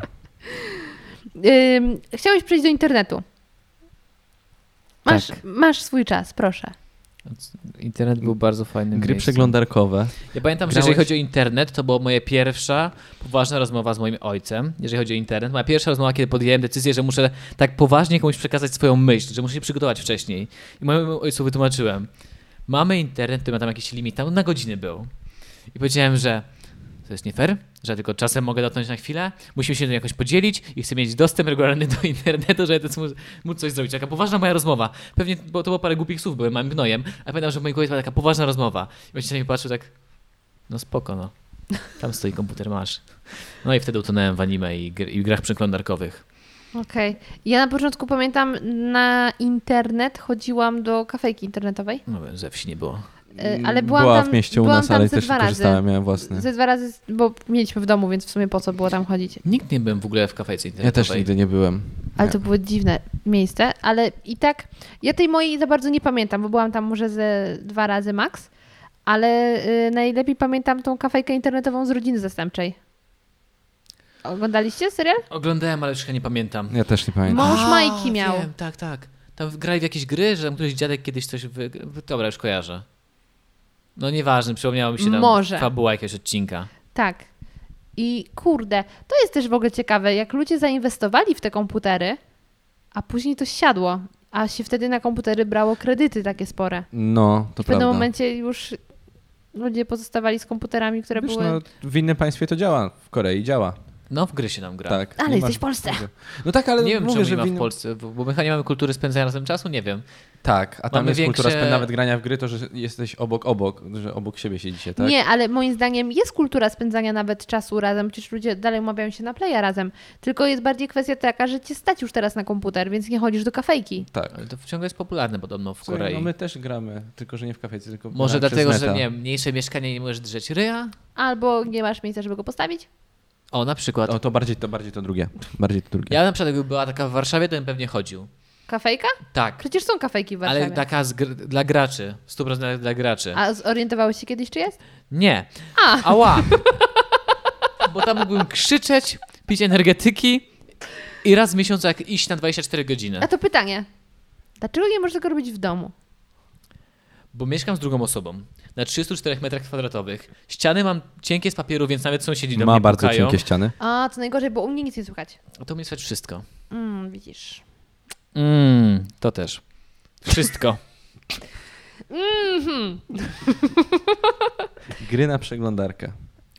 Speaker 3: Ym, chciałeś przejść do internetu. Masz,
Speaker 2: Tak.
Speaker 3: masz swój czas, proszę.
Speaker 1: Internet był bardzo fajny.
Speaker 2: Gry przeglądarkowe.
Speaker 1: Ja pamiętam, że
Speaker 2: Grałeś-
Speaker 1: jeżeli chodzi o internet, to była moja pierwsza poważna rozmowa z moim ojcem, jeżeli chodzi o internet. Moja pierwsza rozmowa, kiedy podjąłem decyzję, że muszę tak poważnie komuś przekazać swoją myśl, że muszę się przygotować wcześniej. I mojemu ojcu wytłumaczyłem, mamy internet, który ma tam jakiś limit, tam na godziny był. I powiedziałem, że to jest nie fair, że ja tylko czasem mogę dotknąć na chwilę, musimy się tym jakoś podzielić i chcę mieć dostęp regularny do internetu, żeby to móc, móc coś zrobić. Taka poważna moja rozmowa. Pewnie, bo to było parę głupich słów, byłem małym gnojem, a pamiętam, że w mojej głowie była taka poważna rozmowa. I ojciec na mnie patrzył tak, no spoko, no. Tam stoi komputer, masz. No i wtedy utonąłem w anime i, gr- i grach przeglądarkowych.
Speaker 3: Okej. Ja na początku pamiętam, na internet chodziłam do kafejki internetowej,
Speaker 1: No, ze wsi nie było.
Speaker 3: y, ale byłam
Speaker 2: Mm, Była
Speaker 3: tam,
Speaker 2: w mieście u
Speaker 3: byłam
Speaker 2: nas,
Speaker 3: tam
Speaker 2: ale
Speaker 3: ze
Speaker 2: też
Speaker 3: dwa
Speaker 2: nie
Speaker 3: razy.
Speaker 2: korzystałem, miałem własny.
Speaker 3: Ze dwa razy, bo mieliśmy w domu, więc w sumie po co było tam chodzić.
Speaker 1: Nikt nie byłem w ogóle w kafejce
Speaker 2: Ja
Speaker 1: internetowej.
Speaker 2: też nigdy nie byłem.
Speaker 3: Ale
Speaker 2: Nie.
Speaker 3: to było dziwne miejsce, ale i tak ja tej mojej za bardzo nie pamiętam, bo byłam tam może ze dwa razy max, ale y, najlepiej pamiętam tą kafejkę internetową z rodziny zastępczej. Oglądaliście serial?
Speaker 1: Oglądałem, ale już chyba nie pamiętam.
Speaker 2: Ja też nie pamiętam.
Speaker 3: Mąż
Speaker 1: A,
Speaker 3: Majki miał.
Speaker 1: Wiem, tak, tak. Tam grali w jakieś gry, że tam któryś dziadek kiedyś coś wygrał. Dobra, już kojarzę. No nieważne, przypomniało mi się tam
Speaker 3: Może.
Speaker 1: fabuła jakiegoś odcinka.
Speaker 3: Tak. I kurde, to jest też w ogóle ciekawe, jak ludzie zainwestowali w te komputery, a później to siadło, a się wtedy na komputery brało kredyty takie spore.
Speaker 2: No, to
Speaker 3: W pewnym
Speaker 2: prawda.
Speaker 3: momencie już ludzie pozostawali z komputerami, które
Speaker 2: Wiesz,
Speaker 3: były...
Speaker 2: no, w innym państwie to działa, w Korei działa.
Speaker 1: No w gry się tam gra.
Speaker 2: Tak.
Speaker 3: Ale
Speaker 2: nie
Speaker 3: jesteś
Speaker 2: masz-
Speaker 3: w Polsce.
Speaker 2: No tak, ale
Speaker 1: Nie wiem,
Speaker 2: mówię,
Speaker 1: czemu
Speaker 2: że
Speaker 1: nie ma
Speaker 2: innym-
Speaker 1: w Polsce, bo bo my chyba nie mamy kultury spędzania razem czasu, nie wiem.
Speaker 2: Tak, a tam
Speaker 1: Mamy
Speaker 2: jest kultura
Speaker 1: większe-
Speaker 2: spę- nawet grania w gry, to że jesteś obok obok, że obok siebie siedzicie, tak?
Speaker 3: Nie, ale moim zdaniem jest kultura spędzania nawet czasu razem, przecież ludzie dalej umawiają się na playa razem. Tylko jest bardziej kwestia taka, że cię stać już teraz na komputer, więc nie chodzisz do kafejki.
Speaker 2: Tak.
Speaker 1: Ale to ciągle jest popularne podobno w
Speaker 2: Słuchaj,
Speaker 1: Korei.
Speaker 2: no my też gramy, tylko że nie w kafejce, tylko
Speaker 1: Może
Speaker 2: gramy
Speaker 1: dlatego,
Speaker 2: przez
Speaker 1: że
Speaker 2: neta.
Speaker 1: nie wiem, mniejsze mieszkanie nie możesz drzeć ryja?
Speaker 3: Albo nie masz miejsca, żeby go postawić.
Speaker 1: O, na przykład.
Speaker 2: O, to bardziej to, bardziej to drugie. Bardziej to drugie.
Speaker 1: Ja na przykład jakby była taka w Warszawie, to bym pewnie chodził.
Speaker 3: Kafejka?
Speaker 1: Tak.
Speaker 3: Przecież są kafejki w Warszawie.
Speaker 1: Ale
Speaker 2: tak-
Speaker 1: taka z gr- dla graczy. 100% dla graczy.
Speaker 3: A zorientowałeś się kiedyś, czy jest?
Speaker 1: Nie.
Speaker 3: A.
Speaker 1: Ała! bo tam mógłbym krzyczeć, pić energetyki i raz w miesiącu jak iść na 24 godziny.
Speaker 3: A to pytanie. Dlaczego nie możesz tego robić w domu?
Speaker 1: Bo mieszkam z drugą osobą. Na 304 metrach kwadratowych. Ściany mam cienkie z papieru, więc nawet sąsiedzi do
Speaker 2: Ma
Speaker 1: mnie
Speaker 2: bardzo
Speaker 1: pukają.
Speaker 2: cienkie ściany.
Speaker 3: A, co najgorzej, bo u mnie nic nie słychać.
Speaker 1: A to mnie słychać wszystko.
Speaker 3: Mm, widzisz.
Speaker 2: Mm,
Speaker 1: Mmm, to też.
Speaker 2: <laughs>
Speaker 1: Wszystko.
Speaker 2: Gry na przeglądarkę.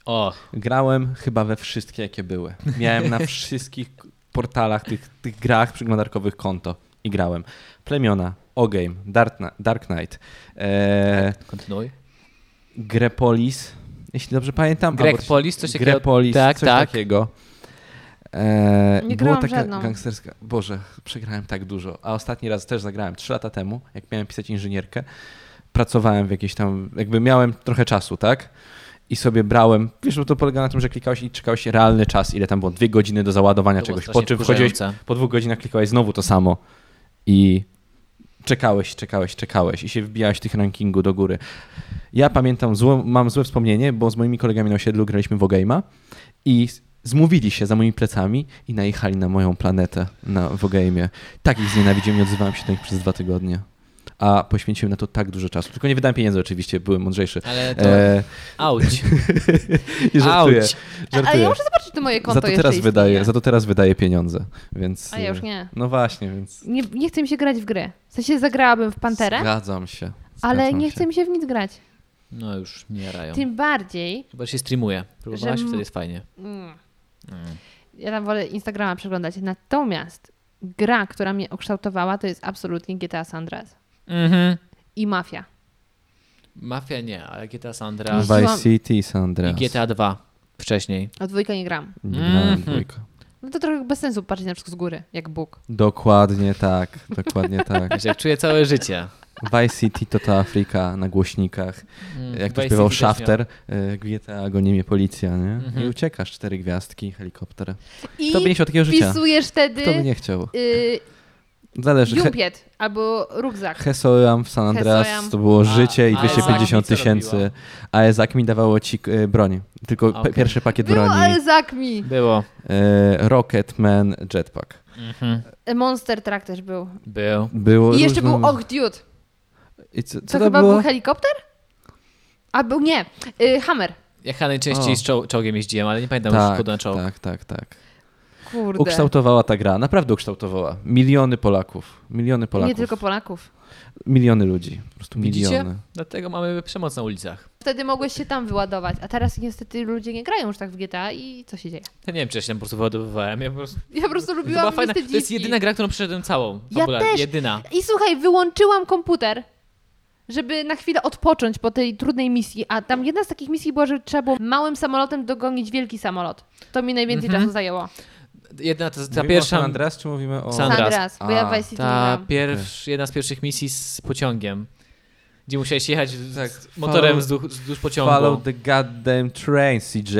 Speaker 1: O,
Speaker 2: Grałem chyba we wszystkie, jakie były. Miałem na wszystkich portalach, tych, tych grach przeglądarkowych konto i grałem. Plemiona, O-Game, Dark, Kni- Dark Knight, e,
Speaker 1: kontynuuj.
Speaker 2: Grepolis, jeśli dobrze pamiętam. albo
Speaker 1: Greg Polis, coś takiego.
Speaker 2: Grepolis,
Speaker 1: tak,
Speaker 2: coś
Speaker 1: tak.
Speaker 2: takiego. E,
Speaker 3: Nie
Speaker 2: i
Speaker 3: grałam
Speaker 2: Była taka
Speaker 3: żadną.
Speaker 2: gangsterska. Boże, przegrałem tak dużo. A ostatni raz też zagrałem trzy lata temu, jak miałem pisać inżynierkę. Pracowałem w jakiejś tam, jakby miałem trochę czasu, tak? I sobie brałem, wiesz, bo to polega na tym, że klikałeś i czekałeś realny czas, ile tam było, dwie godziny do załadowania
Speaker 1: To było
Speaker 2: czegoś. Po
Speaker 1: strasznie
Speaker 2: czym wchodziłeś,
Speaker 1: wkurzające.
Speaker 2: po dwóch godzinach klikałeś znowu to samo i czekałeś, czekałeś, czekałeś i się wbijałeś w tych rankingu do góry. Ja pamiętam, złe, mam złe wspomnienie, bo z moimi kolegami na osiedlu graliśmy w Ogame'a i s- zmówili się za moimi plecami i najechali na moją planetę na w Ogame'ie. Tak ich znienawidziłem, nie odzywałem się do nich przez dwa tygodnie. A poświęciłem na to tak dużo czasu. Tylko nie wydałem pieniędzy oczywiście, byłem mądrzejszy.
Speaker 1: Ale to.
Speaker 2: E,
Speaker 1: Auć.
Speaker 2: <laughs> I żartuję.
Speaker 1: Auć.
Speaker 3: A, ale ja
Speaker 2: żartuję.
Speaker 3: muszę zobaczyć, czy moje konto
Speaker 2: Za to,
Speaker 3: jeszcze
Speaker 2: teraz
Speaker 3: istnieje.
Speaker 2: wydaję, za to teraz wydaję pieniądze, więc...
Speaker 3: A ja już
Speaker 2: e,
Speaker 3: nie.
Speaker 2: No właśnie, więc...
Speaker 3: nie. Nie chce mi się grać w gry. W sensie zagrałabym w Panterę,
Speaker 2: Zgadzam się.
Speaker 3: ale
Speaker 2: zgadzam
Speaker 3: nie
Speaker 2: się.
Speaker 3: chce mi się w nic grać.
Speaker 1: No już nie rają.
Speaker 3: Tym bardziej,
Speaker 1: Chyba się streamuje. Próbowałaś,
Speaker 3: Że m-
Speaker 1: wtedy jest fajnie.
Speaker 2: Mm.
Speaker 3: ja tam wolę Instagrama przeglądać, natomiast gra, która mnie okształtowała, to jest absolutnie GTA San Andreas
Speaker 1: Mhm.
Speaker 3: i Mafia.
Speaker 1: Mafia nie, ale GTA San Andreas
Speaker 2: Vice City, San Andreas.
Speaker 1: i GTA 2 wcześniej.
Speaker 3: O dwójkę nie gram.
Speaker 2: Nie grałem w
Speaker 1: Mhm.
Speaker 2: dwójkę.
Speaker 3: No to trochę bez sensu patrzeć na wszystko z góry, jak Bóg.
Speaker 2: Dokładnie tak,
Speaker 3: <laughs>
Speaker 2: dokładnie tak.
Speaker 1: Wiesz, jak czuję całe życie.
Speaker 2: Vice City to ta Afryka na głośnikach.
Speaker 1: Mm,
Speaker 2: Jak to
Speaker 1: Vice
Speaker 2: śpiewał
Speaker 1: City też
Speaker 2: Shafter, y, GTA goni mnie policja, nie?
Speaker 1: Mhm.
Speaker 2: I uciekasz, cztery gwiazdki, helikopter.
Speaker 3: I
Speaker 2: Kto by nie chciał takiego życia?
Speaker 3: wpisujesz
Speaker 2: Kto by
Speaker 3: wtedy
Speaker 2: nie chciał?
Speaker 3: y,
Speaker 2: Zależy. He-
Speaker 3: jumpiet albo rukzak.
Speaker 2: Hesoyam w San Andreas
Speaker 3: Hesoyam.
Speaker 2: to było
Speaker 1: A-
Speaker 2: życie i
Speaker 1: a Ezak
Speaker 2: 250
Speaker 1: mi co
Speaker 2: tysięcy,
Speaker 1: robiło?
Speaker 2: a Ezak mi dawało ci y, broń. Tylko pe-
Speaker 1: Okej.
Speaker 2: pierwszy pakiet
Speaker 3: Było
Speaker 2: broni.
Speaker 3: Alzak mi.
Speaker 1: Było.
Speaker 2: Y, Rocketman, Jetpack.
Speaker 1: Mhm.
Speaker 3: E, Monster Truck też był.
Speaker 1: Był.
Speaker 2: Było
Speaker 3: I jeszcze
Speaker 2: różne-
Speaker 3: był Och Dude.
Speaker 2: I co, co
Speaker 3: To
Speaker 2: to,
Speaker 3: chyba
Speaker 2: było?
Speaker 3: był helikopter? A był nie, y, Hammer.
Speaker 1: Ja chyba najczęściej
Speaker 2: O.
Speaker 1: z czoł- czołgiem jeździłem, ale nie pamiętam już
Speaker 2: tak,
Speaker 1: skąd na czołg.
Speaker 2: tak, tak, tak.
Speaker 3: Kurde.
Speaker 2: Ukształtowała ta gra, naprawdę ukształtowała. Miliony Polaków, miliony Polaków,
Speaker 3: Nie tylko Polaków.
Speaker 2: miliony ludzi, po prostu
Speaker 1: Widzicie?
Speaker 2: miliony.
Speaker 1: Dlatego mamy przemoc na ulicach.
Speaker 3: Wtedy mogłeś się tam wyładować, a teraz niestety ludzie nie grają już tak w GTA i co się dzieje?
Speaker 1: Ja nie wiem, czy ja się tam po prostu wyładowywałem. Ja po prostu...
Speaker 3: Ja po prostu
Speaker 1: To, była
Speaker 3: lubiłam
Speaker 1: fajna... to
Speaker 3: listę
Speaker 1: jest
Speaker 3: dzieci.
Speaker 1: jedyna gra, którą przeszedłem całą.
Speaker 3: Ja
Speaker 1: Fabularnie.
Speaker 3: też.
Speaker 1: Jedyna.
Speaker 3: I słuchaj, wyłączyłam komputer, żeby na chwilę odpocząć po tej trudnej misji, a tam jedna z takich misji była, że trzeba było małym samolotem dogonić wielki samolot. To mi najwięcej
Speaker 1: Mhm.
Speaker 3: czasu zajęło.
Speaker 1: Jedna, to, ta
Speaker 2: Mówimy o San
Speaker 1: pierwsza...
Speaker 2: Andreas, czy mówimy o...
Speaker 1: San Andreas.
Speaker 3: Sandras, bo ja
Speaker 2: A,
Speaker 3: w Vice City
Speaker 1: Ta
Speaker 3: grałam.
Speaker 1: pierwsz, jedna z pierwszych misji z pociągiem, gdzie musiałeś jechać z,
Speaker 2: Tak,
Speaker 1: z motorem
Speaker 2: follow-
Speaker 1: wzdłuż, wzdłuż pociągu.
Speaker 2: Follow the goddamn train, CJ.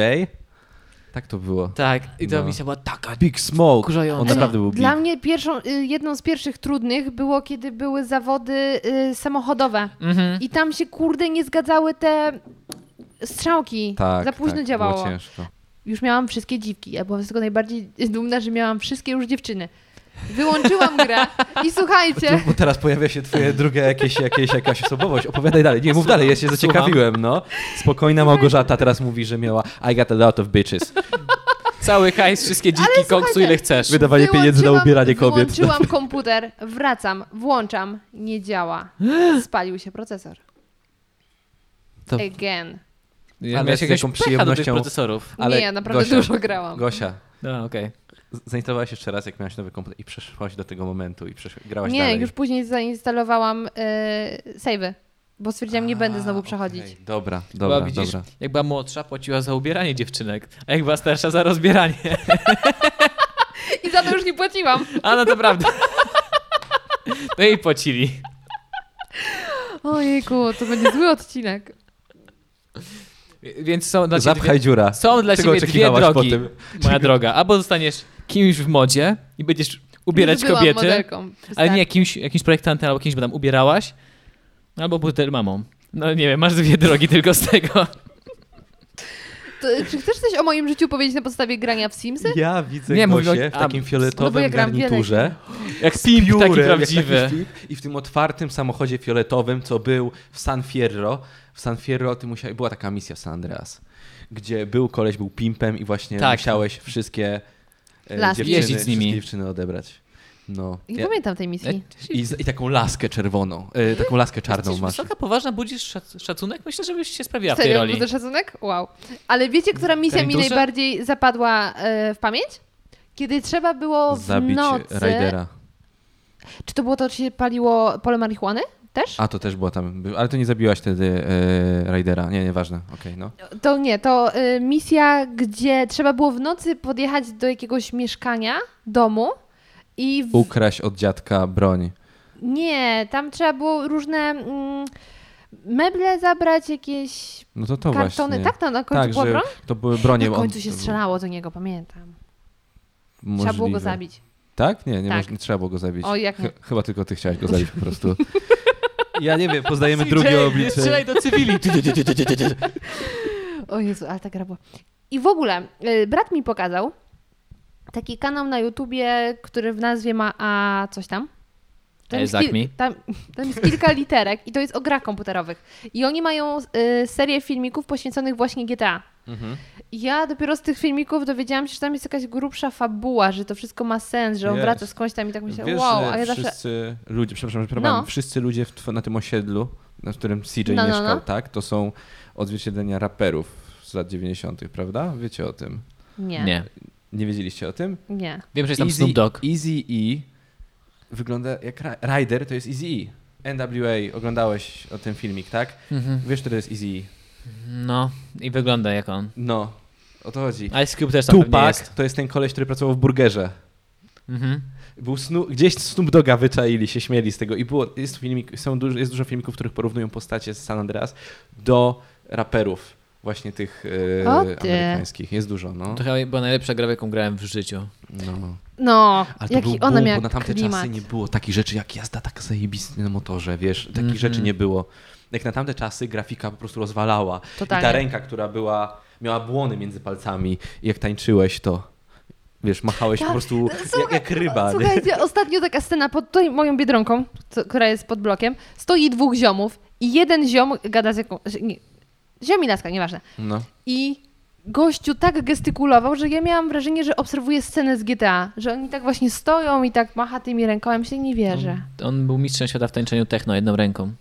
Speaker 2: Tak to było.
Speaker 1: Tak, i ta
Speaker 2: No.
Speaker 1: misja była taka
Speaker 2: Big Smoke, on
Speaker 1: wkurzająca.
Speaker 2: naprawdę był big.
Speaker 3: Dla mnie pierwszą, y, jedną z pierwszych trudnych było, kiedy były zawody y, samochodowe.
Speaker 1: Mhm.
Speaker 3: I tam się kurde nie zgadzały te strzałki.
Speaker 2: Tak,
Speaker 3: Za późno
Speaker 2: tak,
Speaker 3: działało.
Speaker 2: Było ciężko.
Speaker 3: Już miałam wszystkie dziwki. Ja byłam z tego najbardziej dumna, że miałam wszystkie już dziewczyny. Wyłączyłam grę i słuchajcie,
Speaker 2: Bo teraz pojawia się
Speaker 3: <laughs>
Speaker 2: twoje drugie jakieś, jakieś, jakaś osobowość. Opowiadaj dalej. Nie, mów dalej, ja się zaciekawiłem, no. Spokojna Małgorzata teraz mówi, że miała I got a lot of bitches.
Speaker 1: Cały hajs, wszystkie dziki, koksu, ile chcesz.
Speaker 2: Wydawanie pieniędzy na
Speaker 3: Wyłączyłam-
Speaker 2: ubieranie kobiet.
Speaker 3: Wyłączyłam komputer, wracam, włączam, nie działa. Spalił się procesor.
Speaker 2: To-
Speaker 3: Again.
Speaker 1: Ja
Speaker 2: Ale
Speaker 1: miałeś
Speaker 2: z
Speaker 1: jakąś
Speaker 2: jaką
Speaker 1: pecha do tych
Speaker 2: przyjemnością-
Speaker 1: procesorów.
Speaker 2: Ale
Speaker 3: nie, naprawdę
Speaker 2: Gosia,
Speaker 3: dużo grałam.
Speaker 2: Gosia,
Speaker 1: No, okej.
Speaker 2: z- zainstalowałaś jeszcze raz, jak miałaś nowy komputer i przeszłaś do tego momentu i przesz- grałaś
Speaker 3: nie,
Speaker 2: dalej.
Speaker 3: już później zainstalowałam yy, save'y, bo stwierdziłam, nie będę znowu
Speaker 2: A,
Speaker 3: przechodzić.
Speaker 2: okej, Dobra,
Speaker 1: Dobra,
Speaker 2: dobra,
Speaker 1: była, widzisz,
Speaker 2: dobra.
Speaker 1: jak była młodsza, płaciła za ubieranie dziewczynek, a jak była starsza, za rozbieranie.
Speaker 3: I za to już nie płaciłam.
Speaker 1: A no to
Speaker 2: <laughs>
Speaker 1: prawda. No i płacili.
Speaker 3: Ojejku, to będzie zły odcinek.
Speaker 1: Więc są dla ciebie
Speaker 2: Zapchaj dziura.
Speaker 1: dwie, są dla
Speaker 2: Czego
Speaker 1: ciebie dwie
Speaker 2: oczekiwałaś po
Speaker 1: drogi,
Speaker 2: tym?
Speaker 1: moja droga. Albo zostaniesz kimś w modzie i będziesz ubierać
Speaker 3: Już byłam
Speaker 1: kobiety,
Speaker 3: Modelką, Tak.
Speaker 1: ale nie
Speaker 3: wystarczy.
Speaker 1: jakimś, jakimś projektantem albo kimś, bo tam ubierałaś, No <laughs> albo butel mamą. No nie wiem, masz dwie drogi tylko z tego.
Speaker 3: To, czy chcesz coś o moim życiu powiedzieć na podstawie grania w Simsy?
Speaker 2: Ja widzę
Speaker 1: Nie,
Speaker 2: nie,
Speaker 1: mówię o-
Speaker 2: Gosię w
Speaker 1: a,
Speaker 2: takim
Speaker 3: no bo
Speaker 2: fioletowym
Speaker 3: ja gram
Speaker 2: garniturze.
Speaker 1: Jak pimp
Speaker 2: piórem,
Speaker 1: taki
Speaker 2: jak
Speaker 1: prawdziwy.
Speaker 2: taki pimp, I w tym otwartym samochodzie fioletowym, co był w San Fierro. W San Fierro ty musiałeś, była taka misja w San Andreas, gdzie był koleś, był pimpem i właśnie
Speaker 1: Tak.
Speaker 2: musiałeś wszystkie e,
Speaker 3: Laski.
Speaker 2: dziewczyny,
Speaker 1: Jeździć z nimi.
Speaker 2: wszystkie dziewczyny odebrać. No.
Speaker 3: Nie
Speaker 2: Ja-
Speaker 3: pamiętam tej misji.
Speaker 2: I, z, I taką laskę czerwoną, e, taką laskę czarną
Speaker 1: Jesteś
Speaker 2: masz.
Speaker 1: Wysoka, poważna, budzisz szac szacunek? Myślę, żebyś się sprawiła w tej
Speaker 3: Serio,
Speaker 1: roli.
Speaker 3: był to szacunek? Wow. Ale wiecie, która misja mi
Speaker 1: Garniturze?
Speaker 3: najbardziej zapadła e, w pamięć? Kiedy trzeba było w
Speaker 2: Zabić
Speaker 3: nocy...
Speaker 2: Raidera.
Speaker 3: Czy to było to, czy się paliło pole marihuany też?
Speaker 2: A to też była tam, ale to nie zabiłaś wtedy e, Raidera. Nie, nieważne, okej, no.
Speaker 3: To nie, to y, misja, gdzie trzeba było w nocy podjechać do jakiegoś mieszkania, domu i w...
Speaker 2: Ukraść od dziadka broń.
Speaker 3: nie, tam trzeba było różne mm, meble zabrać, jakieś
Speaker 2: No to to
Speaker 3: kartony.
Speaker 2: właśnie.
Speaker 3: Tak, to na końcu była
Speaker 2: że
Speaker 3: broń?
Speaker 2: To były bronie.
Speaker 3: Na
Speaker 2: on-
Speaker 3: końcu się
Speaker 2: to był-
Speaker 3: strzelało do niego, pamiętam. Trzeba było
Speaker 2: możliwe.
Speaker 3: go zabić.
Speaker 2: Tak? Nie, nie,
Speaker 3: Tak.
Speaker 2: moż- nie trzeba było go zabić. <laughs>
Speaker 3: O, jak nie?
Speaker 2: Ch- chyba tylko ty chciałeś go zabić po
Speaker 3: <laughs>
Speaker 2: prostu. Ja nie wiem, poznajemy
Speaker 1: CJ,
Speaker 2: drugie
Speaker 1: Nie strzelaj
Speaker 2: oblicze.
Speaker 1: do cywili. Ty, ty, ty, ty, ty, ty, ty.
Speaker 3: O Jezu, ale ta gra była. I w ogóle y, brat mi pokazał taki kanał na YouTubie, który w nazwie ma A coś tam.
Speaker 1: E,
Speaker 3: jest,
Speaker 1: Zach mi.
Speaker 3: tam, tam jest kilka literek i to jest o grach komputerowych. I oni mają y, serię filmików poświęconych właśnie GTA.
Speaker 2: Mhm.
Speaker 3: I Ja dopiero z tych filmików dowiedziałam się, że tam jest jakaś grubsza fabuła, że to wszystko ma sens, że on
Speaker 2: Jest.
Speaker 3: wraca skądś tam i tak myślę,
Speaker 2: Wiesz,
Speaker 3: wow,
Speaker 2: że
Speaker 3: a ja zawsze...
Speaker 2: wszyscy ludzie, przepraszam, że przerwałem,
Speaker 3: No.
Speaker 2: wszyscy ludzie w, tw- na tym osiedlu, na którym CJ
Speaker 3: No, no,
Speaker 2: mieszkał,
Speaker 3: no.
Speaker 2: tak? To są odzwierciedlenia raperów z lat 90., prawda? Wiecie o tym.
Speaker 3: Nie,
Speaker 1: <laughs>
Speaker 3: nie.
Speaker 1: Nie.
Speaker 2: Nie wiedzieliście o tym?
Speaker 1: Wiem, że jest tam Snoop Dogg.
Speaker 2: Easy E wygląda jak ra- Rider, to jest Easy E. NWA, oglądałeś o tym filmik, tak? Wiesz, który to jest Easy E.
Speaker 1: Mhm. No i wygląda jak on.
Speaker 2: No, o to chodzi.
Speaker 1: Ice Cube też tam pewnie
Speaker 2: Tupac
Speaker 1: Tak, jest.
Speaker 2: to jest ten koleś, który pracował w burgerze.
Speaker 1: Mhm.
Speaker 2: Był snu, gdzieś Snoop Doga wyczaili, się śmieli z tego i było, jest, filmik, są dużo, jest dużo filmików, w których porównują postacie z San Andreas do raperów właśnie tych e,
Speaker 3: O ty.
Speaker 2: amerykańskich. Jest dużo, no.
Speaker 1: To chyba była najlepsza gra, w jaką grałem w życiu.
Speaker 2: no.
Speaker 3: No,
Speaker 2: Ale to
Speaker 3: jaki
Speaker 2: był
Speaker 3: ona
Speaker 2: boom,
Speaker 3: miała
Speaker 2: bo na tamte
Speaker 3: klimat.
Speaker 2: czasy nie było takich rzeczy jak jazda tak zajebisty na motorze, wiesz, takich
Speaker 1: Mhm.
Speaker 2: rzeczy nie było. Jak na tamte czasy grafika po prostu rozwalała. I ta
Speaker 3: Totalnie.
Speaker 2: ręka, która była, miała błony między palcami i jak tańczyłeś to, wiesz, machałeś
Speaker 3: Tak.
Speaker 2: po prostu jak,
Speaker 3: Słuchaj-
Speaker 2: jak ryba. nie?
Speaker 3: Słuchajcie, ostatnio taka scena pod tutaj moją biedronką, co, która jest pod blokiem, stoi dwóch ziomów i jeden ziom gada z jaką. z- Nie, ziom i laska, nieważne.
Speaker 2: No.
Speaker 3: I gościu tak gestykulował, że ja miałam wrażenie, że obserwuję scenę z GTA, że oni tak właśnie stoją i tak macha tymi rękoma, się nie wierzę.
Speaker 2: No.
Speaker 1: On był mistrzem świata w tańczeniu techno jedną ręką.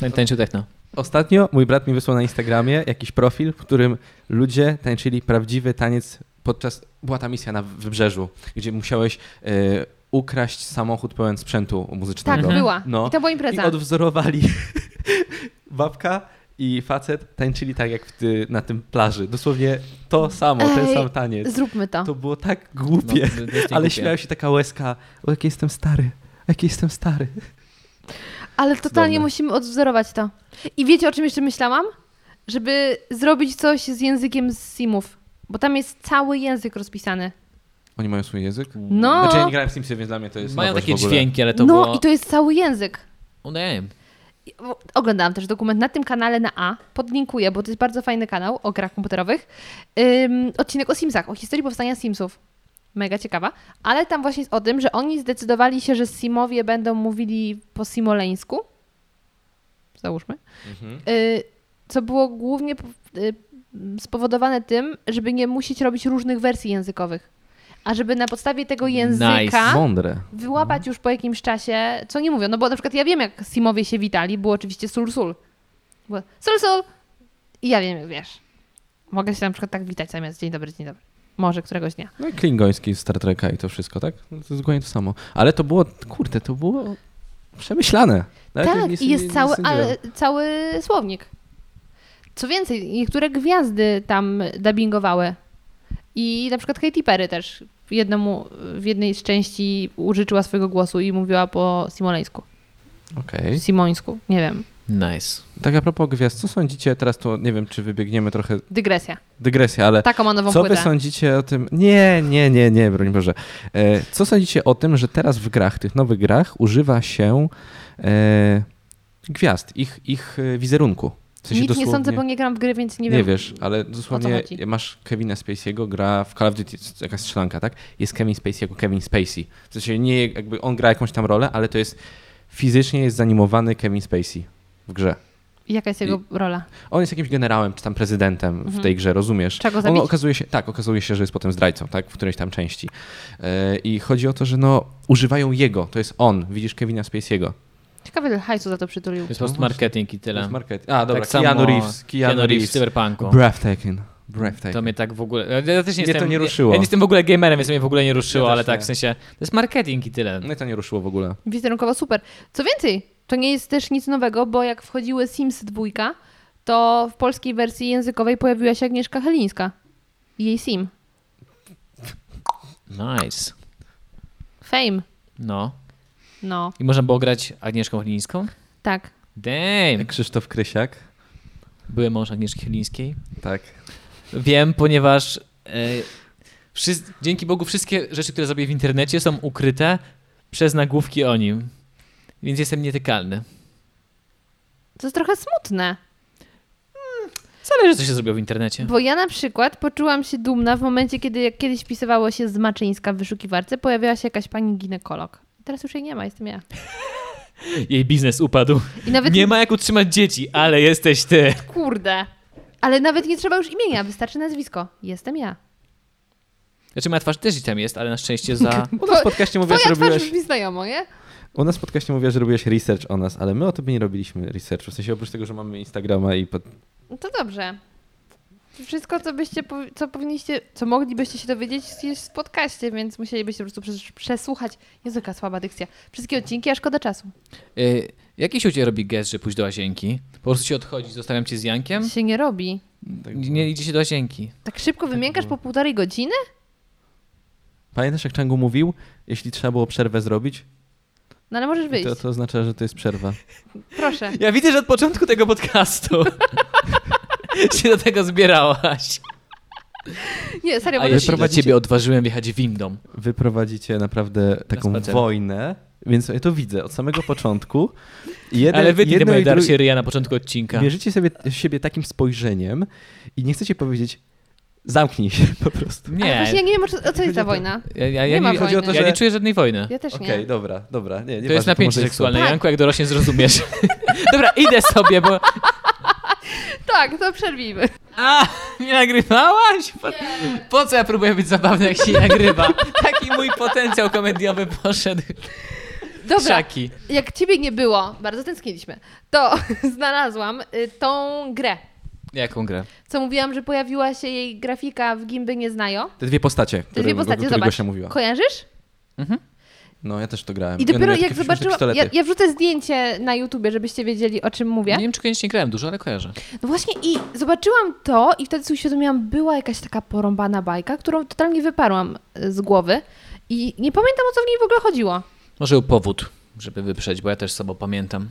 Speaker 1: Tań- Tańczył techno.
Speaker 2: Ostatnio mój brat mi wysłał na Instagramie jakiś profil, w którym ludzie tańczyli prawdziwy taniec podczas. Była ta misja na wybrzeżu, gdzie musiałeś e, ukraść samochód pełen sprzętu
Speaker 3: Tak,
Speaker 2: muzycznego.
Speaker 1: Tego.
Speaker 3: była.
Speaker 2: No.
Speaker 3: I to była
Speaker 2: I
Speaker 3: impreza.
Speaker 2: odwzorowali <laughs> babka i facet tańczyli tak jak w ty, na tym plaży. Dosłownie to samo, ten
Speaker 3: Ej,
Speaker 2: sam taniec.
Speaker 3: Zróbmy to.
Speaker 2: To było tak
Speaker 1: No,
Speaker 2: <laughs> głupie,
Speaker 1: to- to jest
Speaker 2: ale
Speaker 1: głupie.
Speaker 2: śmiała się taka łezka, o jaki jestem stary, jaki jestem stary.
Speaker 3: Ale totalnie
Speaker 2: Cudowne.
Speaker 3: musimy odwzorować to. I wiecie, o czym jeszcze myślałam? Żeby zrobić coś z językiem z Simów. Bo tam jest cały język rozpisany.
Speaker 2: Oni mają swój język?
Speaker 3: No,
Speaker 2: Znaczy ja nie grałem w Simsy, więc dla mnie to jest
Speaker 1: Mają
Speaker 2: nowość
Speaker 1: takie
Speaker 2: w ogóle.
Speaker 1: dźwięki, ale to
Speaker 3: no
Speaker 1: było...
Speaker 3: i to jest cały język.
Speaker 1: O, nie wiem.
Speaker 3: I- bo- Oglądałam też dokument na tym kanale na A. Podlinkuję, bo to jest bardzo fajny kanał o grach komputerowych. Ym, odcinek o Simsach, o historii powstania Simsów. Mega ciekawa. Ale tam właśnie jest o tym, że oni zdecydowali się, że Simowie będą mówili po simoleńsku. Załóżmy.
Speaker 2: Mhm.
Speaker 3: Y, co było głównie po- y, spowodowane tym, żeby nie musieć robić różnych wersji językowych, a żeby na podstawie tego języka
Speaker 2: Mądre. Mhm.
Speaker 3: wyłapać już po jakimś czasie, co nie mówią. No bo na przykład ja wiem, jak Simowie się witali, było oczywiście sul-sul. Było sul-sul i ja wiem, wiesz, mogę się na przykład tak witać zamiast dzień dobry, dzień dobry. Może któregoś dnia.
Speaker 2: No i klingoński z Star Treka i to wszystko, tak? No to jest dokładnie to samo. Ale to było, kurde, to było przemyślane. Nawet nie-
Speaker 3: tak,
Speaker 2: nie-
Speaker 3: i jest
Speaker 2: nie
Speaker 3: cały,
Speaker 2: sądziłem.
Speaker 3: ale, cały słownik. Co więcej, niektóre gwiazdy tam dubbingowały. I na przykład Katy Perry też w, jednemu, w jednej z części użyczyła swojego głosu i mówiła po simoleńsku.
Speaker 2: Okej.
Speaker 3: Simońsku, nie wiem.
Speaker 1: Nice.
Speaker 2: Tak a propos gwiazd, co sądzicie, teraz to nie wiem, czy wybiegniemy trochę,
Speaker 3: Dygresja.
Speaker 2: dygresja, ale
Speaker 3: Taką ma nową
Speaker 2: co wy
Speaker 3: płytę.
Speaker 2: sądzicie o tym? Nie, nie, nie, nie, broń Boże. E, co sądzicie o tym, że teraz w grach, tych nowych grach używa się e, gwiazd, ich, ich e, wizerunku? W sensie
Speaker 3: Nic nie sądzę,
Speaker 2: dosłownie-
Speaker 3: bo nie gram w gry, więc nie
Speaker 2: nie,
Speaker 3: wiem.
Speaker 2: wiesz, ale dosłownie
Speaker 3: chodzi.
Speaker 2: masz Kevina Spacey'ego, gra w Call of Duty, jest jakaś strzelanka, tak? Jest Kevin Spacey jako Kevin Spacey. W sensie nie, jakby on gra jakąś tam rolę, ale to jest fizycznie jest zanimowany Kevin Spacey w grze.
Speaker 3: Jaka jest jego rola?
Speaker 2: On jest jakimś generałem czy tam prezydentem w tej grze, rozumiesz?
Speaker 3: Trzeba
Speaker 2: on
Speaker 3: go Mhm. zabić?
Speaker 2: okazuje się, tak, okazuje się, że jest potem zdrajcą, tak, w którejś tam części. E, I chodzi o to, że no, używają jego, to jest on, widzisz Kevina Spacey'ego.
Speaker 3: Ciekawe, ile hajsu za to przytulił.
Speaker 1: To jest po prostu
Speaker 2: No
Speaker 1: marketing i
Speaker 2: To
Speaker 1: tyle.
Speaker 2: jest market. A, dobra,
Speaker 1: tak samo
Speaker 2: Keanu Reeves.
Speaker 1: Keanu Reeves w Cyberpunku.
Speaker 2: Breathtaking. Breathtaking.
Speaker 1: To mnie tak w ogóle. Ja też nie
Speaker 2: Mnie
Speaker 1: jestem,
Speaker 2: to nie
Speaker 1: ja-
Speaker 2: ruszyło.
Speaker 1: Ja nie jestem w ogóle gamerem, więc mnie w ogóle nie ruszyło,
Speaker 2: Ja też
Speaker 1: ale tak
Speaker 2: nie.
Speaker 1: w sensie. To jest marketing i tyle.
Speaker 2: Mnie No to nie ruszyło w ogóle.
Speaker 3: Wizerunkowo super. Co więcej, to nie jest też nic nowego, bo jak wchodziły Sims 2, to w polskiej wersji językowej pojawiła się Agnieszka Helińska. i Jej Sim.
Speaker 2: No
Speaker 1: Nice.
Speaker 3: Fame.
Speaker 1: No.
Speaker 3: No,
Speaker 1: I można było grać Agnieszką Chlińską?
Speaker 3: tak.
Speaker 1: Damn!
Speaker 2: Krzysztof Krysiak.
Speaker 1: Byłem mąż Agnieszki Chlińskiej.
Speaker 2: Tak.
Speaker 1: Wiem, ponieważ e, wszys- dzięki Bogu wszystkie rzeczy, które zrobię w internecie są ukryte przez nagłówki o nim. Więc jestem nietykalny.
Speaker 3: To jest trochę smutne,
Speaker 1: Zależy, co się zrobiło w internecie.
Speaker 3: bo ja na przykład poczułam się dumna w momencie, kiedy jak kiedyś pisywało się z Maczyńska w wyszukiwarce, pojawiała się jakaś pani ginekolog. Teraz już jej nie ma, jestem ja.
Speaker 1: Jej biznes upadł.
Speaker 3: I nawet
Speaker 1: Nie ma jak utrzymać dzieci, ale jesteś ty.
Speaker 3: Kurde. Ale nawet nie trzeba już imienia, wystarczy nazwisko. Jestem ja.
Speaker 1: Znaczy, moja twarz też i tam jest, ale na szczęście za.
Speaker 2: U nas w podcaście mówiłaś, że
Speaker 3: Twoja twarz
Speaker 2: robiłeś...
Speaker 3: brzmi znajomo, nie?
Speaker 2: U nas w podcaście mówiłaś, że robiłeś research o nas, ale my o tobie nie robiliśmy researchu. W sensie oprócz tego, że mamy Instagrama i... Pod...
Speaker 3: No to dobrze. Wszystko, co byście, powi- co powinniście, co moglibyście się dowiedzieć jest w podcaście, więc musielibyście po prostu przes- przesłuchać. Jezu, jaka słaba dykcja. Wszystkie odcinki, a szkoda czasu.
Speaker 1: Y, jaki się u ciebie robi gest, że pójść do łazienki? Po prostu się odchodzi, zostawiam cię z Jankiem.
Speaker 3: Się nie robi.
Speaker 1: Nie idzie się do łazienki.
Speaker 3: Tak szybko wymiękasz po półtorej godziny?
Speaker 2: Pamiętasz, jak Changu mówił? Jeśli trzeba było przerwę zrobić,
Speaker 3: No ale możesz wyjść.
Speaker 2: to, to oznacza, że to jest przerwa.
Speaker 3: Proszę.
Speaker 1: Ja widzę, że od początku tego podcastu <laughs> się do tego zbierałaś.
Speaker 3: Nie, serio,
Speaker 1: A
Speaker 3: możesz
Speaker 1: jeśli
Speaker 3: iść.
Speaker 1: dla ciebie odważyłem wjechać windą.
Speaker 2: Wy prowadzicie naprawdę taką
Speaker 1: spacer.
Speaker 2: wojnę, więc ja to widzę od samego początku. I
Speaker 1: <laughs>
Speaker 2: Jeden,
Speaker 1: Ale wy,
Speaker 2: jedno i
Speaker 1: Dymejdar,
Speaker 2: drugie-
Speaker 1: się ryja na początku odcinka.
Speaker 2: Mierzycie sobie, siebie takim spojrzeniem i nie chcecie powiedzieć zamknij się po prostu.
Speaker 3: Ale
Speaker 1: Nie,
Speaker 3: właśnie ja nie wiem, o co- o co jest ta wojna.
Speaker 1: ja, ja,
Speaker 3: nie
Speaker 1: ja,
Speaker 3: ma
Speaker 1: nie,
Speaker 3: wojny.
Speaker 1: chodzi o to, że... ja nie czuję żadnej wojny.
Speaker 3: Ja też
Speaker 2: Okej,
Speaker 3: nie.
Speaker 2: dobra, dobra. Nie, nie
Speaker 1: To jest
Speaker 2: ważne,
Speaker 1: napięcie
Speaker 2: może i
Speaker 1: seksualne.
Speaker 3: Tak.
Speaker 1: Janku, jak dorośnie
Speaker 3: <laughs>
Speaker 1: zrozumiesz. Dobra, idę sobie, bo...
Speaker 3: Tak, to przerwijmy.
Speaker 1: A, nie nagrywałaś? Po, po co ja próbuję być zabawny, jak się nie nagrywa? Taki mój potencjał komediowy poszedł.
Speaker 3: Dobra,
Speaker 1: Krzaki.
Speaker 3: jak ciebie nie było, bardzo tęskniliśmy, to <laughs> znalazłam y, tą grę.
Speaker 1: Jaką grę?
Speaker 3: Co mówiłam, że pojawiła się jej grafika w Gimby Nie Znajo.
Speaker 2: Te dwie postacie,
Speaker 3: Te dwie postacie, zobacz.
Speaker 2: Gosia mówiła.
Speaker 3: Kojarzysz?
Speaker 2: No, ja też to grałem.
Speaker 3: I
Speaker 2: one
Speaker 3: dopiero
Speaker 2: miały
Speaker 3: jak
Speaker 2: takie
Speaker 3: zobaczyłam...
Speaker 2: pistolety.
Speaker 3: Ja, ja wrzucę zdjęcie na YouTubie, żebyście wiedzieli, o czym mówię.
Speaker 1: Nie wiem, czy kiedyś nie grałem dużo, ale kojarzę.
Speaker 3: No właśnie i zobaczyłam to i wtedy sobie uświadomiłam, była jakaś taka porąbana bajka, którą totalnie wyparłam y, z głowy i nie pamiętam, o co w niej w ogóle chodziło.
Speaker 1: Może był powód, żeby wyprzeć, bo ja też sobą pamiętam.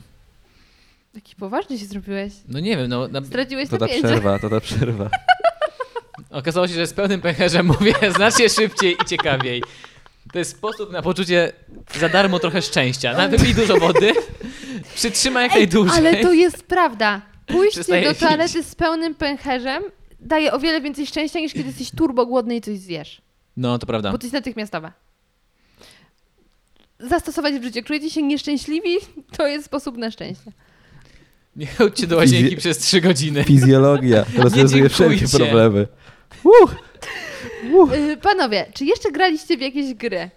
Speaker 3: Taki poważny się zrobiłeś.
Speaker 1: No nie wiem, no... Na...
Speaker 3: Straciłeś
Speaker 2: To ta
Speaker 3: napięcie.
Speaker 2: przerwa, to ta przerwa.
Speaker 1: Okazało się, że z pełnym pęcherzem <laughs> mówię znacznie szybciej i ciekawiej. To jest sposób na poczucie za darmo trochę szczęścia. Na wypij dużo wody, przytrzymaj jak najdłużej.
Speaker 3: Ale to jest prawda. Pójście
Speaker 1: Przestaję
Speaker 3: do
Speaker 1: pić.
Speaker 3: toalety z pełnym pęcherzem daje o wiele więcej szczęścia niż kiedy jesteś turbo głodny i coś zjesz.
Speaker 1: No, to prawda.
Speaker 2: Tak.
Speaker 3: Bo to jest natychmiastowe. Zastosować w życiu. Czujecie się nieszczęśliwi? <laughs> To jest sposób na szczęście.
Speaker 1: Nie chodźcie do łazienki
Speaker 2: Fizy-
Speaker 1: przez trzy godziny.
Speaker 2: Fizjologia rozwiązuje
Speaker 1: dziękujcie.
Speaker 2: wszelkie problemy.
Speaker 3: Yy, panowie, czy jeszcze graliście w jakieś gry?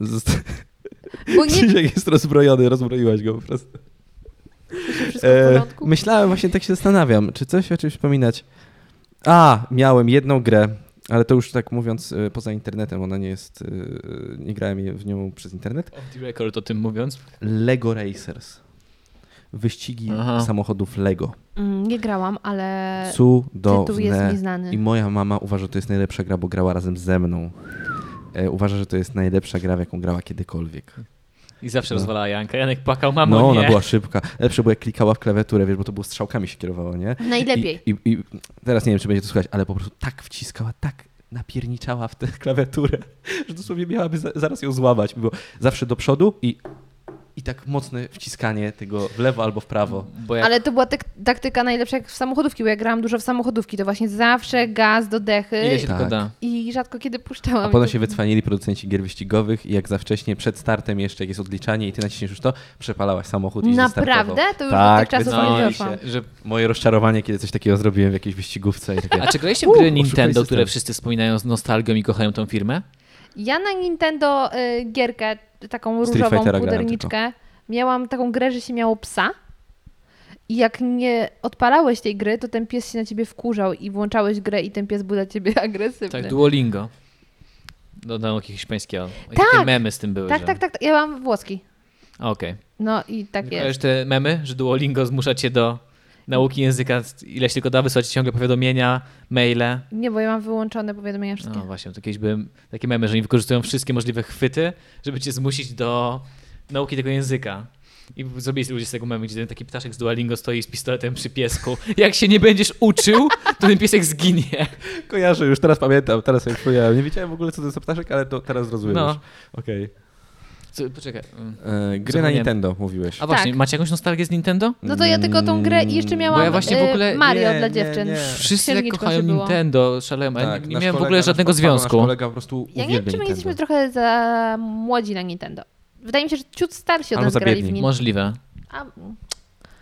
Speaker 2: Z-
Speaker 3: Bo
Speaker 2: <laughs>
Speaker 3: nie
Speaker 2: Krzysiek jest rozbrojony, rozbroiłaś go po prostu.
Speaker 3: wszystko w
Speaker 2: E,
Speaker 3: porządku.
Speaker 2: myślałem, właśnie tak się zastanawiam, czy coś o czymś wspominać. A, miałem jedną grę, ale to już tak mówiąc e, poza internetem, ona nie jest, e, nie grałem je- w nią przez internet.
Speaker 1: Off the record o tym mówiąc.
Speaker 2: Lego Racers. Wyścigi
Speaker 1: Aha.
Speaker 2: samochodów Lego.
Speaker 3: Mm, nie grałam, ale tytuł E, jest mi
Speaker 2: Cudowne. I
Speaker 3: znany.
Speaker 2: moja mama uważa, że to jest najlepsza gra, bo grała razem ze mną. E, uważa, że to jest najlepsza gra, w jaką grała kiedykolwiek.
Speaker 1: I zawsze
Speaker 2: No.
Speaker 1: rozwalała Janka. Janek płakał, mamo,
Speaker 2: No,
Speaker 1: nie.
Speaker 2: ona była szybka. Lepsze było, jak klikała w klawiaturę, wiesz, bo to było strzałkami się kierowało, nie?
Speaker 3: Najlepiej.
Speaker 2: I, i, I teraz nie wiem, czy będzie to słychać, ale po prostu tak wciskała, tak napierniczała w tę <laughs> klawiaturę, że dosłownie miałaby za, zaraz ją złamać. Było zawsze do przodu i, i i tak mocne wciskanie tego w lewo albo w prawo.
Speaker 1: Bo jak
Speaker 3: Ale to była tak- taktyka najlepsza jak w samochodówki, bo ja grałam dużo w samochodówki, to właśnie zawsze gaz do dechy
Speaker 1: ile się
Speaker 2: Tak.
Speaker 1: tylko da.
Speaker 3: i rzadko kiedy
Speaker 2: A
Speaker 3: puszczałam.
Speaker 2: potem się wycwanili producenci gier wyścigowych i jak za wcześnie, przed startem jeszcze, jak jest odliczanie i ty naciśniesz już to, przepalałaś samochód i
Speaker 3: Naprawdę?
Speaker 2: zestartował.
Speaker 3: To już
Speaker 2: Tak,
Speaker 3: od tych czasów
Speaker 2: wycofali
Speaker 3: nie
Speaker 1: wycofałem
Speaker 2: się.
Speaker 3: wyszłam.
Speaker 2: Że moje rozczarowanie, kiedy coś takiego zrobiłem w jakiejś wyścigówce i
Speaker 3: <laughs>
Speaker 2: takie...
Speaker 1: A
Speaker 3: Tak.
Speaker 1: czy graliście
Speaker 2: U,
Speaker 1: w gry
Speaker 2: oszukuje
Speaker 1: Nintendo,
Speaker 2: system.
Speaker 1: które wszyscy wspominają z nostalgią i kochają tą firmę?
Speaker 3: Ja na Nintendo y, gierkę, taką
Speaker 2: Street
Speaker 3: różową
Speaker 2: Fightera grałem
Speaker 3: puderniczkę, miałam taką grę, że się miało psa i jak nie odpalałeś tej gry, to ten pies się na ciebie wkurzał i włączałeś grę i ten pies był dla ciebie <laughs> agresywny.
Speaker 1: Tak, Duolingo. Dodam jakieś hiszpańskie.
Speaker 3: Tak.
Speaker 1: Jakie memy z tym były?
Speaker 3: tak,
Speaker 1: że...
Speaker 3: tak, tak, ja mam włoski.
Speaker 1: A, Okej.
Speaker 3: No i tak
Speaker 1: Okay.
Speaker 3: jest.
Speaker 1: Już te memy, że Duolingo zmusza cię do nauki języka, ileś tylko da, wysłać ci ciągle powiadomienia, maile.
Speaker 3: Nie, bo ja mam wyłączone powiadomienia wszystkie.
Speaker 1: No właśnie, to kiedyś byłem takie memy, że oni wykorzystują wszystkie możliwe chwyty, żeby cię zmusić do nauki tego języka. I zrobili ludzie z tego memy, gdzie ten taki ptaszek z Duolingo stoi z pistoletem przy piesku. Jak się nie będziesz uczył, to ten piesek zginie.
Speaker 2: Kojarzę już, teraz pamiętam, teraz sobie przypomniałem. Nie wiedziałem w ogóle, co to jest ptaszek, ale to teraz rozumiem
Speaker 1: No.
Speaker 2: już. Okej.
Speaker 1: Co, poczekaj. mm.
Speaker 2: E, Gry na
Speaker 1: Zapomniałem.
Speaker 2: Nintendo, mówiłeś.
Speaker 1: A
Speaker 3: Tak.
Speaker 1: właśnie, macie jakąś nostalgię z Nintendo?
Speaker 3: No to ja tylko tą grę i jeszcze
Speaker 2: Mm,
Speaker 3: miałam
Speaker 1: bo ja właśnie w
Speaker 3: y,
Speaker 1: ogóle-
Speaker 3: Mario
Speaker 2: nie,
Speaker 3: dla
Speaker 2: nie,
Speaker 3: dziewczyn.
Speaker 2: nie.
Speaker 1: Wszyscy jak
Speaker 3: Księżniczką
Speaker 1: kochają
Speaker 3: się było.
Speaker 1: Nintendo, szaleją. a ja
Speaker 2: Tak,
Speaker 1: nie miałem w
Speaker 2: nasz kolega,
Speaker 1: ogóle
Speaker 2: nasz
Speaker 1: żadnego
Speaker 2: pan, Nasz
Speaker 1: związku.
Speaker 2: kolega po prostu
Speaker 3: Ja nie wiem,
Speaker 2: uwielbia
Speaker 3: czy my
Speaker 2: Nintendo.
Speaker 3: jesteśmy trochę za młodzi na Nintendo. Wydaje mi się, że ciut starsi od
Speaker 2: Albo
Speaker 3: nas
Speaker 2: za
Speaker 3: grali w
Speaker 2: biedni.
Speaker 3: Nintendo.
Speaker 1: Możliwe.
Speaker 3: A,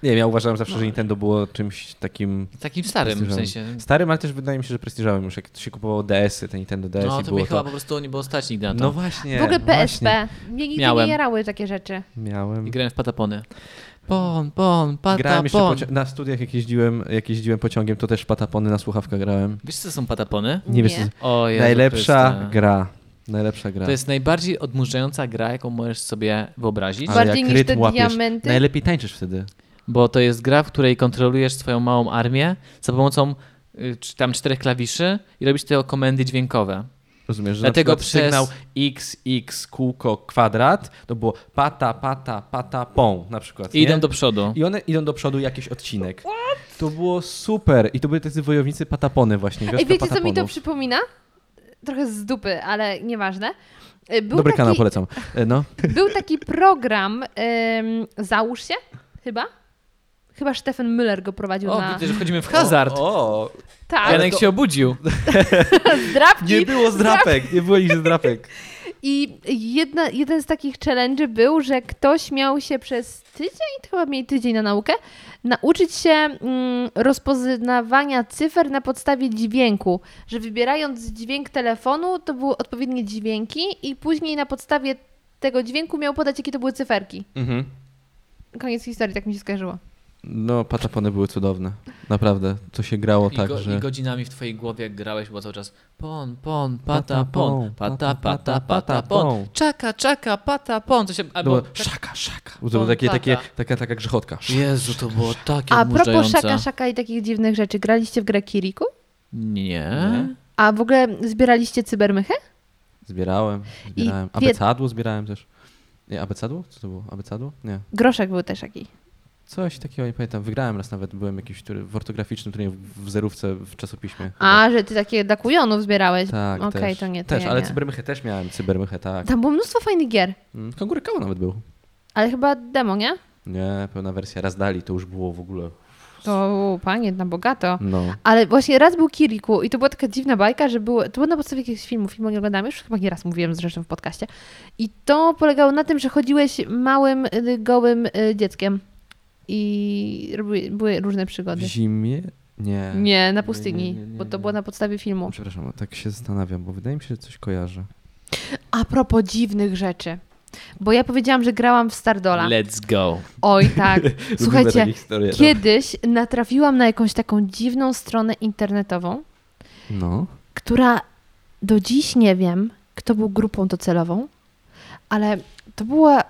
Speaker 2: Nie, ja uważałem zawsze,
Speaker 3: No.
Speaker 2: że Nintendo było czymś takim
Speaker 1: Takim starym w
Speaker 2: prestiżowym.
Speaker 1: sensie.
Speaker 2: Starym, ale też wydaje mi się, że prestiżowym już. Jak się kupowało DS-y, te Nintendo DS
Speaker 1: No
Speaker 2: i
Speaker 1: to mnie
Speaker 2: było
Speaker 1: chyba
Speaker 2: to...
Speaker 1: po prostu nie było stać nigdy na to.
Speaker 2: No właśnie.
Speaker 3: w ogóle
Speaker 2: Właśnie.
Speaker 3: PSP. Mnie nigdy
Speaker 1: Miałem.
Speaker 3: nie jarały takie rzeczy.
Speaker 1: I
Speaker 2: Miałem.
Speaker 1: grałem w patapony. Pon, pon,
Speaker 2: Grałem jeszcze
Speaker 1: patapon.
Speaker 2: pocio- na studiach, jak jeździłem, jak jeździłem pociągiem, to też patapony na słuchawkach grałem.
Speaker 1: Wiesz co są patapony?
Speaker 2: Nie, wiesz,
Speaker 3: Nie.
Speaker 2: co-
Speaker 1: O Jezu e-
Speaker 2: najlepsza
Speaker 1: Chryste.
Speaker 2: gra. Najlepsza gra.
Speaker 1: To jest najbardziej odmurzająca gra, jaką możesz sobie wyobrazić,
Speaker 2: Ale
Speaker 3: Bardziej
Speaker 2: jak
Speaker 3: niż
Speaker 2: rytm
Speaker 3: te
Speaker 2: łapiesz,
Speaker 3: diamenty?
Speaker 2: Najlepiej tańczysz wtedy.
Speaker 1: bo to jest gra, w której kontrolujesz swoją małą armię za pomocą y, czy tam czterech klawiszy i robisz te komendy dźwiękowe.
Speaker 2: Rozumiesz, że
Speaker 1: Dlatego
Speaker 2: na przykład
Speaker 1: przez-
Speaker 2: sygnał XX kółko kwadrat to było pata, pata, pata, pą na przykład.
Speaker 1: I idą
Speaker 2: nie?
Speaker 1: do przodu.
Speaker 2: I one idą do przodu jakiś odcinek. To było super. I to były tacy wojownicy patapony właśnie.
Speaker 3: Ej,
Speaker 2: wioska
Speaker 3: wiecie, co mi to
Speaker 2: pataponów.
Speaker 3: przypomina? Trochę z dupy, ale nieważne. Y, Był,
Speaker 2: Dobry kanał,
Speaker 3: taki,
Speaker 2: polecam. E, No.
Speaker 3: był taki program, ym, załóż się, chyba? Chyba Stefan Müller go prowadził
Speaker 1: O,
Speaker 3: na...
Speaker 1: widzę, że wchodzimy w <laughs> hazard.
Speaker 2: O, o,
Speaker 3: Tak,
Speaker 1: Janek się obudził.
Speaker 3: zdrabki.
Speaker 2: nie było zdrapek, nie było ich
Speaker 3: <laughs>
Speaker 2: zdrapek.
Speaker 3: I jedna, jeden z takich challenge był, że ktoś miał się przez tydzień, to chyba mieli tydzień na naukę, nauczyć się mm, rozpoznawania cyfer na podstawie dźwięku, że wybierając dźwięk telefonu, to były odpowiednie dźwięki i później na podstawie tego dźwięku miał podać, jakie to były cyferki.
Speaker 2: Mhm.
Speaker 3: Koniec historii, tak mi się skojarzyło.
Speaker 2: No, patapony były cudowne. Naprawdę. To się grało
Speaker 1: I,
Speaker 2: tak,
Speaker 1: go,
Speaker 2: że...
Speaker 1: I godzinami w twojej głowie jak grałeś, było cały czas pon, pon, pata, pon, pata, pata, pata, pon, czaka, czaka, pata, pon. To się, albo,
Speaker 2: Było szaka, szaka. To było takie,
Speaker 1: Pompata.
Speaker 2: takie, taka, taka grzechotka.
Speaker 1: Jezu, to było takie
Speaker 3: A propos
Speaker 1: odmurzające.
Speaker 3: szaka, szaka i takich dziwnych rzeczy, graliście w grę Kiriku?
Speaker 1: Nie.
Speaker 3: A w ogóle zbieraliście cybermychy?
Speaker 2: Zbierałem, zbierałem.
Speaker 3: wie-
Speaker 2: Abecadło zbierałem też. Nie, abecadło? Co to było? Abecadło? Nie.
Speaker 3: Groszek był też taki.
Speaker 2: Coś takiego, nie pamiętam. Wygrałem raz nawet, byłem jakiś który, w ortograficznym turnieju w w zerówce w czasopiśmie.
Speaker 3: A, że ty takie dla kujonów zbierałeś.
Speaker 2: tak,
Speaker 3: Okej,
Speaker 2: też.
Speaker 3: to nie, to
Speaker 2: Też,
Speaker 3: ja
Speaker 2: ale
Speaker 3: nie.
Speaker 2: cybermychę też miałem, cybermychę, tak.
Speaker 3: Tam było mnóstwo fajnych gier,
Speaker 2: Mm, Kangury Kao nawet był.
Speaker 3: ale chyba demo, nie?
Speaker 2: Nie, pełna wersja, raz dali, to już było w ogóle,
Speaker 3: To u, panie, na bogato.
Speaker 2: no.
Speaker 3: Ale właśnie raz był Kiriku i to była taka dziwna bajka, że było, to było na podstawie jakiegoś filmu, filmu nie oglądam już, chyba nie raz mówiłem zresztą w podcaście. I to polegało na tym, że chodziłeś małym, y, gołym y, dzieckiem i robiły, były różne
Speaker 2: W
Speaker 3: przygody.
Speaker 2: zimie? Nie.
Speaker 3: Nie, na
Speaker 2: nie,
Speaker 3: pustyni,
Speaker 2: nie, nie,
Speaker 3: bo to
Speaker 2: nie.
Speaker 3: było na podstawie filmu.
Speaker 2: Przepraszam, tak się zastanawiam, bo wydaje mi się, że coś kojarzę.
Speaker 3: A propos dziwnych rzeczy, bo ja powiedziałam, że grałam w Stardola.
Speaker 1: Let's go.
Speaker 3: Oj
Speaker 2: <laughs>
Speaker 3: tak, słuchajcie,
Speaker 2: historię,
Speaker 3: Kiedyś natrafiłam na jakąś taką dziwną stronę internetową,
Speaker 2: No.
Speaker 3: która do dziś nie wiem, kto był grupą docelową, ale to była.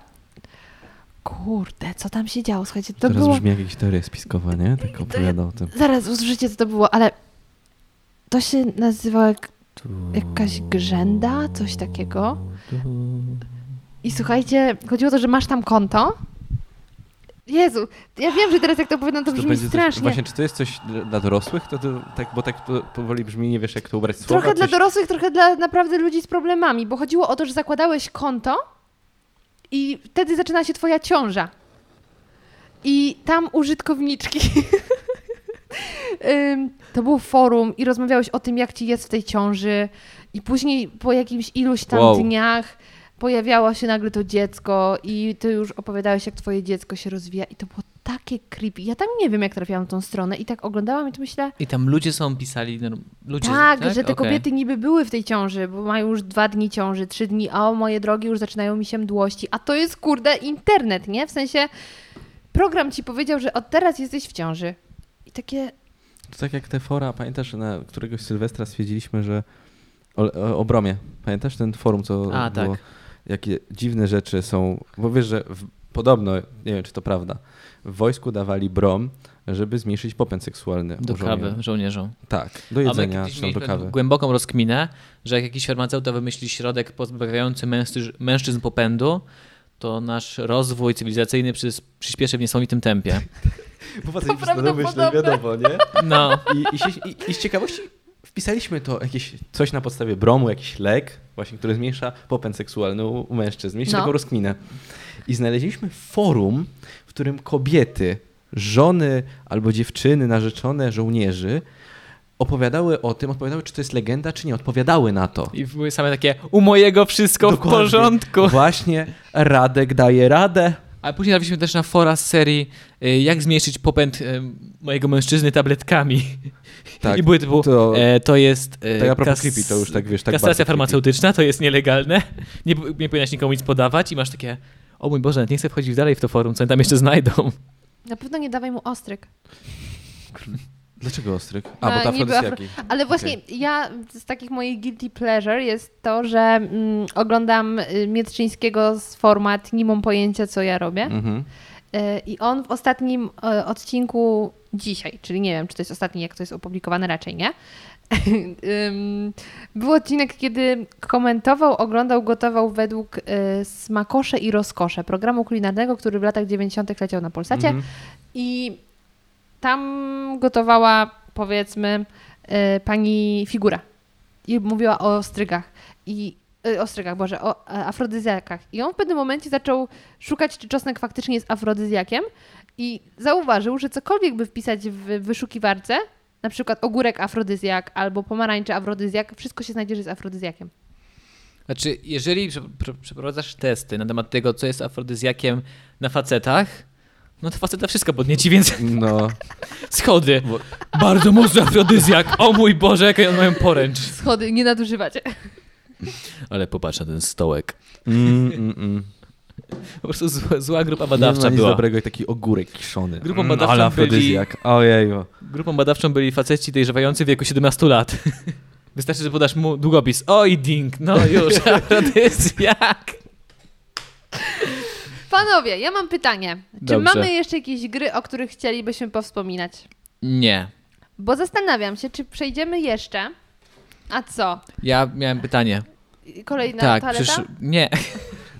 Speaker 3: Kurde, co tam się działo? Słuchajcie, to
Speaker 2: Teraz
Speaker 3: było.
Speaker 2: brzmi jak jakaś teoria spiskowa, nie? Tak opowiada o tym.
Speaker 3: Zaraz usłyszycie, co to było, ale to się nazywało jak... jakaś grzenda, coś takiego. I słuchajcie, chodziło o to, że masz tam konto. Jezu, ja wiem, że teraz jak to opowiadam, to
Speaker 2: Czy
Speaker 3: brzmi
Speaker 2: będzie
Speaker 3: strasznie.
Speaker 2: Coś, właśnie, czy to jest coś dla- dla dorosłych? To, to, tak, bo tak to powoli brzmi, nie wiesz jak to ubrać słowa.
Speaker 3: Trochę dla
Speaker 2: coś...
Speaker 3: dorosłych, trochę dla naprawdę ludzi z problemami, bo chodziło o to, że zakładałeś konto I wtedy zaczyna się twoja ciąża. I tam użytkowniczki. <laughs> Ym, to było forum i rozmawiałeś o tym, jak ci jest w tej ciąży. I później po jakimś iluś tam
Speaker 2: Wow.
Speaker 3: dniach pojawiało się nagle to dziecko i ty już opowiadałeś, jak twoje dziecko się rozwija. I to było takie creepy. Ja tam nie wiem, jak trafiłam na tą stronę i tak oglądałam i to myślę,
Speaker 1: I tam ludzie są pisali. norm- Ludzie,
Speaker 3: tak, że te
Speaker 1: Okej.
Speaker 3: kobiety niby były w tej ciąży, bo mają już dwa dni ciąży, trzy dni, a o moje drogi już zaczynają mi się mdłości. A to jest kurde internet, nie? W sensie program ci powiedział, że od teraz jesteś w ciąży. I takie,
Speaker 2: To tak jak te fora, pamiętasz, że na któregoś Sylwestra stwierdziliśmy, że o, o, o Bromie, pamiętasz ten forum, co
Speaker 1: A, tak.
Speaker 2: było? Jakie dziwne rzeczy są, bo wiesz, że w, podobno, nie wiem czy to prawda, w wojsku dawali Brom, żeby zmniejszyć popęd seksualny. u
Speaker 1: Do kawy
Speaker 2: żołnierzy.
Speaker 1: żołnierzom.
Speaker 2: Tak, do
Speaker 1: A my
Speaker 2: jedzenia,
Speaker 1: kiedyś
Speaker 2: czy tam do
Speaker 1: mieliśmy
Speaker 2: kawy.
Speaker 1: głęboką rozkminę, że jak jakiś farmaceuta wymyśli środek pozbawiający mężczyzn, mężczyzn popędu, to nasz rozwój cywilizacyjny przys- przyspieszy w niesamowitym tempie.
Speaker 2: <laughs> Popatrzcie
Speaker 3: To na domyśle, prawdopodobne.
Speaker 2: wiadomo, nie?
Speaker 1: No,
Speaker 2: I, i, się, i, I z ciekawości wpisaliśmy to jakieś coś na podstawie bromu, jakiś lek, właśnie, który zmniejsza popęd seksualny u, u mężczyzn. Mieliśmy
Speaker 3: No.
Speaker 2: taką rozkminę. I znaleźliśmy forum, w którym kobiety, żony albo dziewczyny, narzeczone żołnierzy opowiadały o tym, odpowiadały, czy to jest legenda, czy nie. Odpowiadały na to.
Speaker 1: i były same takie, u mojego wszystko
Speaker 2: Dokładnie.
Speaker 1: w porządku.
Speaker 2: Właśnie Radek daje radę.
Speaker 1: Ale później trafiliśmy też na fora z serii, y, jak zmniejszyć popęd y, mojego mężczyzny tabletkami.
Speaker 2: Tak,
Speaker 1: I były typu,
Speaker 2: to-
Speaker 1: to, e, to jest... e,
Speaker 2: to ja propos creepy, to już tak, wiesz, tak bardzo
Speaker 1: Kastracja
Speaker 2: creepy.
Speaker 1: farmaceutyczna, to jest nielegalne, nie, p- nie powinnaś nikomu nic podawać i masz takie, o mój Boże, nie chcę wchodzić dalej w to forum, co oni tam jeszcze znajdą.
Speaker 3: na pewno nie dawaj mu ostryk.
Speaker 2: Dlaczego ostryk? A, bo
Speaker 3: A,
Speaker 2: ta
Speaker 3: No, niby
Speaker 2: afrodyzjaki.
Speaker 3: Ale właśnie ja z takich moich guilty pleasure jest to, że mm, oglądam y, Mietrzyńskiego z format Nie mam pojęcia, co ja robię.
Speaker 2: Mhm.
Speaker 3: E, I on w ostatnim e, odcinku dzisiaj, czyli nie wiem, czy to jest ostatni, jak to jest opublikowane, raczej nie. <laughs> Ym, Był odcinek, kiedy komentował, oglądał, gotował według e, smakosze i rozkosze programu kulinarnego, który w latach 90. leciał na Polsacie.
Speaker 2: Mhm.
Speaker 3: I tam gotowała, powiedzmy, e, pani figura. I mówiła o ostrygach. I e, ostrygach, Boże, o e, afrodyzjakach. I on w pewnym momencie zaczął szukać, czy czosnek faktycznie jest afrodyzjakiem. I zauważył, że cokolwiek by wpisać w wyszukiwarce, na przykład ogórek afrodyzjak albo pomarańcze afrodyzjak, wszystko się znajdzie, że jest afrodyzjak.
Speaker 1: Znaczy, jeżeli prze- prze- przeprowadzasz testy na temat tego, co jest afrodyzjakiem na facetach, no to faceta wszystko podnieci, więc
Speaker 2: No,
Speaker 1: <laughs> schody. Bardzo mocny afrodyzjak, o mój Boże, jaką one mają poręcz.
Speaker 3: Schody, nie nadużywać.
Speaker 1: Ale popatrz na ten stołek.
Speaker 2: mm, mm, mm.
Speaker 1: Po prostu zła, zła grupa
Speaker 2: nie
Speaker 1: <laughs>
Speaker 2: ma
Speaker 1: badawcza
Speaker 2: nic
Speaker 1: była.
Speaker 2: dobrego i taki ogórek kiszony.
Speaker 1: Grupą badawczą
Speaker 2: ale
Speaker 1: byli-
Speaker 2: afrodyzjak. Ojeju.
Speaker 1: Grupą badawczą byli faceci dojrzewający w wieku 17 lat. <laughs> Wystarczy, że podasz mu długopis. Oj, ding, no <laughs> już, afrodyzjak.
Speaker 3: <laughs> Panowie, ja mam pytanie. Czy
Speaker 1: Dobrze.
Speaker 3: mamy jeszcze jakieś gry, o których chcielibyśmy powspominać?
Speaker 1: Nie.
Speaker 3: Bo zastanawiam się, czy przejdziemy jeszcze. A co?
Speaker 1: Ja miałem pytanie.
Speaker 3: Kolejna
Speaker 1: tak,
Speaker 3: toaleta?
Speaker 1: przecież... Nie. <laughs>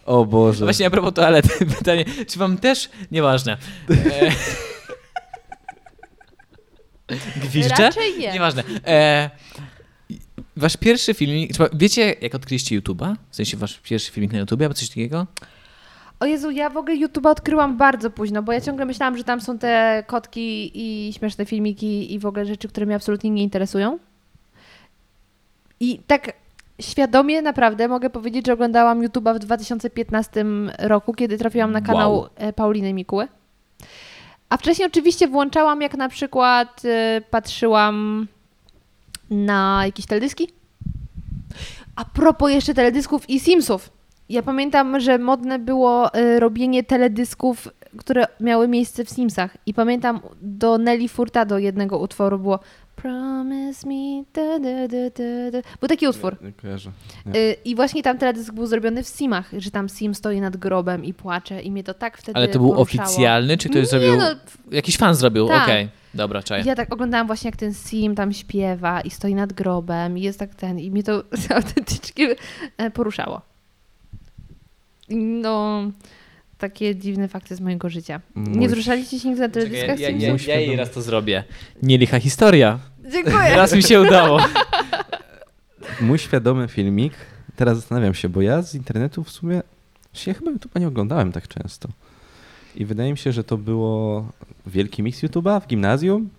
Speaker 2: O Boże.
Speaker 1: Właśnie a propos toalety, <laughs> pytanie, czy wam też, nieważne. E... <laughs> Gwizdcze?
Speaker 3: Raczej nie.
Speaker 1: Nieważne. E... Wasz pierwszy filmik, czy wiecie jak odkryliście YouTube'a? W sensie wasz pierwszy filmik na YouTubie albo coś takiego?
Speaker 3: O Jezu, ja w ogóle YouTube'a odkryłam bardzo późno, bo ja ciągle myślałam, że tam są te kotki i śmieszne filmiki i w ogóle rzeczy, które mnie absolutnie nie interesują. I tak świadomie naprawdę mogę powiedzieć, że oglądałam YouTube'a w 2015 roku, kiedy trafiłam na kanał
Speaker 1: Wow.
Speaker 3: e, Pauliny Mikuły. A wcześniej oczywiście włączałam, jak na przykład e, patrzyłam na jakieś teledyski. A propos jeszcze teledysków i Simsów. Ja pamiętam, że modne było y, robienie teledysków, które miały miejsce w Simsach. I pamiętam do Nelly Furtado jednego utworu było Promise me. Da, da, da, da, da. Był taki utwór.
Speaker 2: Nie kojarzę.
Speaker 3: Y, I właśnie tam teledysk był zrobiony w Simach, że tam Sim stoi nad grobem i płacze. I mnie to tak wtedy
Speaker 1: Ale to był
Speaker 3: poruszało.
Speaker 1: oficjalny, czy ktoś
Speaker 3: Nie,
Speaker 1: zrobił,
Speaker 3: no,
Speaker 1: jakiś fan zrobił,
Speaker 3: Tak.
Speaker 1: okej. Dobra, czaję.
Speaker 3: ja tak oglądałam właśnie, jak ten Sim tam śpiewa i stoi nad grobem i jest tak ten i mnie to <laughs> autentycznie e, poruszało. No, takie dziwne fakty z mojego życia.
Speaker 2: Mój-
Speaker 3: Nie wzruszaliście się nigdy na teledyskach?
Speaker 1: ja,
Speaker 3: Czekaj,
Speaker 1: ja,
Speaker 2: Simsów?
Speaker 1: ja jej raz to zrobię. Nie licha historia.
Speaker 3: Dziękuję.
Speaker 1: Raz mi się udało.
Speaker 2: Mój świadomy filmik, teraz zastanawiam się, bo ja z internetu w sumie
Speaker 6: Ja chyba YouTube'a nie oglądałem tak często. I wydaje mi się, że to było wielki mix YouTube'a w gimnazjum.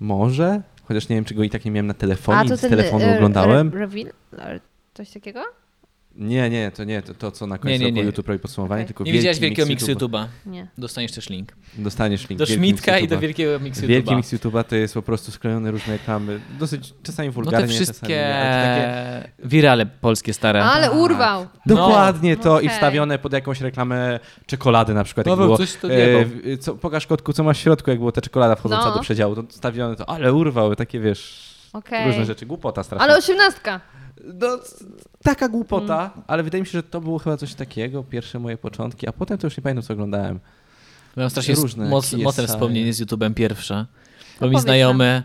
Speaker 6: Może, chociaż nie wiem, czy go i tak nie miałem na telefonie,
Speaker 3: A
Speaker 6: nic
Speaker 3: to
Speaker 6: z
Speaker 3: ten
Speaker 6: telefonu
Speaker 3: e,
Speaker 6: oglądałem.
Speaker 3: Re, Revil? Re- Coś takiego?
Speaker 6: Nie, nie, to nie, to, to co na końcu
Speaker 1: nie,
Speaker 6: roku
Speaker 1: nie.
Speaker 6: YouTube robi podsumowanie,
Speaker 3: Okej.
Speaker 6: tylko
Speaker 1: Nie
Speaker 6: wielki
Speaker 1: widziałeś wielkiego
Speaker 6: mix
Speaker 1: mix YouTube'a.
Speaker 3: Nie.
Speaker 1: Dostaniesz też link.
Speaker 6: Dostaniesz link.
Speaker 1: Do
Speaker 6: wielki mix
Speaker 1: Szmitka i do
Speaker 6: YouTube'a.
Speaker 1: wielkiego mix
Speaker 6: Wielki
Speaker 1: YouTube'a.
Speaker 6: mix YouTube'a to jest po prostu sklejone różne reklamy, dosyć czasami
Speaker 1: No te
Speaker 6: wulgarnie, czasami
Speaker 1: wszystkie
Speaker 6: nie, ale to takie...
Speaker 1: wirale polskie stare.
Speaker 3: Ale
Speaker 6: Tak.
Speaker 3: urwał!
Speaker 1: No.
Speaker 6: Dokładnie to i
Speaker 3: Okej.
Speaker 6: wstawione pod jakąś reklamę czekolady na przykład. Jak
Speaker 1: Paweł,
Speaker 6: było,
Speaker 1: coś to
Speaker 6: e,
Speaker 1: wiedzą.
Speaker 6: w- co, pokaż kotku, co masz w środku, jak było ta czekolada wchodząca
Speaker 3: No.
Speaker 6: do przedziału, to wstawione to, ale urwał, takie wiesz,
Speaker 3: Okej.
Speaker 6: różne rzeczy, głupota straszna.
Speaker 3: Ale osiemnastka!
Speaker 6: No, c- taka głupota,
Speaker 3: Hmm.
Speaker 6: ale wydaje mi się, że to było chyba coś takiego, pierwsze moje początki, a potem to już nie pamiętam, co oglądałem.
Speaker 1: Mam strasznie
Speaker 6: Różne
Speaker 1: Różne moc,
Speaker 6: CSI.
Speaker 1: mocne wspomnienie z YouTube'em pierwsze. Bo mi
Speaker 3: powiedz
Speaker 1: znajomy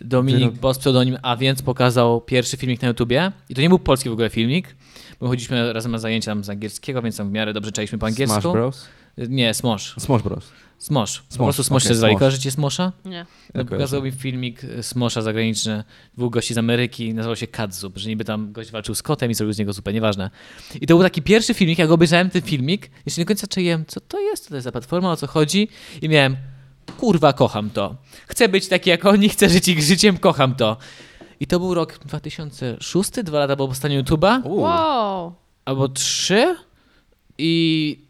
Speaker 1: Dominik
Speaker 6: Wyrob-
Speaker 1: Bos pseudonim A więc pokazał pierwszy filmik na YouTubie. I to nie był polski w ogóle filmik, bo chodziliśmy razem na zajęcia tam z angielskiego, więc tam w miarę dobrze czaliśmy po angielsku.
Speaker 6: Smash Bros?
Speaker 1: Nie, Smosh.
Speaker 6: Smash Bros.
Speaker 1: Smosh. Po
Speaker 6: Smosh,
Speaker 1: prostu Smosh
Speaker 6: okej,
Speaker 1: się zwali.
Speaker 6: Smosh.
Speaker 1: Kojarzycie Smosha?
Speaker 3: Nie.
Speaker 1: No,
Speaker 6: kojarzę.
Speaker 1: pokazał mi filmik e, Smosza zagraniczny, dwóch gości z Ameryki, nazywał się Kadzub, że niby tam gość walczył z kotem i zrobił z niego zupę, nieważne. I to był taki pierwszy filmik, jak obejrzałem ten filmik, jeszcze nie do końca czyjem, co to jest, co to jest za platforma, o co chodzi i miałem, kurwa, kocham to. Chcę być taki jak oni, chcę żyć ich życiem, kocham to. I to był rok 2006, dwa lata po powstaniu YouTube'a,
Speaker 6: Uuu,
Speaker 3: Wow!
Speaker 1: albo trzy i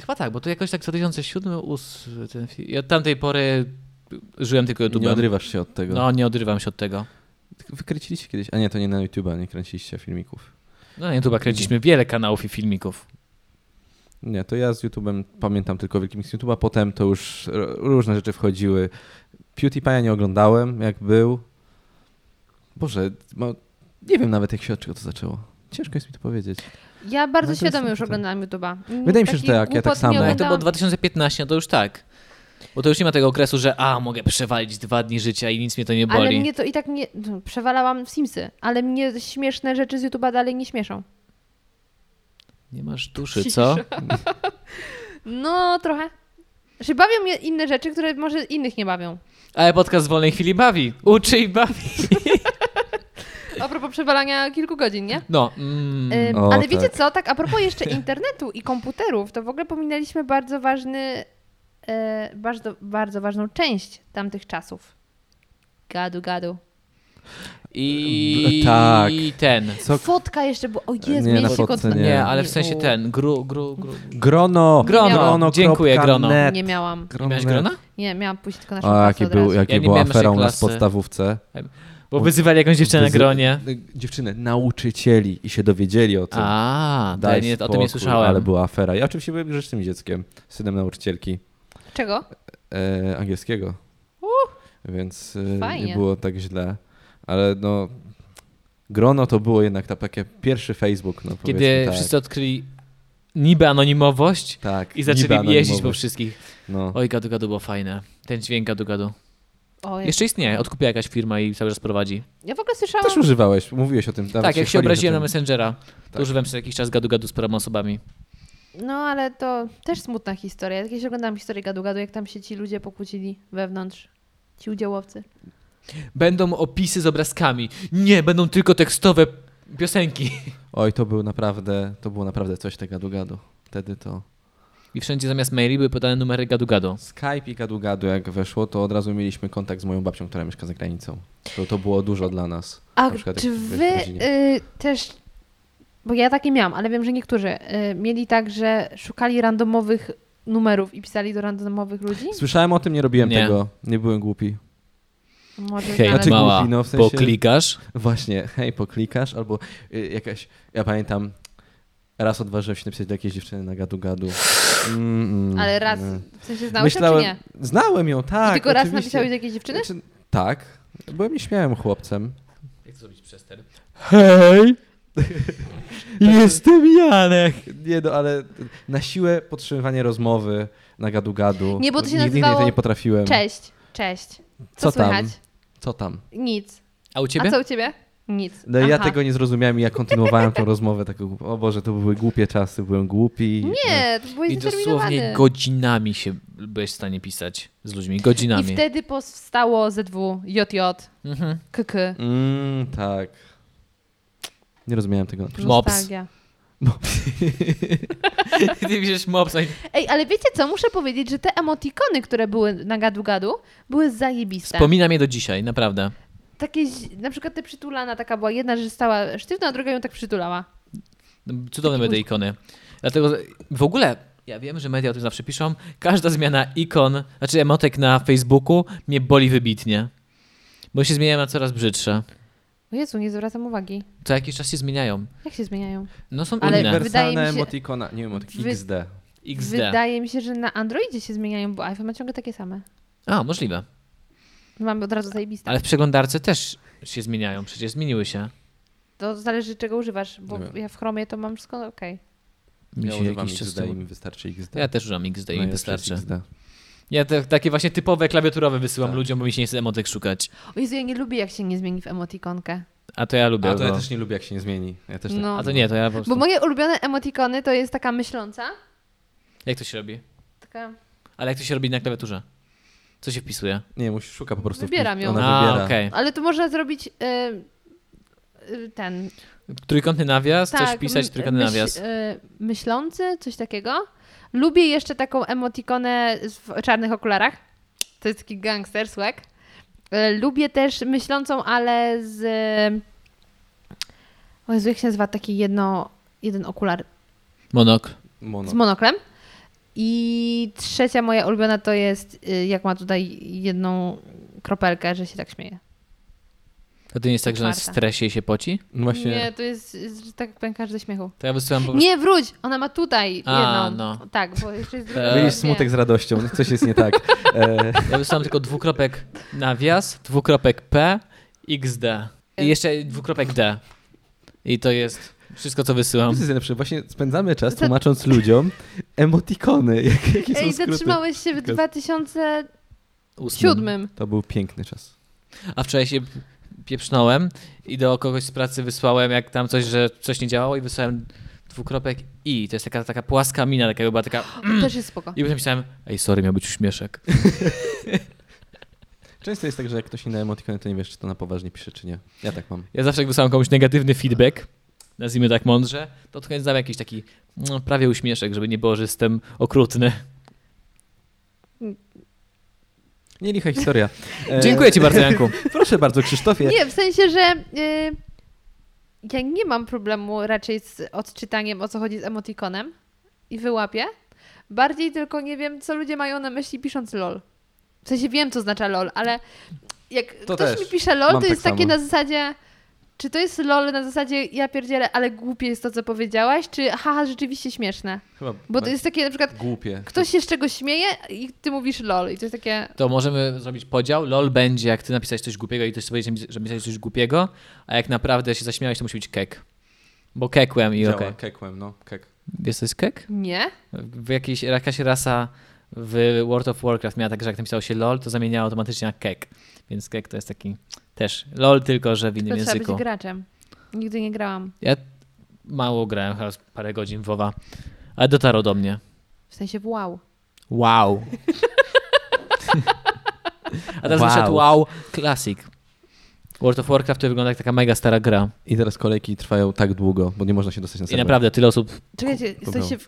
Speaker 1: chyba tak, bo to jakoś tak 2007, 2008, ten film. Ja od tamtej pory żyłem tylko
Speaker 6: nie
Speaker 1: YouTube'em.
Speaker 6: odrywasz się od tego.
Speaker 1: No, nie odrywam się od tego.
Speaker 6: Wykręciliście kiedyś, a nie, to nie na YouTube'a, nie kręciliście filmików.
Speaker 1: No, na YouTube kręciliśmy wiele kanałów i filmików.
Speaker 6: Nie, to ja z YouTube'em pamiętam tylko Wielki Mix YouTube'a, potem to już r- różne rzeczy wchodziły. PewDiePie'a nie oglądałem, jak był. Boże, ma- nie wiem nawet jak się od czego to zaczęło. Ciężko jest mi to powiedzieć.
Speaker 3: Ja bardzo
Speaker 6: No to
Speaker 3: świadomie
Speaker 6: jest
Speaker 3: już
Speaker 6: tak.
Speaker 3: oglądałam YouTube'a. Mm,
Speaker 6: Wydaje mi się, że
Speaker 3: takich
Speaker 6: tak, ja tak
Speaker 3: głupot nie
Speaker 6: samo.
Speaker 1: No, jak to było
Speaker 3: oglądałam.
Speaker 1: 2015, no to już tak. Bo to już nie ma tego okresu, że a, mogę przewalić dwa dni życia i nic mnie to nie boli.
Speaker 3: Ale mnie to i tak nie... Przewalałam w Simsy, ale mnie śmieszne rzeczy z YouTube'a dalej nie śmieszą.
Speaker 1: Nie masz duszy,
Speaker 3: <laughs>
Speaker 1: co?
Speaker 3: No, trochę. Znaczy bawią mnie inne rzeczy, które może innych nie bawią.
Speaker 1: Ale podcast w wolnej chwili bawi. Uczy i bawi.
Speaker 3: A propos przewalania kilku godzin, nie?
Speaker 1: No, mm,
Speaker 3: Ym,
Speaker 6: O,
Speaker 3: ale wiecie
Speaker 6: tak.
Speaker 3: co, tak a propos
Speaker 6: <laughs>
Speaker 3: jeszcze internetu i komputerów, to w ogóle pominęliśmy bardzo ważny, e, bardzo, bardzo ważną część tamtych czasów. Gadu, gadu.
Speaker 1: i
Speaker 6: b- <laughs> tak.
Speaker 1: ten.
Speaker 6: Co? E,
Speaker 3: Fotka jeszcze była, o
Speaker 6: Nie,
Speaker 3: Jezu,
Speaker 6: na
Speaker 3: mieliśmy
Speaker 6: fotce
Speaker 3: konto-
Speaker 6: Nie.
Speaker 1: Nie, ale w sensie ten, gru, gru, gru.
Speaker 6: Grono!
Speaker 1: Grono, dziękuję,
Speaker 6: kropka
Speaker 1: grono.
Speaker 6: net.
Speaker 3: Nie miałam,
Speaker 1: Nie miałeś grona?
Speaker 3: nie, miałam pójść tylko na
Speaker 6: O,
Speaker 3: szybko
Speaker 6: jaki
Speaker 3: od razu.
Speaker 6: był, jaki
Speaker 1: Ja nie
Speaker 6: był
Speaker 1: miałem naszej
Speaker 6: aferą u nas
Speaker 1: klasy.
Speaker 6: w podstawówce.
Speaker 1: Bo wyzywali jakąś dziewczynę na
Speaker 6: Wyzy-
Speaker 1: gronie.
Speaker 6: y, Dziewczyny, nauczycieli i się dowiedzieli o tym.
Speaker 1: A, to ja
Speaker 6: Daj
Speaker 1: nie, o tym
Speaker 6: spokój,
Speaker 1: nie słyszałem.
Speaker 6: Ale była afera. Ja oczywiście byłem grzecznym dzieckiem, synem nauczycielki
Speaker 3: Czego?
Speaker 6: e, angielskiego. Więc e,
Speaker 3: Fajnie.
Speaker 6: nie było tak źle. Ale no, grono to było jednak ta, takie pierwszy Facebook. No,
Speaker 1: Kiedy
Speaker 6: powiedzmy, tak.
Speaker 1: wszyscy odkryli niby anonimowość
Speaker 6: tak,
Speaker 1: i zaczęli
Speaker 6: niby
Speaker 1: jeździć po
Speaker 6: anonimowy.
Speaker 1: wszystkich.
Speaker 6: No.
Speaker 1: Oj, gadu gadu było fajne. Ten dźwięk gadu gadu.
Speaker 3: O, ja,
Speaker 1: Jeszcze istnieje, odkupiła jakaś firma i cały czas prowadzi.
Speaker 3: ja w ogóle słyszałam,
Speaker 6: Też używałeś, mówiłeś o tym. nawet
Speaker 1: tak, jak się
Speaker 6: chwalisz
Speaker 1: obraziłem
Speaker 6: o
Speaker 1: na
Speaker 6: tym.
Speaker 1: Messengera, to
Speaker 6: Tak.
Speaker 1: używam przez jakiś czas gadu gadu z paroma osobami.
Speaker 3: no ale to też smutna historia. Ja kiedyś oglądałam historię gadu, gadu, jak tam się ci ludzie pokłócili wewnątrz, ci udziałowcy.
Speaker 1: Będą opisy z obrazkami. Nie, będą tylko tekstowe piosenki.
Speaker 6: Oj, to był naprawdę, to było naprawdę coś te gadu-gadu. Wtedy to...
Speaker 1: I wszędzie zamiast maili były podane numery gadu gadu.
Speaker 6: Skype i gadu-gadu jak weszło, to od razu mieliśmy kontakt z moją babcią, która mieszka za granicą. To, to było dużo dla nas.
Speaker 3: A
Speaker 6: na przykład jak
Speaker 3: czy
Speaker 6: byłeś w
Speaker 3: wy
Speaker 6: rodzinie.
Speaker 3: y, też, bo ja takie miałam, ale wiem, że niektórzy y, mieli tak, że szukali randomowych numerów i pisali do randomowych ludzi?
Speaker 6: Słyszałem o tym, nie robiłem
Speaker 1: Nie.
Speaker 6: tego. Nie byłem głupi.
Speaker 3: Może
Speaker 1: Hej,
Speaker 3: znaleźć-
Speaker 6: Znaczy ma-
Speaker 1: mała,
Speaker 6: głupi, no, w sensie-
Speaker 1: poklikasz.
Speaker 6: Właśnie, hej, poklikasz, albo y, jakaś, ja pamiętam, raz odważyłem się napisać do jakiejś dziewczyny na gadu-gadu. Mm, mm,
Speaker 3: ale raz,
Speaker 6: mm.
Speaker 3: w sensie znałeś
Speaker 6: Myślałem,
Speaker 3: Myślałem... czy nie?
Speaker 6: znałem ją, tak.
Speaker 3: I tylko raz
Speaker 6: oczywiście.
Speaker 3: napisałeś do jakiejś dziewczyny?
Speaker 6: Znaczy, tak, byłem nieśmiałym chłopcem.
Speaker 1: Jak to zrobić przester? <laughs>
Speaker 6: Hej! Tak.
Speaker 1: Jestem Janek!
Speaker 6: Nie no, ale na siłę podtrzymywanie rozmowy na gadu-gadu.
Speaker 3: Nie, bo to się
Speaker 6: Nigdy, nigdy
Speaker 3: nazywało-
Speaker 6: to nie potrafiłem.
Speaker 3: Cześć, cześć. Co,
Speaker 6: Co tam?
Speaker 3: słychać?
Speaker 6: Co tam?
Speaker 3: Nic.
Speaker 1: A u ciebie?
Speaker 3: A co u ciebie? Nic.
Speaker 6: No i ja
Speaker 3: Aha.
Speaker 6: tego nie zrozumiałem i ja kontynuowałem tą rozmowę taką, głup- o Boże, to były głupie czasy, byłem głupi.
Speaker 3: Nie, to byłeś
Speaker 1: I dosłownie
Speaker 3: zdeterminowany.
Speaker 1: godzinami się byłeś w stanie pisać z ludźmi.
Speaker 3: I
Speaker 1: Godzinami.
Speaker 3: wtedy powstało ZW, JJ,
Speaker 1: Mhm. <laughs>
Speaker 3: KK,
Speaker 6: Mm, tak. Nie rozumiałem tego.
Speaker 1: Mops.
Speaker 3: nostalgia.
Speaker 1: Ty widzisz mobs. no i-
Speaker 3: Ej, ale wiecie co? Muszę powiedzieć, że te emotikony, które były na gadu-gadu, były zajebiste.
Speaker 1: Wspominam je do dzisiaj, naprawdę.
Speaker 3: Takie, zi- na przykład te przytulana, taka była jedna, że stała sztywna, a druga ją tak przytulała.
Speaker 1: Cudowne były te ikony. Dlatego że- w ogóle, ja wiem, że media o tym zawsze piszą, każda zmiana ikon, znaczy emotek na Facebooku mnie boli wybitnie. Bo się zmieniają na coraz brzydsze.
Speaker 3: O Jezu, nie zwracam uwagi.
Speaker 1: Co jakiś czas się zmieniają.
Speaker 3: Jak się zmieniają?
Speaker 1: No są
Speaker 3: Ale
Speaker 1: inne.
Speaker 3: wydaje mi
Speaker 2: Uniwersalne
Speaker 3: się-
Speaker 2: emotikona, nie wiem,
Speaker 3: Wy-
Speaker 2: XD.
Speaker 1: XD.
Speaker 3: Wydaje mi się, że na Androidzie się zmieniają, bo iPhone ma ciągle takie same.
Speaker 1: A, możliwe.
Speaker 3: Mamy od razu zajebiste.
Speaker 1: Ale w przeglądarce też się zmieniają, przecież zmieniły się.
Speaker 3: To zależy czego używasz, bo
Speaker 2: Nie wiem.
Speaker 3: ja w Chromie to mam wszystko okej.
Speaker 1: Mi
Speaker 2: Ja
Speaker 1: się
Speaker 2: używam
Speaker 1: jakiś czas
Speaker 2: XD i
Speaker 1: temu-
Speaker 2: mi wystarczy XD.
Speaker 1: Ja też używam XD i
Speaker 2: No
Speaker 1: mi
Speaker 2: ja przez
Speaker 1: wystarczy.
Speaker 2: XD.
Speaker 1: Ja te, takie właśnie typowe klawiaturowe wysyłam
Speaker 2: Tak.
Speaker 1: ludziom, bo mi się nie chce emotek szukać.
Speaker 3: O Jezu, ja nie lubię jak się nie zmieni w emotikonkę.
Speaker 1: A to ja lubię.
Speaker 2: A to ja
Speaker 1: bo-
Speaker 2: też nie lubię, jak się nie zmieni. Ja też tak.
Speaker 3: No.
Speaker 1: A to nie, to ja po prostu...
Speaker 3: Bo moje ulubione emotikony to jest taka myśląca,
Speaker 1: Jak to się robi?
Speaker 3: taka...
Speaker 1: Ale jak to się robi na klawiaturze? Co się wpisuje?
Speaker 2: Nie, musisz szuka po prostu.
Speaker 3: Wybieram
Speaker 2: wpis-
Speaker 3: ją.
Speaker 2: Ona wybiera.
Speaker 1: A, okej.
Speaker 3: Ale to można zrobić y, y, ten...
Speaker 1: Trójkątny nawias,
Speaker 3: tak,
Speaker 1: chcesz pisać
Speaker 3: m-
Speaker 1: trójkątny
Speaker 3: myśl-
Speaker 1: nawias.
Speaker 3: y, myślący, coś takiego. Lubię jeszcze taką emotikonę z- w czarnych okularach. To jest taki gangster swag. Y, lubię też myślącą, ale z... O Jezu, jak się nazywa taki jedno... Jeden okular
Speaker 1: Monok.
Speaker 2: Mono.
Speaker 3: z monoklem. I trzecia moja ulubiona to jest, y, jak ma tutaj jedną kropelkę, że się tak śmieje.
Speaker 1: To to nie jest tak, że ona jest w
Speaker 3: Czwarta.
Speaker 1: stresie i się poci?
Speaker 2: No Właśnie.
Speaker 3: Nie, to jest, y, że tak pękasz ze śmiechu.
Speaker 1: To ja wysyłam po prostu...
Speaker 3: Nie, wróć! Ona ma tutaj
Speaker 1: A,
Speaker 3: jedną.
Speaker 1: no.
Speaker 3: Tak, bo jeszcze jest druga.
Speaker 1: Eee.
Speaker 2: Mylisz
Speaker 3: Nie.
Speaker 2: smutek z radością, no coś jest nie tak. E,
Speaker 1: Ja wysyłam tylko dwukropek nawias, dwukropek P, XD. I jeszcze dwukropek D. I to jest wszystko, co
Speaker 2: to
Speaker 1: wysyłam.
Speaker 2: jest najlepsze. Właśnie spędzamy czas
Speaker 3: Za-
Speaker 2: tłumacząc ludziom emotikony, <laughs> jak, jakie są
Speaker 3: Ej,
Speaker 2: skróty.
Speaker 3: zatrzymałeś się w
Speaker 2: Tylko-
Speaker 3: 2007.
Speaker 2: To był piękny czas.
Speaker 1: A wczoraj się pieprznąłem i do kogoś z pracy wysłałem, jak tam coś, że coś nie działało i wysłałem dwukropek I. To jest taka, taka płaska mina, taka była taka...
Speaker 3: Też jest spoko.
Speaker 1: I potem myślałem, ej, sorry, miał być uśmieszek.
Speaker 2: Często jest tak, że jak ktoś nie da emotikony, to nie wiesz, czy to na poważnie pisze, czy nie. Ja tak mam.
Speaker 1: Ja zawsze jak wysyłam komuś negatywny feedback, nazwijmy tak mądrze, to od końca dam jakiś taki no, prawie uśmieszek, żeby nie było, że jestem okrutny.
Speaker 2: Nie licha <laughs> historia. E,
Speaker 1: Dziękuję ci bardzo, Janku.
Speaker 2: <laughs> Proszę bardzo, Krzysztofie.
Speaker 3: Nie, w sensie, że y, ja nie mam problemu raczej z odczytaniem, o co chodzi z emotikonem i wyłapię. Bardziej tylko nie wiem, co ludzie mają na myśli pisząc lol. W sensie wiem, co oznacza lol, ale jak
Speaker 2: To
Speaker 3: ktoś
Speaker 2: też.
Speaker 3: mi pisze lol,
Speaker 2: Mam
Speaker 3: to
Speaker 2: tak
Speaker 3: jest takie
Speaker 2: samo.
Speaker 3: na zasadzie... Czy to jest lol na zasadzie ja pierdzielę, ale głupie jest to, co powiedziałaś, czy haha, rzeczywiście śmieszne?
Speaker 2: Chyba
Speaker 3: Bo
Speaker 6: No
Speaker 3: to jest takie na przykład,
Speaker 2: głupie.
Speaker 3: ktoś się z czegoś śmieje i ty mówisz lol i to jest takie...
Speaker 1: To możemy zrobić podział. LOL będzie, jak ty napisałeś coś głupiego i ktoś powiedział, że napisałeś coś głupiego, a jak naprawdę się zaśmiałeś, to musi być kek. Bo kekłem i
Speaker 2: Działa,
Speaker 1: okej.
Speaker 2: kekłem, no, kek.
Speaker 1: Wiesz, co jest kek?
Speaker 3: Nie?
Speaker 1: W jakiejś, jakaś rasa w World of Warcraft miała tak, że jak napisało się LOL, to zamieniało automatycznie na kek. Więc kek to jest taki też LOL, tylko że w innym
Speaker 3: To trzeba być
Speaker 1: języku.
Speaker 3: graczem. Nigdy nie grałam.
Speaker 1: Ja mało grałem, chyba z parę godzin w WoWa, ale dotarło do mnie.
Speaker 3: W sensie w wow.
Speaker 1: Wow. A teraz
Speaker 2: Wow.
Speaker 1: wyszedł wow Classic. World of Warcraft to wygląda jak taka mega stara gra.
Speaker 2: I teraz kolejki trwają tak długo, bo nie można się dostać na
Speaker 1: I
Speaker 2: serwer.
Speaker 1: naprawdę tyle osób...
Speaker 3: Czekajcie,
Speaker 2: Kup-
Speaker 3: jesteście w,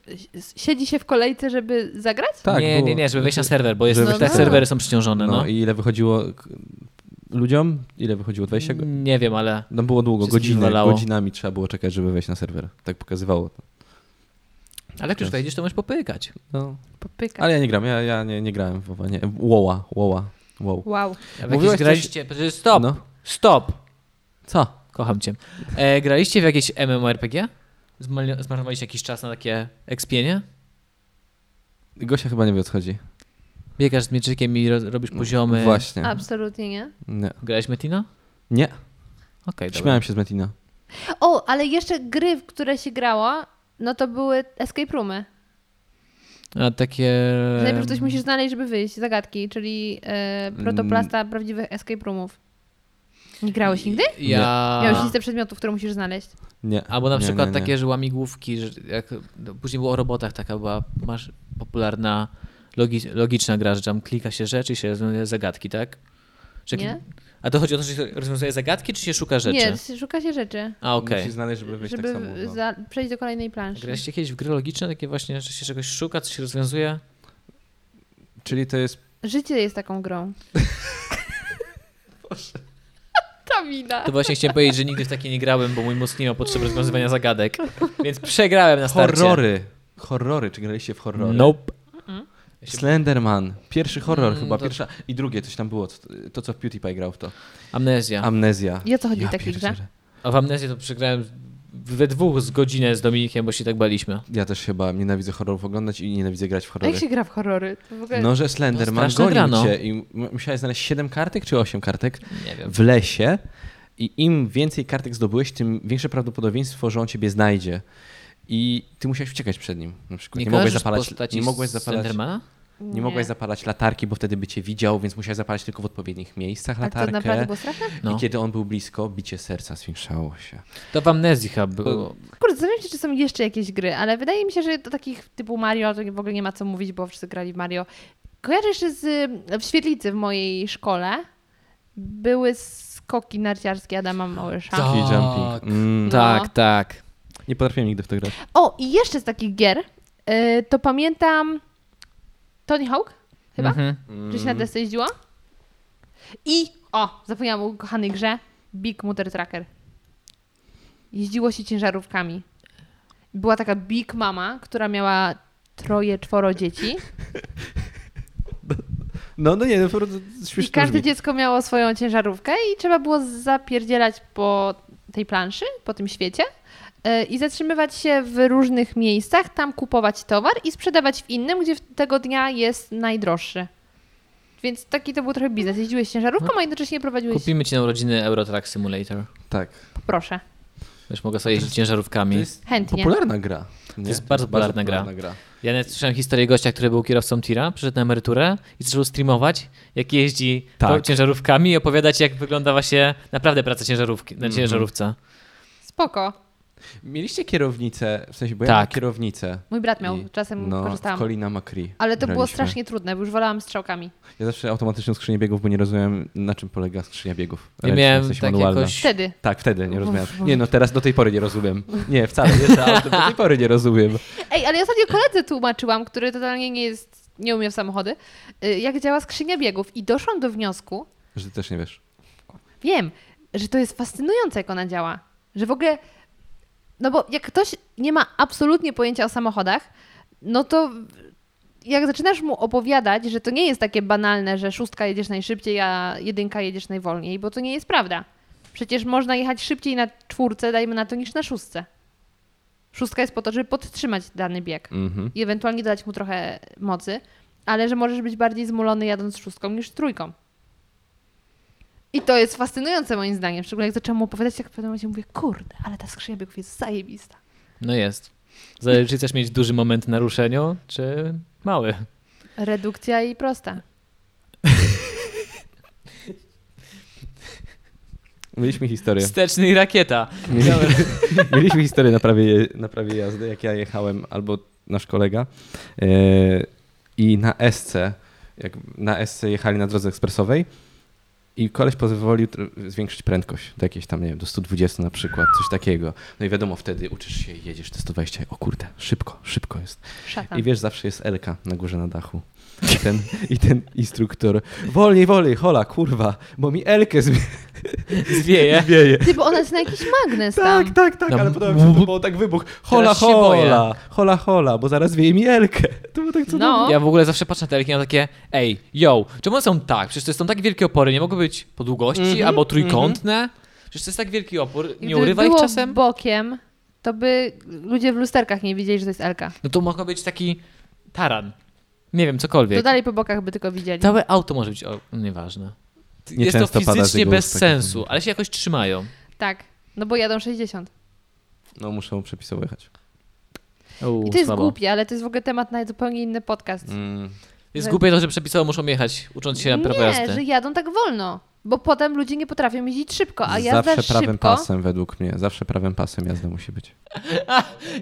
Speaker 3: siedzi się w kolejce, żeby zagrać?
Speaker 2: Tak,
Speaker 1: nie,
Speaker 2: było-
Speaker 1: nie, nie, żeby wejść na serwer, bo jest,
Speaker 2: Żeby
Speaker 1: te
Speaker 2: wejść na serwer.
Speaker 1: serwery są przyciążone.
Speaker 2: No,
Speaker 1: No,
Speaker 2: i ile wychodziło k- ludziom? Ile wychodziło? 20 go...
Speaker 1: Nie wiem, ale
Speaker 2: No było długo,
Speaker 1: Wszystkich
Speaker 2: godziny,
Speaker 1: walało.
Speaker 2: godzinami trzeba było czekać, żeby wejść na serwer. Tak pokazywało to.
Speaker 1: ale jak już wejdziesz, to możesz popykać.
Speaker 2: No.
Speaker 3: Tak. Popyka.
Speaker 2: Ale ja nie gram, ja, ja nie, nie grałem w WoWa, nie. Woła, Woła, wow.
Speaker 3: Wow.
Speaker 1: Jak
Speaker 2: Mówiłaś
Speaker 1: jakieś
Speaker 2: coś-
Speaker 1: graliście... Stop,
Speaker 2: No.
Speaker 1: stop,
Speaker 2: Co?
Speaker 1: kocham cię. E, graliście w jakieś MMORPG? Zmarno- Zmarnowaliście jakiś czas na takie ekspienie?
Speaker 2: Gosia chyba nie wie o co chodzi.
Speaker 1: Biegasz z mieczykiem i ro robisz poziomy.
Speaker 2: Właśnie.
Speaker 3: Absolutnie nie.
Speaker 2: Nie.
Speaker 1: Grałeś Metina?
Speaker 2: nie.
Speaker 1: Okej, dobra.
Speaker 2: Śmiałem się z Metina.
Speaker 3: O, ale jeszcze gry, w które się grało, no to były escape roomy.
Speaker 1: A takie...
Speaker 3: Że Najpierw coś musisz znaleźć, żeby wyjść. Zagadki, czyli e, protoplasta prawdziwych escape roomów. Nie grałeś nigdy?
Speaker 1: Ja...
Speaker 3: Miałeś listę przedmiotów, które musisz znaleźć.
Speaker 2: Nie.
Speaker 1: Albo na
Speaker 2: Nie,
Speaker 1: przykład
Speaker 2: nie, nie.
Speaker 1: takie, że łamigłówki, że jak, no, później było o robotach taka była masz popularna logi, logiczna gra, że tam klika się rzeczy i się rozwiązuje zagadki, tak? Że,
Speaker 3: Nie?
Speaker 1: A to chodzi o to, że się rozwiązuje zagadki, czy się szuka rzeczy?
Speaker 3: Nie, szuka się rzeczy,
Speaker 1: A, okej.
Speaker 6: Musisz znaleźć, żeby wyjść
Speaker 3: żeby
Speaker 6: tak samo. No.
Speaker 3: za, przejść do kolejnej planszy.
Speaker 1: Graliście kiedyś w gry logiczne, takie właśnie, że się czegoś szuka, coś się rozwiązuje?
Speaker 6: Czyli to jest...
Speaker 3: Życie jest taką grą. <laughs> Ta mina.
Speaker 1: To właśnie chciałem powiedzieć, że nigdy w takie nie grałem, bo mój mózg nie miał potrzeby rozwiązywania zagadek, więc przegrałem na starcie.
Speaker 6: Horrory. Horrory. Czy graliście w horrory?
Speaker 1: Nope.
Speaker 6: Slenderman. Pierwszy horror
Speaker 1: Mm,
Speaker 6: chyba.
Speaker 1: to-
Speaker 6: Pierwsza. I drugie, coś tam było. co- To, co w PewDiePie grał w to.
Speaker 1: Amnezja.
Speaker 6: Amnezja.
Speaker 3: I o co chodzi w takiej grze?
Speaker 6: pierdzielę.
Speaker 1: A w amnezję to przegrałem we dwóch z godzinę z Dominikiem, bo się tak baliśmy.
Speaker 6: Ja też chyba nienawidzę horrorów oglądać i nienawidzę grać w
Speaker 3: A jak
Speaker 6: horrory.
Speaker 3: się gra w horrory? To w ogóle...
Speaker 6: No, że Slenderman
Speaker 1: Straszne
Speaker 6: gonił
Speaker 1: grano.
Speaker 6: cię i m- musiałeś znaleźć 7 kartek czy 8 kartek
Speaker 1: Nie wiem.
Speaker 6: w lesie i im więcej kartek zdobyłeś, tym większe prawdopodobieństwo, że on ciebie znajdzie. I ty musiałeś uciekać przed nim. Na przykład nie, mogłeś
Speaker 1: kojarzysz
Speaker 6: zapalać,
Speaker 1: postaci
Speaker 6: nie mogłeś
Speaker 1: z
Speaker 6: zapalać
Speaker 1: Slendermana?
Speaker 6: nie mogłeś zapalać latarki, bo wtedy by cię widział, więc musiałeś zapalać tylko w odpowiednich miejscach
Speaker 3: A to naprawdę
Speaker 6: latarkę.
Speaker 3: było straszne?
Speaker 1: No.
Speaker 6: I kiedy on był blisko, bicie serca zwiększało się.
Speaker 1: To w amnezji chyba było.
Speaker 3: Kurde, zastanawiam się, czy są jeszcze jakieś gry, ale wydaje mi się, że do takich typu Mario to w ogóle nie ma co mówić, bo wszyscy grali w Mario. Kojarzę jeszcze z, y, w świetlicy w mojej szkole były skoki narciarskie Adama Małysza.
Speaker 1: Tak.
Speaker 6: Taki jumping. Mm.
Speaker 1: Tak, tak.
Speaker 6: Nie potrafiłem nigdy w to grać.
Speaker 3: O, i jeszcze z takich gier y, to pamiętam Tony Hawk, chyba,
Speaker 1: Mhm.
Speaker 3: że się na desce jeździło. I, o, zapomniałam o kochanej grze, Big Mutter Tracker. Jeździło się ciężarówkami. Była taka Big Mama, która miała troje, czworo dzieci.
Speaker 6: No, no nie, no, po prostu
Speaker 3: I
Speaker 6: śmiesznie
Speaker 3: każde
Speaker 6: brzmi.
Speaker 3: dziecko miało swoją ciężarówkę i trzeba było zapierdzielać po tej planszy, po tym świecie e, i zatrzymywać się w różnych miejscach, tam kupować towar i sprzedawać w innym, gdzie w- tego dnia jest najdroższy. Więc taki to był trochę biznes. Jeździłeś ciężarówką, a jednocześnie prowadziłeś...
Speaker 1: Kupimy ci na urodziny Eurotrack Simulator.
Speaker 6: Tak.
Speaker 3: Proszę,
Speaker 1: Wiesz, mogę sobie jeździć
Speaker 6: To
Speaker 1: ciężarówkami.
Speaker 6: jest
Speaker 3: chętnie.
Speaker 6: popularna gra. nie?
Speaker 1: jest bardzo popularna gra.
Speaker 6: gra.
Speaker 1: Ja nawet słyszałem historię gościa, który był kierowcą tira, przyszedł na emeryturę i zaczął streamować, jak jeździ
Speaker 6: Tak.
Speaker 1: po ciężarówkami i opowiadać, jak wygląda właśnie naprawdę praca ciężarówki,
Speaker 6: Mhm.
Speaker 1: na ciężarówce.
Speaker 3: Spoko.
Speaker 6: Mieliście kierownicę, w sensie, bo ja
Speaker 1: Tak.
Speaker 6: miałem kierownicę.
Speaker 3: Mój brat miał,
Speaker 6: I-
Speaker 3: czasem
Speaker 6: No, w
Speaker 3: korzystałam.
Speaker 6: Colina McCree.
Speaker 3: Ale to było
Speaker 6: graliśmy.
Speaker 3: strasznie trudne, bo już wolałam strzałkami.
Speaker 6: Ja zawsze automatyczną skrzynię biegów, bo nie rozumiałem, na czym polega skrzynia biegów.
Speaker 1: Ja
Speaker 6: Ręczna,
Speaker 1: miałem
Speaker 6: w sensie
Speaker 1: tak
Speaker 6: manualna.
Speaker 1: jakoś-
Speaker 3: Wtedy.
Speaker 6: Tak, wtedy nie rozumiałem. Nie, no teraz do tej pory nie rozumiem. Nie, wcale, jeszcze autem do tej pory nie rozumiem.
Speaker 3: Ej, ale ja <laughs> ostatnio koledze tłumaczyłam, który totalnie nie jest, nie umie w samochody, y, jak działa skrzynia biegów i doszłam do wniosku,
Speaker 6: Że ty też nie wiesz.
Speaker 3: wiem, że to jest fascynujące, jak ona działa, że w ogóle, no bo jak ktoś nie ma absolutnie pojęcia o samochodach, no to jak zaczynasz mu opowiadać, że to nie jest takie banalne, że szóstka jedziesz najszybciej, a jedynka jedziesz najwolniej, bo to nie jest prawda. Przecież można jechać szybciej na czwórce, dajmy na to, niż na szóstce. Szóstka jest po to, żeby podtrzymać dany bieg
Speaker 6: Mhm.
Speaker 3: i ewentualnie dodać mu trochę mocy, ale że możesz być bardziej zmulony jadąc szóstką niż trójką. I to jest fascynujące moim zdaniem, szczególnie jak zaczęłam mu opowiadać, jak w pewnym momencie mówię, kurde, ale ta skrzynia biegów jest zajebista.
Speaker 1: No jest. Zależy, czy chcesz mieć duży moment na ruszeniu, czy mały.
Speaker 3: Redukcja i prosta.
Speaker 6: Mieliśmy historię.
Speaker 1: Wsteczny i rakieta.
Speaker 6: Mieliśmy, <laughs> mieliśmy historię na prawie, je- na prawie jazdy, jak ja jechałem, albo nasz kolega. Yy, I na SC, jak na SC jechali na drodze ekspresowej i koleś pozwolił tr- zwiększyć prędkość do jakiejś tam, nie wiem, do 120 na przykład, coś takiego. No i wiadomo, wtedy uczysz się, i jedziesz te 120, o kurde, szybko, szybko jest.
Speaker 3: Szatan.
Speaker 6: I wiesz, zawsze jest Elka na górze na dachu. I ten, i ten instruktor, wolniej, wolniej, hola, kurwa, bo mi Elkę zwie-
Speaker 1: Zwieje.
Speaker 6: zwieje.
Speaker 3: Ty, bo ona jest na jakiś magnes tam.
Speaker 6: Tak, tak, tak,
Speaker 1: No,
Speaker 6: ale
Speaker 1: m-
Speaker 6: podoba mi się, że to było tak wybuch. Hola,
Speaker 1: Teraz się boję.
Speaker 6: hola, hola, hola, bo zaraz wieje mi Elkę. To było tak cudowne.
Speaker 3: No,
Speaker 1: Ja w ogóle zawsze patrzę na te elki i mam takie, ej, yo, czemu one są tak? Przecież to są tak wielkie opory, nie mogą być po długości albo trójkątne. Przecież to jest tak wielki opór, nie
Speaker 3: Mhm, Gdyby
Speaker 1: urywa ich
Speaker 3: było
Speaker 1: czasem?
Speaker 3: bokiem, to by ludzie w lusterkach nie widzieli, że to jest Elka.
Speaker 1: No to mogą być taki taran. Nie wiem,
Speaker 3: To
Speaker 1: cokolwiek.
Speaker 3: dalej po bokach by tylko widzieli.
Speaker 1: Całe auto może być, o, nieważne.
Speaker 6: Nie
Speaker 1: jest to
Speaker 6: często pada z
Speaker 1: fizycznie
Speaker 6: jego
Speaker 1: bez
Speaker 6: ust takie
Speaker 1: sensu, ale się jakoś trzymają.
Speaker 3: Tak, no bo jadą 60.
Speaker 6: No muszę mu przepisowychać.
Speaker 1: Uuu,
Speaker 3: I to jest
Speaker 1: słabo.
Speaker 3: głupie, ale to jest w ogóle temat na zupełnie inny podcast.
Speaker 6: Mm.
Speaker 1: Jest głupie to, że przepisowo muszą jechać, ucząc się prawa
Speaker 3: Nie, że
Speaker 1: jazdy.
Speaker 3: jadą tak wolno, bo potem ludzie nie potrafią jeździć szybko, a jazda
Speaker 6: Zawsze prawym
Speaker 3: szybko...
Speaker 6: pasem według mnie, zawsze prawym pasem jazda musi być.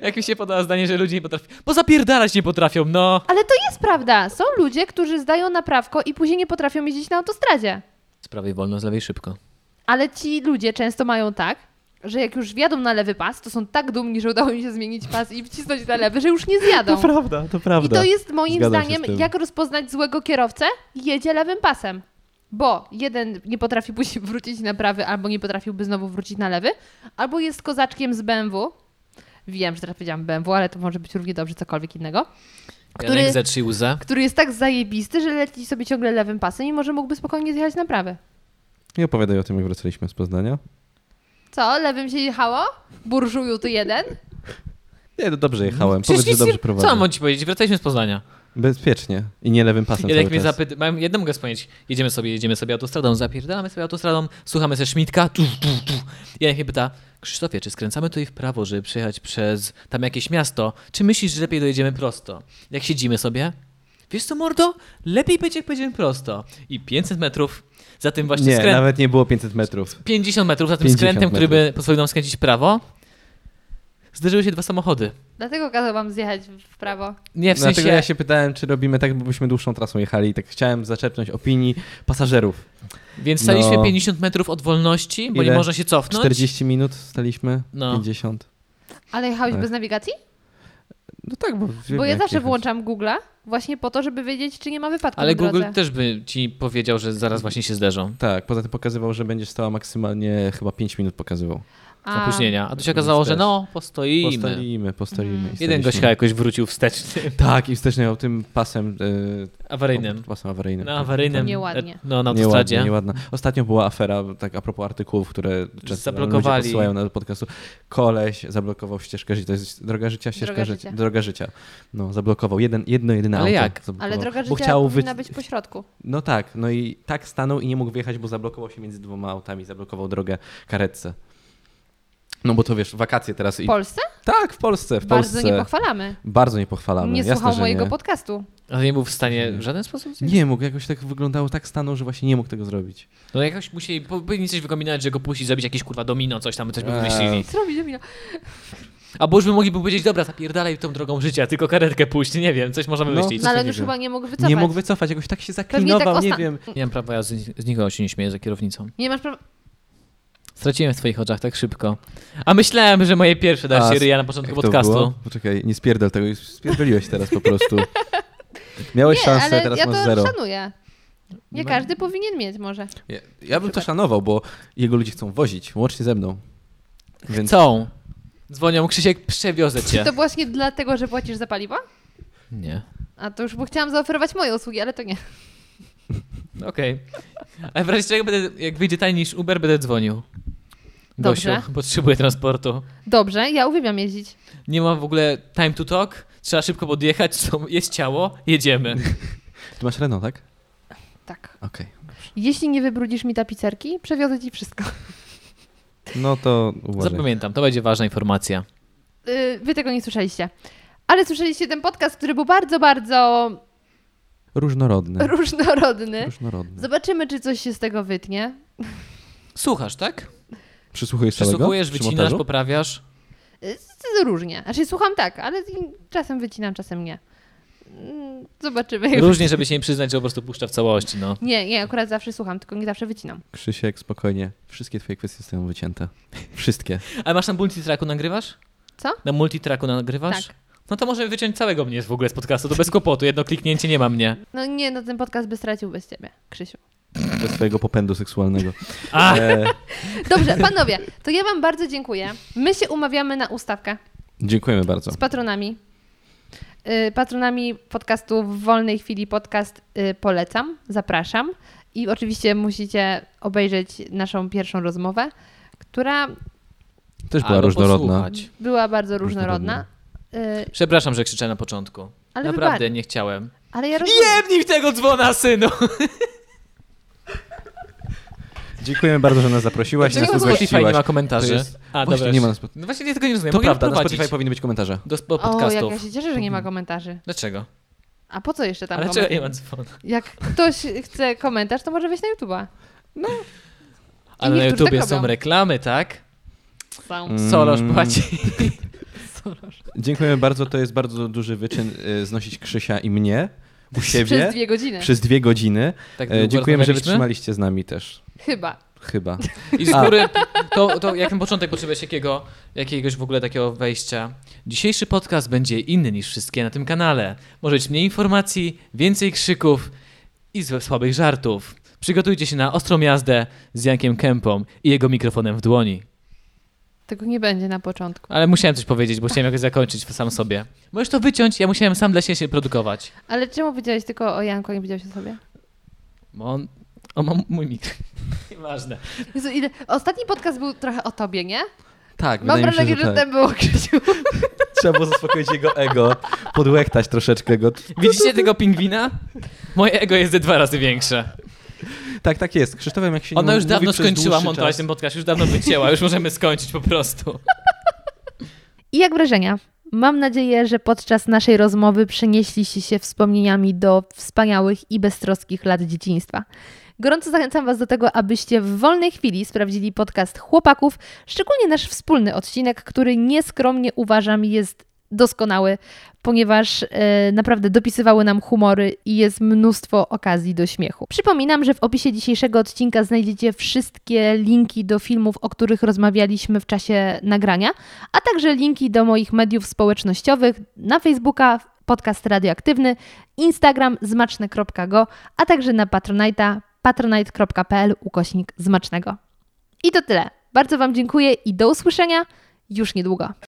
Speaker 1: Jak mi się podoba zdanie, że ludzie nie potrafią. Bo zapierdalać nie potrafią, no!
Speaker 3: Ale to jest prawda. Są ludzie, którzy zdają naprawko i później nie potrafią jeździć na autostradzie.
Speaker 1: Z prawej wolno, z lewej szybko.
Speaker 3: Ale ci ludzie często mają tak, że jak już wjadą na lewy pas, to są tak dumni, że udało im się zmienić pas i wcisnąć na lewy, że już nie zjadą.
Speaker 6: prawda, to
Speaker 3: I
Speaker 6: prawda.
Speaker 3: to jest moim
Speaker 6: Zgadzam się z
Speaker 3: zdaniem,
Speaker 6: tym.
Speaker 3: jak rozpoznać złego kierowcę? Jedzie lewym pasem. Bo jeden nie potrafi później wrócić na prawy, albo nie potrafiłby znowu wrócić na lewy, albo jest kozaczkiem z BMW. Wiem, że teraz powiedziałam BMW, ale to może być równie dobrze cokolwiek innego.
Speaker 1: Który... Janek zatrzyj łza.
Speaker 3: Który jest tak zajebisty, że leci sobie ciągle lewym pasem, mimo że mógłby spokojnie zjechać na prawy.
Speaker 6: I opowiadaj o tym, jak wracaliśmy z Poznania.
Speaker 3: Co? Lewym się jechało? Burżuju tu jeden?
Speaker 6: Nie, no dobrze jechałem.
Speaker 1: Przecież
Speaker 6: Powiedz, że
Speaker 1: nic
Speaker 6: dobrze
Speaker 1: nie-
Speaker 6: prowadzę.
Speaker 1: Co mam ci powiedzieć? Wracaliśmy z Poznania.
Speaker 6: Bezpiecznie. I nie lewym pasem
Speaker 1: Jeden
Speaker 6: cały
Speaker 1: mnie
Speaker 6: czas.
Speaker 1: zapyta, mam jedną mogę wspomnieć. Jedziemy sobie, jedziemy sobie autostradą, zapierdalamy sobie autostradą, słuchamy se Szmitka, tu, tu, tu. Janek mnie pyta, Krzysztofie, czy skręcamy tutaj w prawo, żeby przejechać przez tam jakieś miasto? Czy myślisz, że lepiej dojedziemy prosto? Jak siedzimy sobie, wiesz co mordo, lepiej będzie jak pojedziemy prosto. I 500 metrów za tym właśnie
Speaker 6: nie,
Speaker 1: skrętem.
Speaker 6: nawet nie było 500 metrów.
Speaker 1: 50 metrów za tym
Speaker 6: 50
Speaker 1: skrętem, który by pozwolił nam skręcić w prawo. Zderzyły się dwa samochody.
Speaker 3: Dlatego kazał wam zjechać w prawo.
Speaker 1: Nie, w
Speaker 6: Dlatego
Speaker 1: sensie...
Speaker 6: ja się pytałem, czy robimy tak, bo byśmy dłuższą trasą jechali i tak chciałem zaczepnąć opinii pasażerów.
Speaker 1: Więc staliśmy
Speaker 6: No.
Speaker 1: 50 metrów od wolności, bo nie
Speaker 6: Ile?
Speaker 1: można się
Speaker 3: No,
Speaker 1: cofnąć.
Speaker 6: 40 minut staliśmy,
Speaker 1: No.
Speaker 6: 50.
Speaker 3: Ale jechałeś
Speaker 6: Tak.
Speaker 3: bez nawigacji?
Speaker 6: No tak, bo... wiem,
Speaker 3: Bo ja
Speaker 6: jak
Speaker 3: zawsze
Speaker 6: jechać.
Speaker 3: włączam Google'a właśnie po to, żeby wiedzieć, czy nie ma wypadku
Speaker 1: Ale
Speaker 3: na drodze.
Speaker 1: Google też by ci powiedział, że zaraz właśnie się zderzą.
Speaker 6: Tak, poza tym pokazywał, że będzie stała maksymalnie chyba 5 minut pokazywał.
Speaker 3: A,
Speaker 1: Opóźnienia. A tu się okazało, że
Speaker 6: Więc
Speaker 1: no, postoimy.
Speaker 3: Tak.
Speaker 6: Postalimy, postalimy.
Speaker 3: Mm.
Speaker 6: i
Speaker 1: Jeden
Speaker 6: staliśmy.
Speaker 1: gość chyba jakoś wrócił
Speaker 6: <laughs>
Speaker 1: wsteczny.
Speaker 6: Tak, i wsteczny miał tym pasem... e,
Speaker 1: Awaryjnym.
Speaker 6: Pasem awaryjnym.
Speaker 3: No.
Speaker 1: Na awaryjnym.
Speaker 3: Nieładnie.
Speaker 1: e, No, na
Speaker 6: Nieładna,
Speaker 1: autostradzie.
Speaker 6: nieładna. Ostatnio była afera, tak a propos artykułów, które często
Speaker 1: Zablokowali.
Speaker 6: ludzie podsyłają na podcastu. Koleś zablokował ścieżkę życia. To jest droga życia, ścieżka
Speaker 3: Droga
Speaker 6: droga życia.
Speaker 3: życia.
Speaker 6: Droga życia. No, zablokował. Jeden, jedno, jedyne
Speaker 1: Ale
Speaker 6: auto.
Speaker 1: jak?
Speaker 6: zablokował.
Speaker 3: Ale droga
Speaker 6: Bo
Speaker 3: życia
Speaker 6: chciał wy...
Speaker 3: powinna być po środku.
Speaker 6: No tak, no i tak stanął i nie mógł wyjechać, bo zablokował się między dwoma autami, zablokował drogę karetce. No bo to wiesz, wakacje teraz i...
Speaker 3: W Polsce?
Speaker 6: tak, w Polsce, w
Speaker 3: Bardzo
Speaker 6: Polsce.
Speaker 3: nie pochwalamy.
Speaker 6: Bardzo nie pochwalamy.
Speaker 3: Nie
Speaker 6: Jasne,
Speaker 3: słuchał
Speaker 6: że
Speaker 3: mojego
Speaker 6: nie. <laughs>
Speaker 3: podcastu.
Speaker 1: Ale nie był w stanie
Speaker 6: Hmm.
Speaker 1: w żaden sposób zjeść.
Speaker 6: Nie mógł, jakoś tak wyglądało, tak stanął, że właśnie nie mógł tego zrobić.
Speaker 1: No jakoś musieli, powinni coś wykombinować, że go puścić, zrobić jakieś kurwa domino, coś tam,
Speaker 6: Eee.
Speaker 1: coś by wymyślili.
Speaker 3: Co robi Domino?
Speaker 1: Albo już by mogli by powiedzieć, dobra, zapierdalaj tą drogą życia, tylko karetkę puść, nie wiem, coś możemy
Speaker 6: No.
Speaker 1: myślić.
Speaker 3: No ale on
Speaker 6: takiego?
Speaker 3: już chyba nie mógł wycofać.
Speaker 6: Nie mógł wycofać, jakoś tak się
Speaker 3: Pewnie tak
Speaker 6: zaklinował,
Speaker 3: osta...
Speaker 6: nie wiem.
Speaker 1: Nie mam prawa, ja z, z nikogo się nie śmieję za kierownicą.
Speaker 3: Nie masz prawa...
Speaker 1: Straciłem w twoich oczach tak szybko. A myślałem, że moje pierwsze dasz
Speaker 6: A,
Speaker 1: się ryja na początku
Speaker 6: Jak to
Speaker 1: podcastu.
Speaker 6: było? Poczekaj, nie spierdol tego, już spierdoliłeś teraz po
Speaker 3: <laughs>
Speaker 6: prostu. Miałeś
Speaker 3: Nie,
Speaker 6: szansę,
Speaker 3: ale
Speaker 6: teraz
Speaker 3: ja
Speaker 6: masz
Speaker 3: to
Speaker 6: zero.
Speaker 3: szanuję. Nie
Speaker 1: No.
Speaker 3: każdy powinien mieć może.
Speaker 6: Ja, ja bym to szanował, bo jego ludzie chcą wozić, łącznie ze mną. Więc
Speaker 1: Chcą. Dzwonią, Krzysiek, przewiozę cię.
Speaker 3: Czy to właśnie dlatego, że płacisz za paliwo?
Speaker 1: Nie.
Speaker 3: A to już, bo chciałam zaoferować moje usługi, ale to nie.
Speaker 1: No Okej. Ale w razie czego, będę, jak wyjdzie taniej niż Uber, będę dzwonił. Gosiu,
Speaker 3: Dobrze.
Speaker 1: potrzebuję transportu.
Speaker 3: Dobrze, ja uwielbiam jeździć.
Speaker 1: Nie mam w ogóle time to talk. Trzeba szybko podjechać, są- jest ciało, jedziemy.
Speaker 6: Ty masz Renault, tak?
Speaker 3: Tak.
Speaker 6: Okej.
Speaker 3: Jeśli nie wybrudzisz mi tapicerki, przewiozę ci wszystko. <laughs>
Speaker 6: No to uważaj.
Speaker 1: Zapamiętam, to będzie ważna informacja.
Speaker 3: Yy, Wy tego nie słyszeliście. Ale słyszeliście ten podcast, który był bardzo, bardzo
Speaker 6: Różnorodny.
Speaker 3: różnorodny.
Speaker 6: Tak. Różnorodny.
Speaker 3: Zobaczymy, czy coś się z tego wytnie.
Speaker 1: Słuchasz, tak?
Speaker 6: Przysłuchujesz całego?
Speaker 1: Przysłuchujesz,
Speaker 6: Przy
Speaker 1: wycinasz,
Speaker 6: montażu?
Speaker 1: poprawiasz.
Speaker 3: Yy, z- Różnie. Znaczy słucham tak, ale z- czasem wycinam, czasem nie. Mm, Zobaczymy. jak-
Speaker 1: Różnie, żeby się nie przyznać, że po prostu puszcza w całości, no.
Speaker 3: Nie, nie, akurat zawsze słucham, tylko nie zawsze wycinam.
Speaker 6: Krzysiek, spokojnie. Wszystkie twoje kwestie zostają wycięte. Wszystkie.
Speaker 1: Ale masz na multitracku nagrywasz?
Speaker 3: Co?
Speaker 1: Na multitracku nagrywasz?
Speaker 3: Tak.
Speaker 1: No to możemy wyciąć całego mnie w ogóle z podcastu, to bez kłopotu. Jedno kliknięcie nie ma mnie.
Speaker 3: No nie, no ten podcast by stracił bez ciebie, Krzysiu.
Speaker 6: Ze swojego popędu seksualnego.
Speaker 1: A!
Speaker 6: E,
Speaker 3: Dobrze, <laughs> panowie, to ja wam bardzo dziękuję. My się umawiamy na ustawkę
Speaker 6: dziękujemy bardzo.
Speaker 3: z patronami. Y, Patronami podcastu w wolnej chwili podcast y, polecam, zapraszam. I oczywiście musicie obejrzeć naszą pierwszą rozmowę, która
Speaker 6: Też była
Speaker 1: Albo
Speaker 6: różnorodna.
Speaker 1: posłuchać.
Speaker 3: była bardzo różnorodna. Y,
Speaker 1: Przepraszam, że krzyczę na początku.
Speaker 3: Ale
Speaker 1: Naprawdę
Speaker 3: wybacz. No
Speaker 1: nie chciałem.
Speaker 3: Ale ja rozumiem.
Speaker 1: Jebnij w tego dzwona, synu!
Speaker 6: Dziękujemy bardzo, że nas zaprosiłaś i
Speaker 1: Dlaczego na
Speaker 6: nas
Speaker 1: <laughs> Spotify nie ma
Speaker 6: ugościłaś.
Speaker 1: komentarzy?
Speaker 6: To jest-
Speaker 1: A,
Speaker 6: Właśnie
Speaker 1: dobra.
Speaker 6: nie ma na Spotify.
Speaker 1: No właśnie ja tego nie rozumiem.
Speaker 6: To
Speaker 1: Mogę
Speaker 6: prawda, na
Speaker 1: wprowadzić
Speaker 6: Spotify powinny być komentarze.
Speaker 1: do spo-
Speaker 3: O, jak ja
Speaker 1: podcastów.
Speaker 3: się cieszę, że nie ma komentarzy.
Speaker 1: Dlaczego?
Speaker 3: A po co jeszcze tam
Speaker 1: Ale
Speaker 3: komentarz?
Speaker 1: czego nie ma dzwona?
Speaker 3: Jak ktoś chce komentarz, to może wejść na YouTube'a.
Speaker 1: Ale na
Speaker 3: niektórzy
Speaker 1: YouTubie
Speaker 3: tak
Speaker 1: są
Speaker 3: robią.
Speaker 1: reklamy, tak?
Speaker 3: Są.
Speaker 6: Mm.
Speaker 1: Solosz
Speaker 6: E,
Speaker 1: płaci.
Speaker 6: Dziękujemy bardzo, to jest bardzo duży wyczyn y, znosić Krzysia i mnie.
Speaker 2: u siebie
Speaker 3: Przez dwie godziny.
Speaker 2: przez dwie godziny.
Speaker 1: <laughs> Tak
Speaker 2: E,
Speaker 1: długo
Speaker 2: Dziękujemy, że
Speaker 1: rozmawialiśmy?
Speaker 2: wytrzymaliście z nami też.
Speaker 3: Chyba.
Speaker 2: Chyba.
Speaker 1: I z
Speaker 2: A.
Speaker 1: góry, to, to jak na początek potrzebujesz jakiego, jakiegoś w ogóle takiego wejścia. Dzisiejszy podcast będzie inny niż wszystkie na tym kanale. Może być mniej informacji, więcej krzyków i złe- słabych żartów. Przygotujcie się na ostrą jazdę z Jankiem Kępą i jego mikrofonem w dłoni.
Speaker 3: Tego nie będzie na początku.
Speaker 1: Ale musiałem coś powiedzieć, bo chciałem jakoś zakończyć sam sobie. Możesz to wyciąć, ja musiałem sam dla siebie się produkować.
Speaker 3: Ale czemu powiedziałeś tylko o Janku, a nie powiedziałeś o sobie?
Speaker 1: Bo on, on ma mój mikro. <laughs> Nieważne.
Speaker 3: Jezu, ile... Ostatni podcast był trochę o tobie, nie?
Speaker 2: Tak,
Speaker 3: Mam
Speaker 2: wydaje mi
Speaker 3: wrażenie,
Speaker 2: się,
Speaker 3: że
Speaker 2: że tak.
Speaker 3: ten był o Krzysiu.
Speaker 2: Trzeba było zaspokoić jego ego, podłektać troszeczkę go.
Speaker 1: Widzicie tego pingwina? Moje ego jest ze dwa razy większe.
Speaker 2: Tak, tak jest. Krzysztofem, jak się
Speaker 1: Ona
Speaker 2: nie
Speaker 1: już
Speaker 2: mówi
Speaker 1: dawno
Speaker 2: przez
Speaker 1: skończyła
Speaker 2: dłuższy
Speaker 1: montować
Speaker 2: czas-
Speaker 1: ten podcast, już dawno wycięła, już możemy skończyć po prostu.
Speaker 3: I jak wrażenia? Mam nadzieję, że podczas naszej rozmowy przenieśliście się wspomnieniami do wspaniałych i beztroskich lat dzieciństwa. Gorąco zachęcam Was do tego, abyście w wolnej chwili sprawdzili podcast chłopaków, szczególnie nasz wspólny odcinek, który nieskromnie uważam jest doskonały, ponieważ e, naprawdę dopisywały nam humory i jest mnóstwo okazji do śmiechu. Przypominam, że w opisie dzisiejszego odcinka znajdziecie wszystkie linki do filmów, o których rozmawialiśmy w czasie nagrania, a także linki do moich mediów społecznościowych na Facebooka, podcast radioaktywny, Instagram zmaczne.go, a także na Patronite'a patronite.pl ukośnik zmacznego. I to tyle. Bardzo Wam dziękuję i do usłyszenia już niedługo.